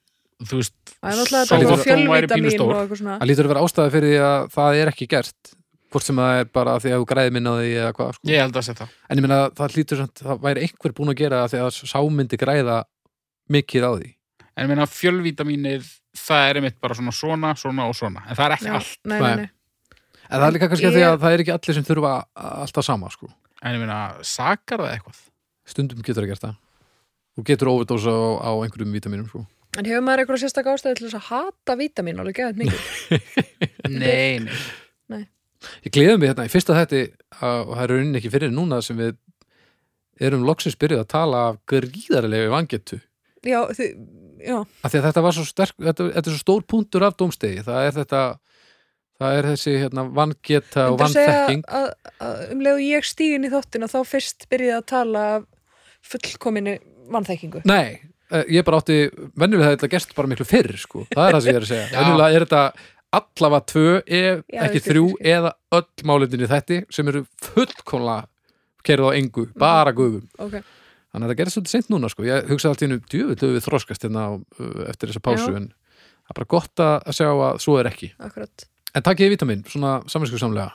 S1: Þú veist,
S3: það er náttúrulega
S2: Sá
S3: þetta
S2: þó
S3: og
S1: hún væri pínu
S3: fjölvítamin
S1: stór.
S3: og eitthvað svona
S2: Það lítur að vera ástæði fyrir því að það er ekki gert hvort sem það er bara af því að þú græði minna því eða hvað sko.
S1: ég held að segja það
S2: en ég meina að það lítur samt það væri einhver búin að gera það af því að sámyndi græða mikið á því
S1: En ég meina fjölvítamínir, það er einmitt bara svona svona, svona og svona En það er ekki
S3: Já,
S1: allt
S3: nei,
S2: Nei.
S3: nei, nei.
S2: en það er líka kannski
S3: Ég-
S2: af því að það er ekki allir sem þurfa alltaf sama sko.
S1: En ég meina, sakar það eitthvað?
S2: stundum getur það gert það þú getur overdósa á, á einhverjum vítaminum sko.
S3: en hefur maður eitthvað sérstak ástæði til þess að hata vítamin alveg geðað mikið
S1: Nei, nei
S2: ég gleðum mig hérna í fyrsta þætti að- og það er raunin ekki fyrir núna sem við erum loksins byrjuð að tala af gríðarlegu vangetu
S3: já, þið, já,
S2: af því að þetta var svo sterk þetta, þetta er svo stór punktur af dómstegi það er þetta það er þessi hérna, vangeta og
S3: myndir segja
S2: vannþekking
S3: að, að um leiðu ég stígin í þóttina þá fyrst byrjaði að tala af fullkominni vannþekkingu
S2: nei, eh, ég bara átti venjulega þetta gerst bara miklu fyrr sko. það er það sem ég er að segja
S1: Já.
S2: venjulega er þetta allavega tvö ef
S3: Já,
S2: ekki
S3: ég skil,
S2: þrjú
S3: ég skil.
S2: eða öll málefninni þetta sem eru fullkomlega kerðu á engu, bara gufum
S3: okay.
S2: þannig að það gerist svolítið seint núna sko. ég hugsaði alltaf innum djöfull höfum við þroskast hérna á, uh, eftir þessa pásu
S3: Já.
S2: en það er bara gott að að sjá að svo er ekki
S3: akkurat
S2: en takk ég vítamin, svona samvinskusamlega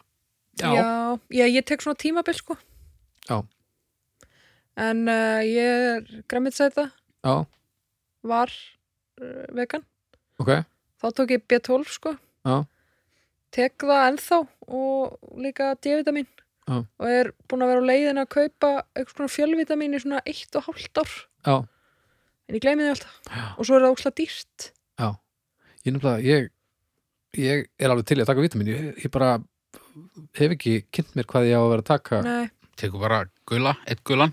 S1: Já.
S3: Já, já, ég tek svona tímabil sko
S2: Já.
S3: En uh, ég er græmitsæta,
S2: já,
S3: var uh, vegan,
S2: ok
S3: þá tók ég B12 sko
S2: Já.
S3: Tek það ennþá og líka D-vitamin
S2: Já.
S3: og er búin að vera á leiðin að kaupa einhvers konar fjölvitamin í svona eitt og hálft ár
S2: Já.
S3: En ég gleymi því alltaf og svo er það úsla dýrt
S2: Ég nefnilega, ég, ég er alveg til í að taka vítamin, ég, ég bara hef ekki kynnt mér hvað ég á að vera að taka
S3: Nei,
S1: Tekur bara gula, eitt gulan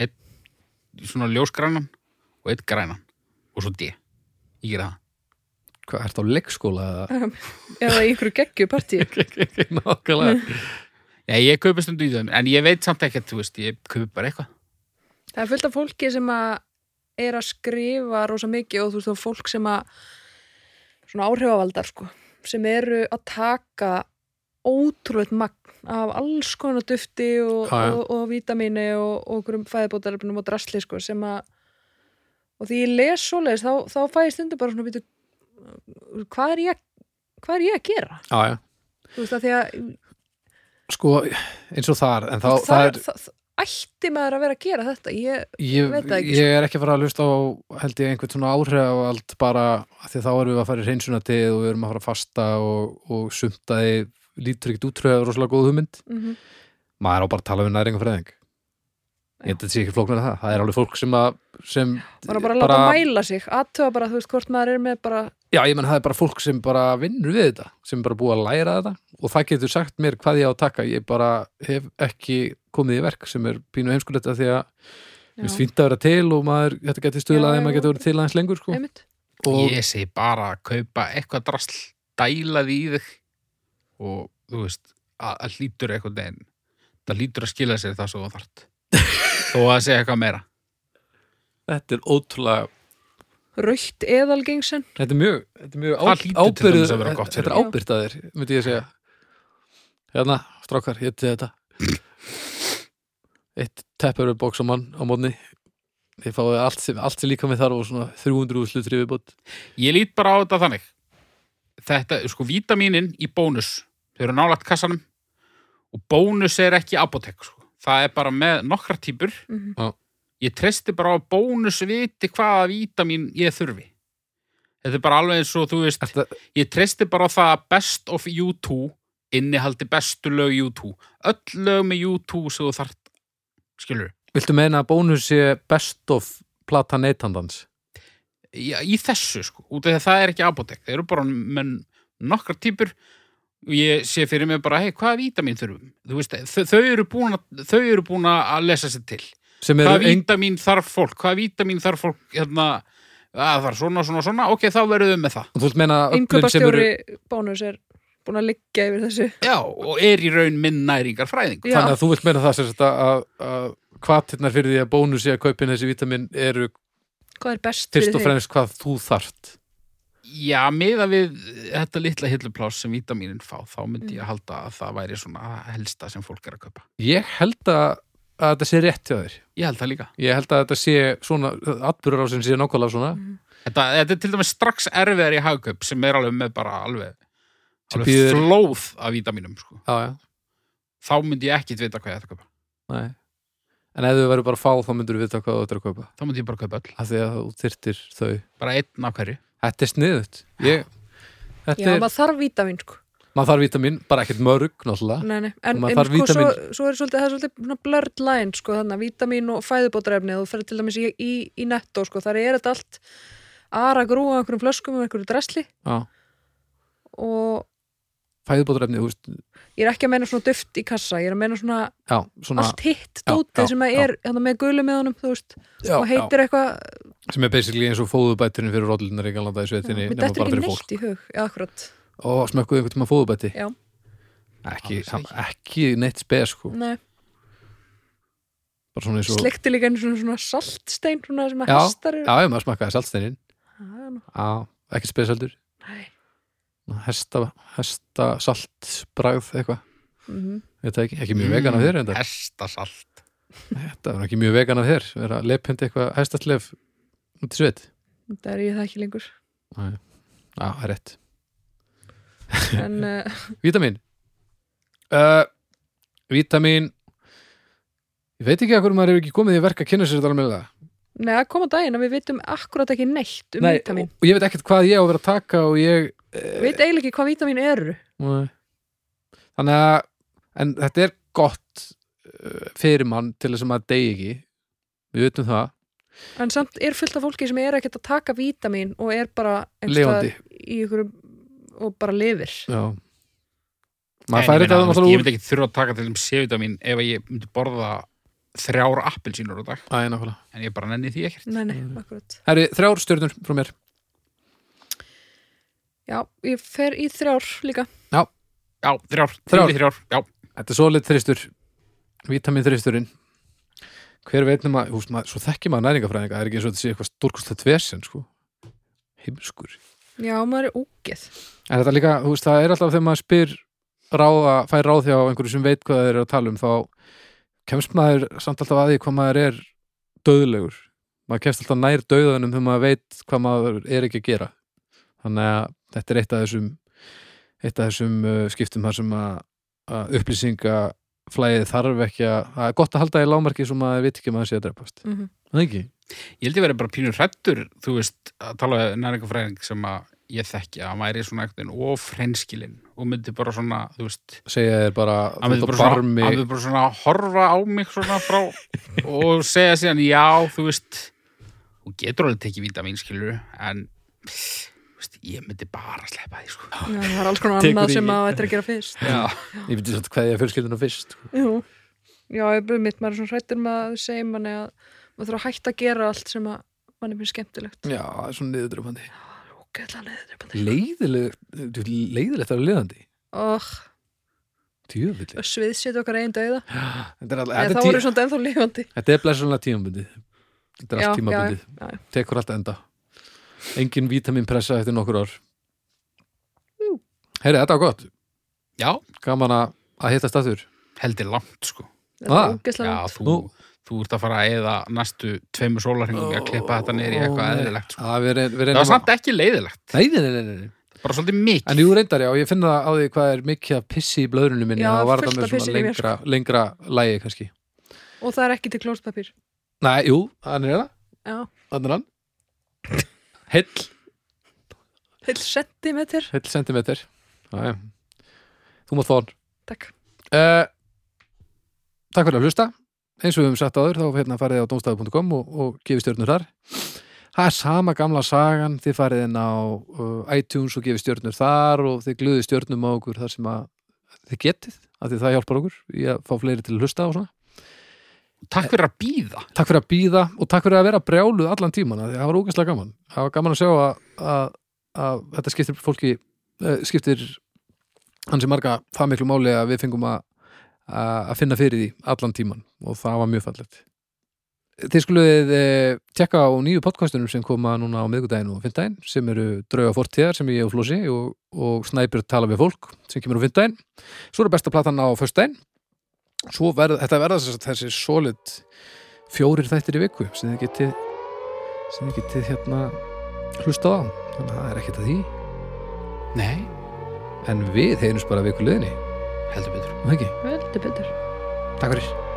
S1: Eitt svona ljósgrænan og eitt grænan Og svo D Ég gera það
S2: hvað ert á leikskóla eða
S3: eða í ykkur geggju partí
S2: nákvæmlega
S1: Já, ég kaupi stundu í þeim, en ég veit samt ekkert, þú veist, ég kaupi bara eitthvað
S3: Það er fullt af fólki sem að er að skrifa rosa mikið og þú veist þá fólk sem að svona áhrifavaldar sko sem eru að taka ótrúleitt magn af alls konar dufti og,
S2: Já, já.
S3: og, og vítamini og, og okkur fæðbótarefnum og drasli sko sem að og því ég les svoleiðis þá, þá fæ ég stundum bara svona býtu hvað er ég, hvað er ég að gera?
S2: Já, já,
S3: Þú veist að því að
S2: sko eins og þar, en þá,
S3: það,
S2: það
S3: er, það, ætti maður að vera að gera þetta ég,
S2: ég,
S3: veit það ekki, sko.
S2: ég er ekki að fara að hlusta á held ég einhvern svona áhrif á allt bara af því að þá erum við að fara í hreinsunatið og við erum að fara að fasta og, og sumtaði lítur ekkert útröða rosalega góð hugmynd
S3: mm
S2: maður á bara að tala við næringa fræðing ég held að þetta sé ekki flóknar að það, það er alveg fólk sem að sem
S3: bara bara að láta mæla sig aðtöða bara, þú veist, hvort maður er með bara
S2: Já, ég menn það er bara fólk sem bara vinnur við þetta, sem er bara búið að læra þetta og það getur sagt mér hvað ég á að taka ég bara hef ekki komið í verk sem er pínu heimskulegt að því að mér finnst fínt að vera til og maður, þetta getur stuðlað
S3: Já,
S2: þegar maður
S3: já.
S2: getur verið til aðeins lengur sko.
S3: einmitt
S2: og
S1: Ég segi bara að kaupa eitthvað drasl, dæla því í þig og þú veist, að, að hlýtur eitthvað neginn. Það hlýtur að skila sér það svo það þart. Þó að það segja eitthvað meira.
S2: þetta er ótrúlega
S3: raukt eðalgengsen
S2: þetta er mjög, þetta er mjög
S1: Það hlýtur til
S2: ábyrð
S1: dæmis að vera gott
S2: þetta
S1: fyrir
S2: er ábyrð að þér, myndi ég að segja hérna, strákar, ég til þetta eitt teppur bóks á mann á mótni þið fáið allt sem, allt sem líka með þar og svona 300 slutri viðbót
S1: Ég lít bara á þetta þannig. Þetta, sko, vítamínin í bónus. Þau eru nálægt kassanum og bónus er ekki apotek, sko. Það er bara með nokkra típur.
S3: Mhm.
S2: Já.
S1: Ég treysti bara á að bónus viti hvaða vítamín ég þurfi. Þetta er bara alveg eins og, þú veist,
S2: Þetta,
S1: Ég treysti bara á það að Best of U2 innihaldi bestu lög U2. Öll lög með U2 sem þú þart, skilur.
S2: Viltu meina að bónus sé best of plata neytandans?
S1: Í, í þessu, sko. Út af því að það er ekki apotek. Þeir eru bara með nokkra típur og ég sé fyrir mig bara, hei, hvaða vítamin þurfum? Þú veist, þau, þau, eru búin að, þau eru búin að lesa sér til.
S2: Sem eru
S1: Hvaða
S2: ein...
S1: vítamin þarf fólk? Hvaða vítamin þarf fólk, hérna, að það er svona, svona, svona, ok, þá verðum við með það.
S2: Þú vilt meina að öflin sem eru
S3: innkjöpastjóri bónus er búin að liggja yfir þessu
S1: Já, og er í raun minn næringar fræðingur.
S3: Já.
S2: Þannig að þú vilt meina það sem sagt að, að, að hvatirnar fyrir því að bónus í að kaupin þessi vítamin eru
S3: hvað er best
S2: fyrst og
S3: fyrir
S2: fremst hvað þú þart.
S1: Já, miða við þetta litla hillupláss sem vítaminin fá, þá myndi ég að halda að það væri svona helsta sem fólk er að kaupa.
S2: Ég held að, að þetta sé rétt hjá þér.
S1: Ég held það líka.
S2: Ég held að þetta sé svona, atbyrður á sem sé nákvæmlega svona,
S1: Þetta, þetta er til dæmis strax erfiðar í hagkaup sem er alveg með bara alveg,
S2: Sem
S1: alveg
S2: býður-
S1: flóð af vítaminum. Sko.
S2: já, já,
S1: Þá myndi ég ekkit vita hvað ég ætti að kaupa.
S2: nei. En ef þú verður bara að fá, þá myndur við vita hvað þú ættir að kaupa.
S1: Þá myndi ég bara kaupa öll.
S2: Af því að þú þyrtir þau.
S1: Bara einn af hverju.
S2: Þetta er sniðut. Ég,
S3: því
S2: þetta
S3: já,
S2: er,
S3: maður þarf vítamin sko
S2: maður þarf vítamin, bara ekkert mörg, náttúrulega.
S3: Nei, nei. En,
S2: maður
S3: en
S2: þarf
S3: sko, svo,
S2: vítamín.
S3: svo er svolítið, það er svolítið svona blurred line sko, þannig að vítamin og fæðubótarefni þú ferð til dæmis í, í, í netto sko, þar er þetta allt ara grúa einhverjum flöskum og einhverju dresli
S2: Já.
S3: og
S2: Fæðubótarefni, þú veist,
S3: ég er ekki að meina svona duft í kassa, ég er að meina svona
S2: já, svona,
S3: allt
S2: já,
S3: hitt
S2: já,
S3: dótið sem að
S2: já.
S3: er þannig, með gulum með honum, þú veist
S2: já,
S3: og heitir eitthvað,
S2: já, sem er basically eins og fóðubæturinn fyrir rótlunar í galanda í sveitinni,
S3: mér
S2: nema
S3: dettur
S2: bara
S3: ekki
S2: fyrir
S3: neitt
S2: fólk.
S3: í hug, já, akkurat
S2: Ó, smökkuðu einhvern tíma fóðubæti?
S3: Já.
S2: Ekki,
S1: Alls ekki.
S2: ekki neitt spes, sko.
S3: Nei,
S2: Bara svona eins og...
S3: sleikti líka einu svona, svona saltstein svona sem að
S2: Já,
S3: hestar eru
S2: Já, ég maður smakkaði saltsteinin.
S3: Já, nú.
S2: Já, ekki spes heldur.
S3: Nei.
S2: Hesta, hesta saltbragð eitthvað.
S3: Mhm.
S2: Veit það ekki, ekki mjög vegan af þér enda.
S1: Mm, Hestasalt.
S2: Þetta var ekki mjög vegan af þér. Vera að leipindi eitthvað hestatlef út í sveit.
S3: þetta er ég það ekki lengur
S2: Já, það er rétt.
S3: en uh,
S2: Vítamín. Uh, vítamín. Ég veit ekki að hverju maður hefur ekki komið í verk að kynna sér þetta alveg með það.
S3: neða, koma á daginn að við vitum akkurat ekki neitt um vítamin
S2: og, og ég veit ekkert hvað ég á að vera að taka og ég... eh,
S3: við veit eiginlega ekki hvað vítamin eru
S2: Nei. Þannig að en þetta er gott uh, fyrir mann til þess að maður degi ekki við vitum það,
S3: en samt er fullt af fólki sem er ekkert að taka vítamin og er bara einhvers
S2: Lifandi.
S3: staðar í ykkur og bara lifir
S2: já maður færi þetta
S1: Ég
S2: náttúrulega úr
S1: myndi ekki þurfa að taka til um C-vitamin ef að ég myndi borða þrjár appelsínur á dag.
S2: Æ, nákvæmlega.
S1: En ég bara nenni því ekkert.
S3: nei, nei, akkurat
S2: Herri, þrjár stjörnur frá mér
S3: Já, ég fer í þrjár líka.
S1: Já, þrjár.
S2: Þrjár.
S1: Þrjár. Þrjár. Já.
S2: þetta er svolít þristur, vítamin þristurinn hver veitnum að, húst maður, svo þekki maður næringafræðinga það er ekki eins og þetta sé eitthvað stórkostlegt vesen sko. heimskur
S3: Já, maður er ógeð.
S2: en þetta líka, þú veist, það er alltaf þegar maður spyr ráða, fær ráð hjá einhverju sem veit hvað þeir eru að tala um, þá kemst maður samt alltaf að því hvað maður er döðlegur, maður kemst alltaf nær döðanum þegar maður veit hvað maður er ekki að gera, þannig að þetta er eitt af þessum eitt af þessum uh, skiptum þar sem að, að upplýsingaflæðið þarf ekki að, það er gott að halda í lámarki svo maður veit ekki að maður sé að drepast
S3: Mm -hmm.
S2: það ekki,
S1: Ég held ég verið bara pínur hrættur, þú veist, að tala við næringafræðing sem að ég þekki að hann væri svona eitthvað of hreinskilinn og myndi bara svona, þú veist,
S2: segja þér bara,
S1: hann myndi
S2: þú ert
S1: bara,
S2: á
S1: svona, hann myndi bara svona horfa á mig svona frá og segja síðan, já, þú veist, þú getur alveg tekið vítamínskilur, en þú veist, ég myndi bara sleppa því, sko.
S3: Já, það er alls konar
S2: Tekur
S3: annað
S2: í-
S3: sem maður ættir að gera fyrst.
S1: Já,
S2: ég veit svona hvað ég er fjölskyldinu fyrst sko.
S3: Jú. Já, ég byrði mitt, maður er svona hrættur með að segja manni að maður þarf að hætta að gera allt sem að manni finnst skemmtilegt.
S2: já, það er svona niðurdröfandi
S3: Ógeðlega neður.
S2: leiðilegt leiðilegt að vera leiðandi
S3: Og
S2: djöfulli
S3: sviðsýtt okkar einn dauða.
S2: þetta er,
S3: Eða
S2: alltaf,
S3: þá
S2: þetta
S3: voru
S2: er, tí,
S3: svona ennþá lifandi.
S2: þetta er blessunlega tímabundið þetta er
S3: Já,
S2: allt tímabundið,
S3: já, já.
S2: tekur allt enda engin vítaminpressa eftir nokkur ár heyri, þetta var gott
S1: já,
S2: gaman að, að hitta staftur
S1: heldur langt, sko.
S3: Það er
S2: Ah.
S3: ógeðslega
S1: Já,
S3: neður.
S1: þú,
S2: Nú.
S1: þú ert að fara að eða næstu tveimur sólarhengum í að klippa þetta niður í eitthvað eðlilegt, sko.
S2: það er,
S1: Það var samt ekki leiðilegt,
S2: nei, nei, nei, nei, nei.
S1: bara svolítið mikið.
S2: En jú reyndar, já, ég finna það á því hvað er mikið að pissi í blöðrunum minni
S3: Já,
S2: það var það
S3: fullt
S2: með
S3: af
S2: svona
S3: pissi í mér, sko.
S2: lengra, lengra lægi kannski.
S3: Og það er ekki til klóspapír.
S2: Nei, jú, hann er það,
S3: Já,
S2: hann er hann Heill
S3: heil sentimeter.
S2: Heill sentimeter Jæja. Þú mátt fá hann
S3: Takk.
S2: uh, Takk fyrir að hlusta eins og við höfum sagt áður þá hérna farið á domstafu.com og, og gefið stjörnur þar Það er sama gamla sagan þið farið inn á uh, iTunes og gefið stjörnur þar og þið glöðið stjörnum á okkur þar sem að þið getið af því það hjálpar okkur í að fá fleiri til að hlusta og svona
S1: Takk fyrir að býða.
S2: Takk fyrir að býða og takk fyrir að vera brjáluð allan tíman því það var ógæslega gaman það var gaman að sjá að, að, að þetta eh, skiptir fólki uh, skiptir hans er marga það miklu máli að við fengum að að að finna fyrir því allan tíman og það var mjög fallegt Þið skuluðið eh, tjekka á nýju podcastunum sem koma núna á miðgudaginn og fyndaginn sem eru drauga fortíðar sem ég og Flósi og, og snæpir tala við fólk sem kemur á fyndaginn Svo er besta platan á föstudaginn Svo verð, þetta verða þess að þessi solid fjórir þættir í viku sem þið getið sem þið getið hérna hlusta á þannig að það er ekkert að því
S1: Nei,
S2: en við heyrjumst bara viku liðinni,
S1: heldur betur
S2: um ekki?
S3: Völdu betur
S2: Takk fyrir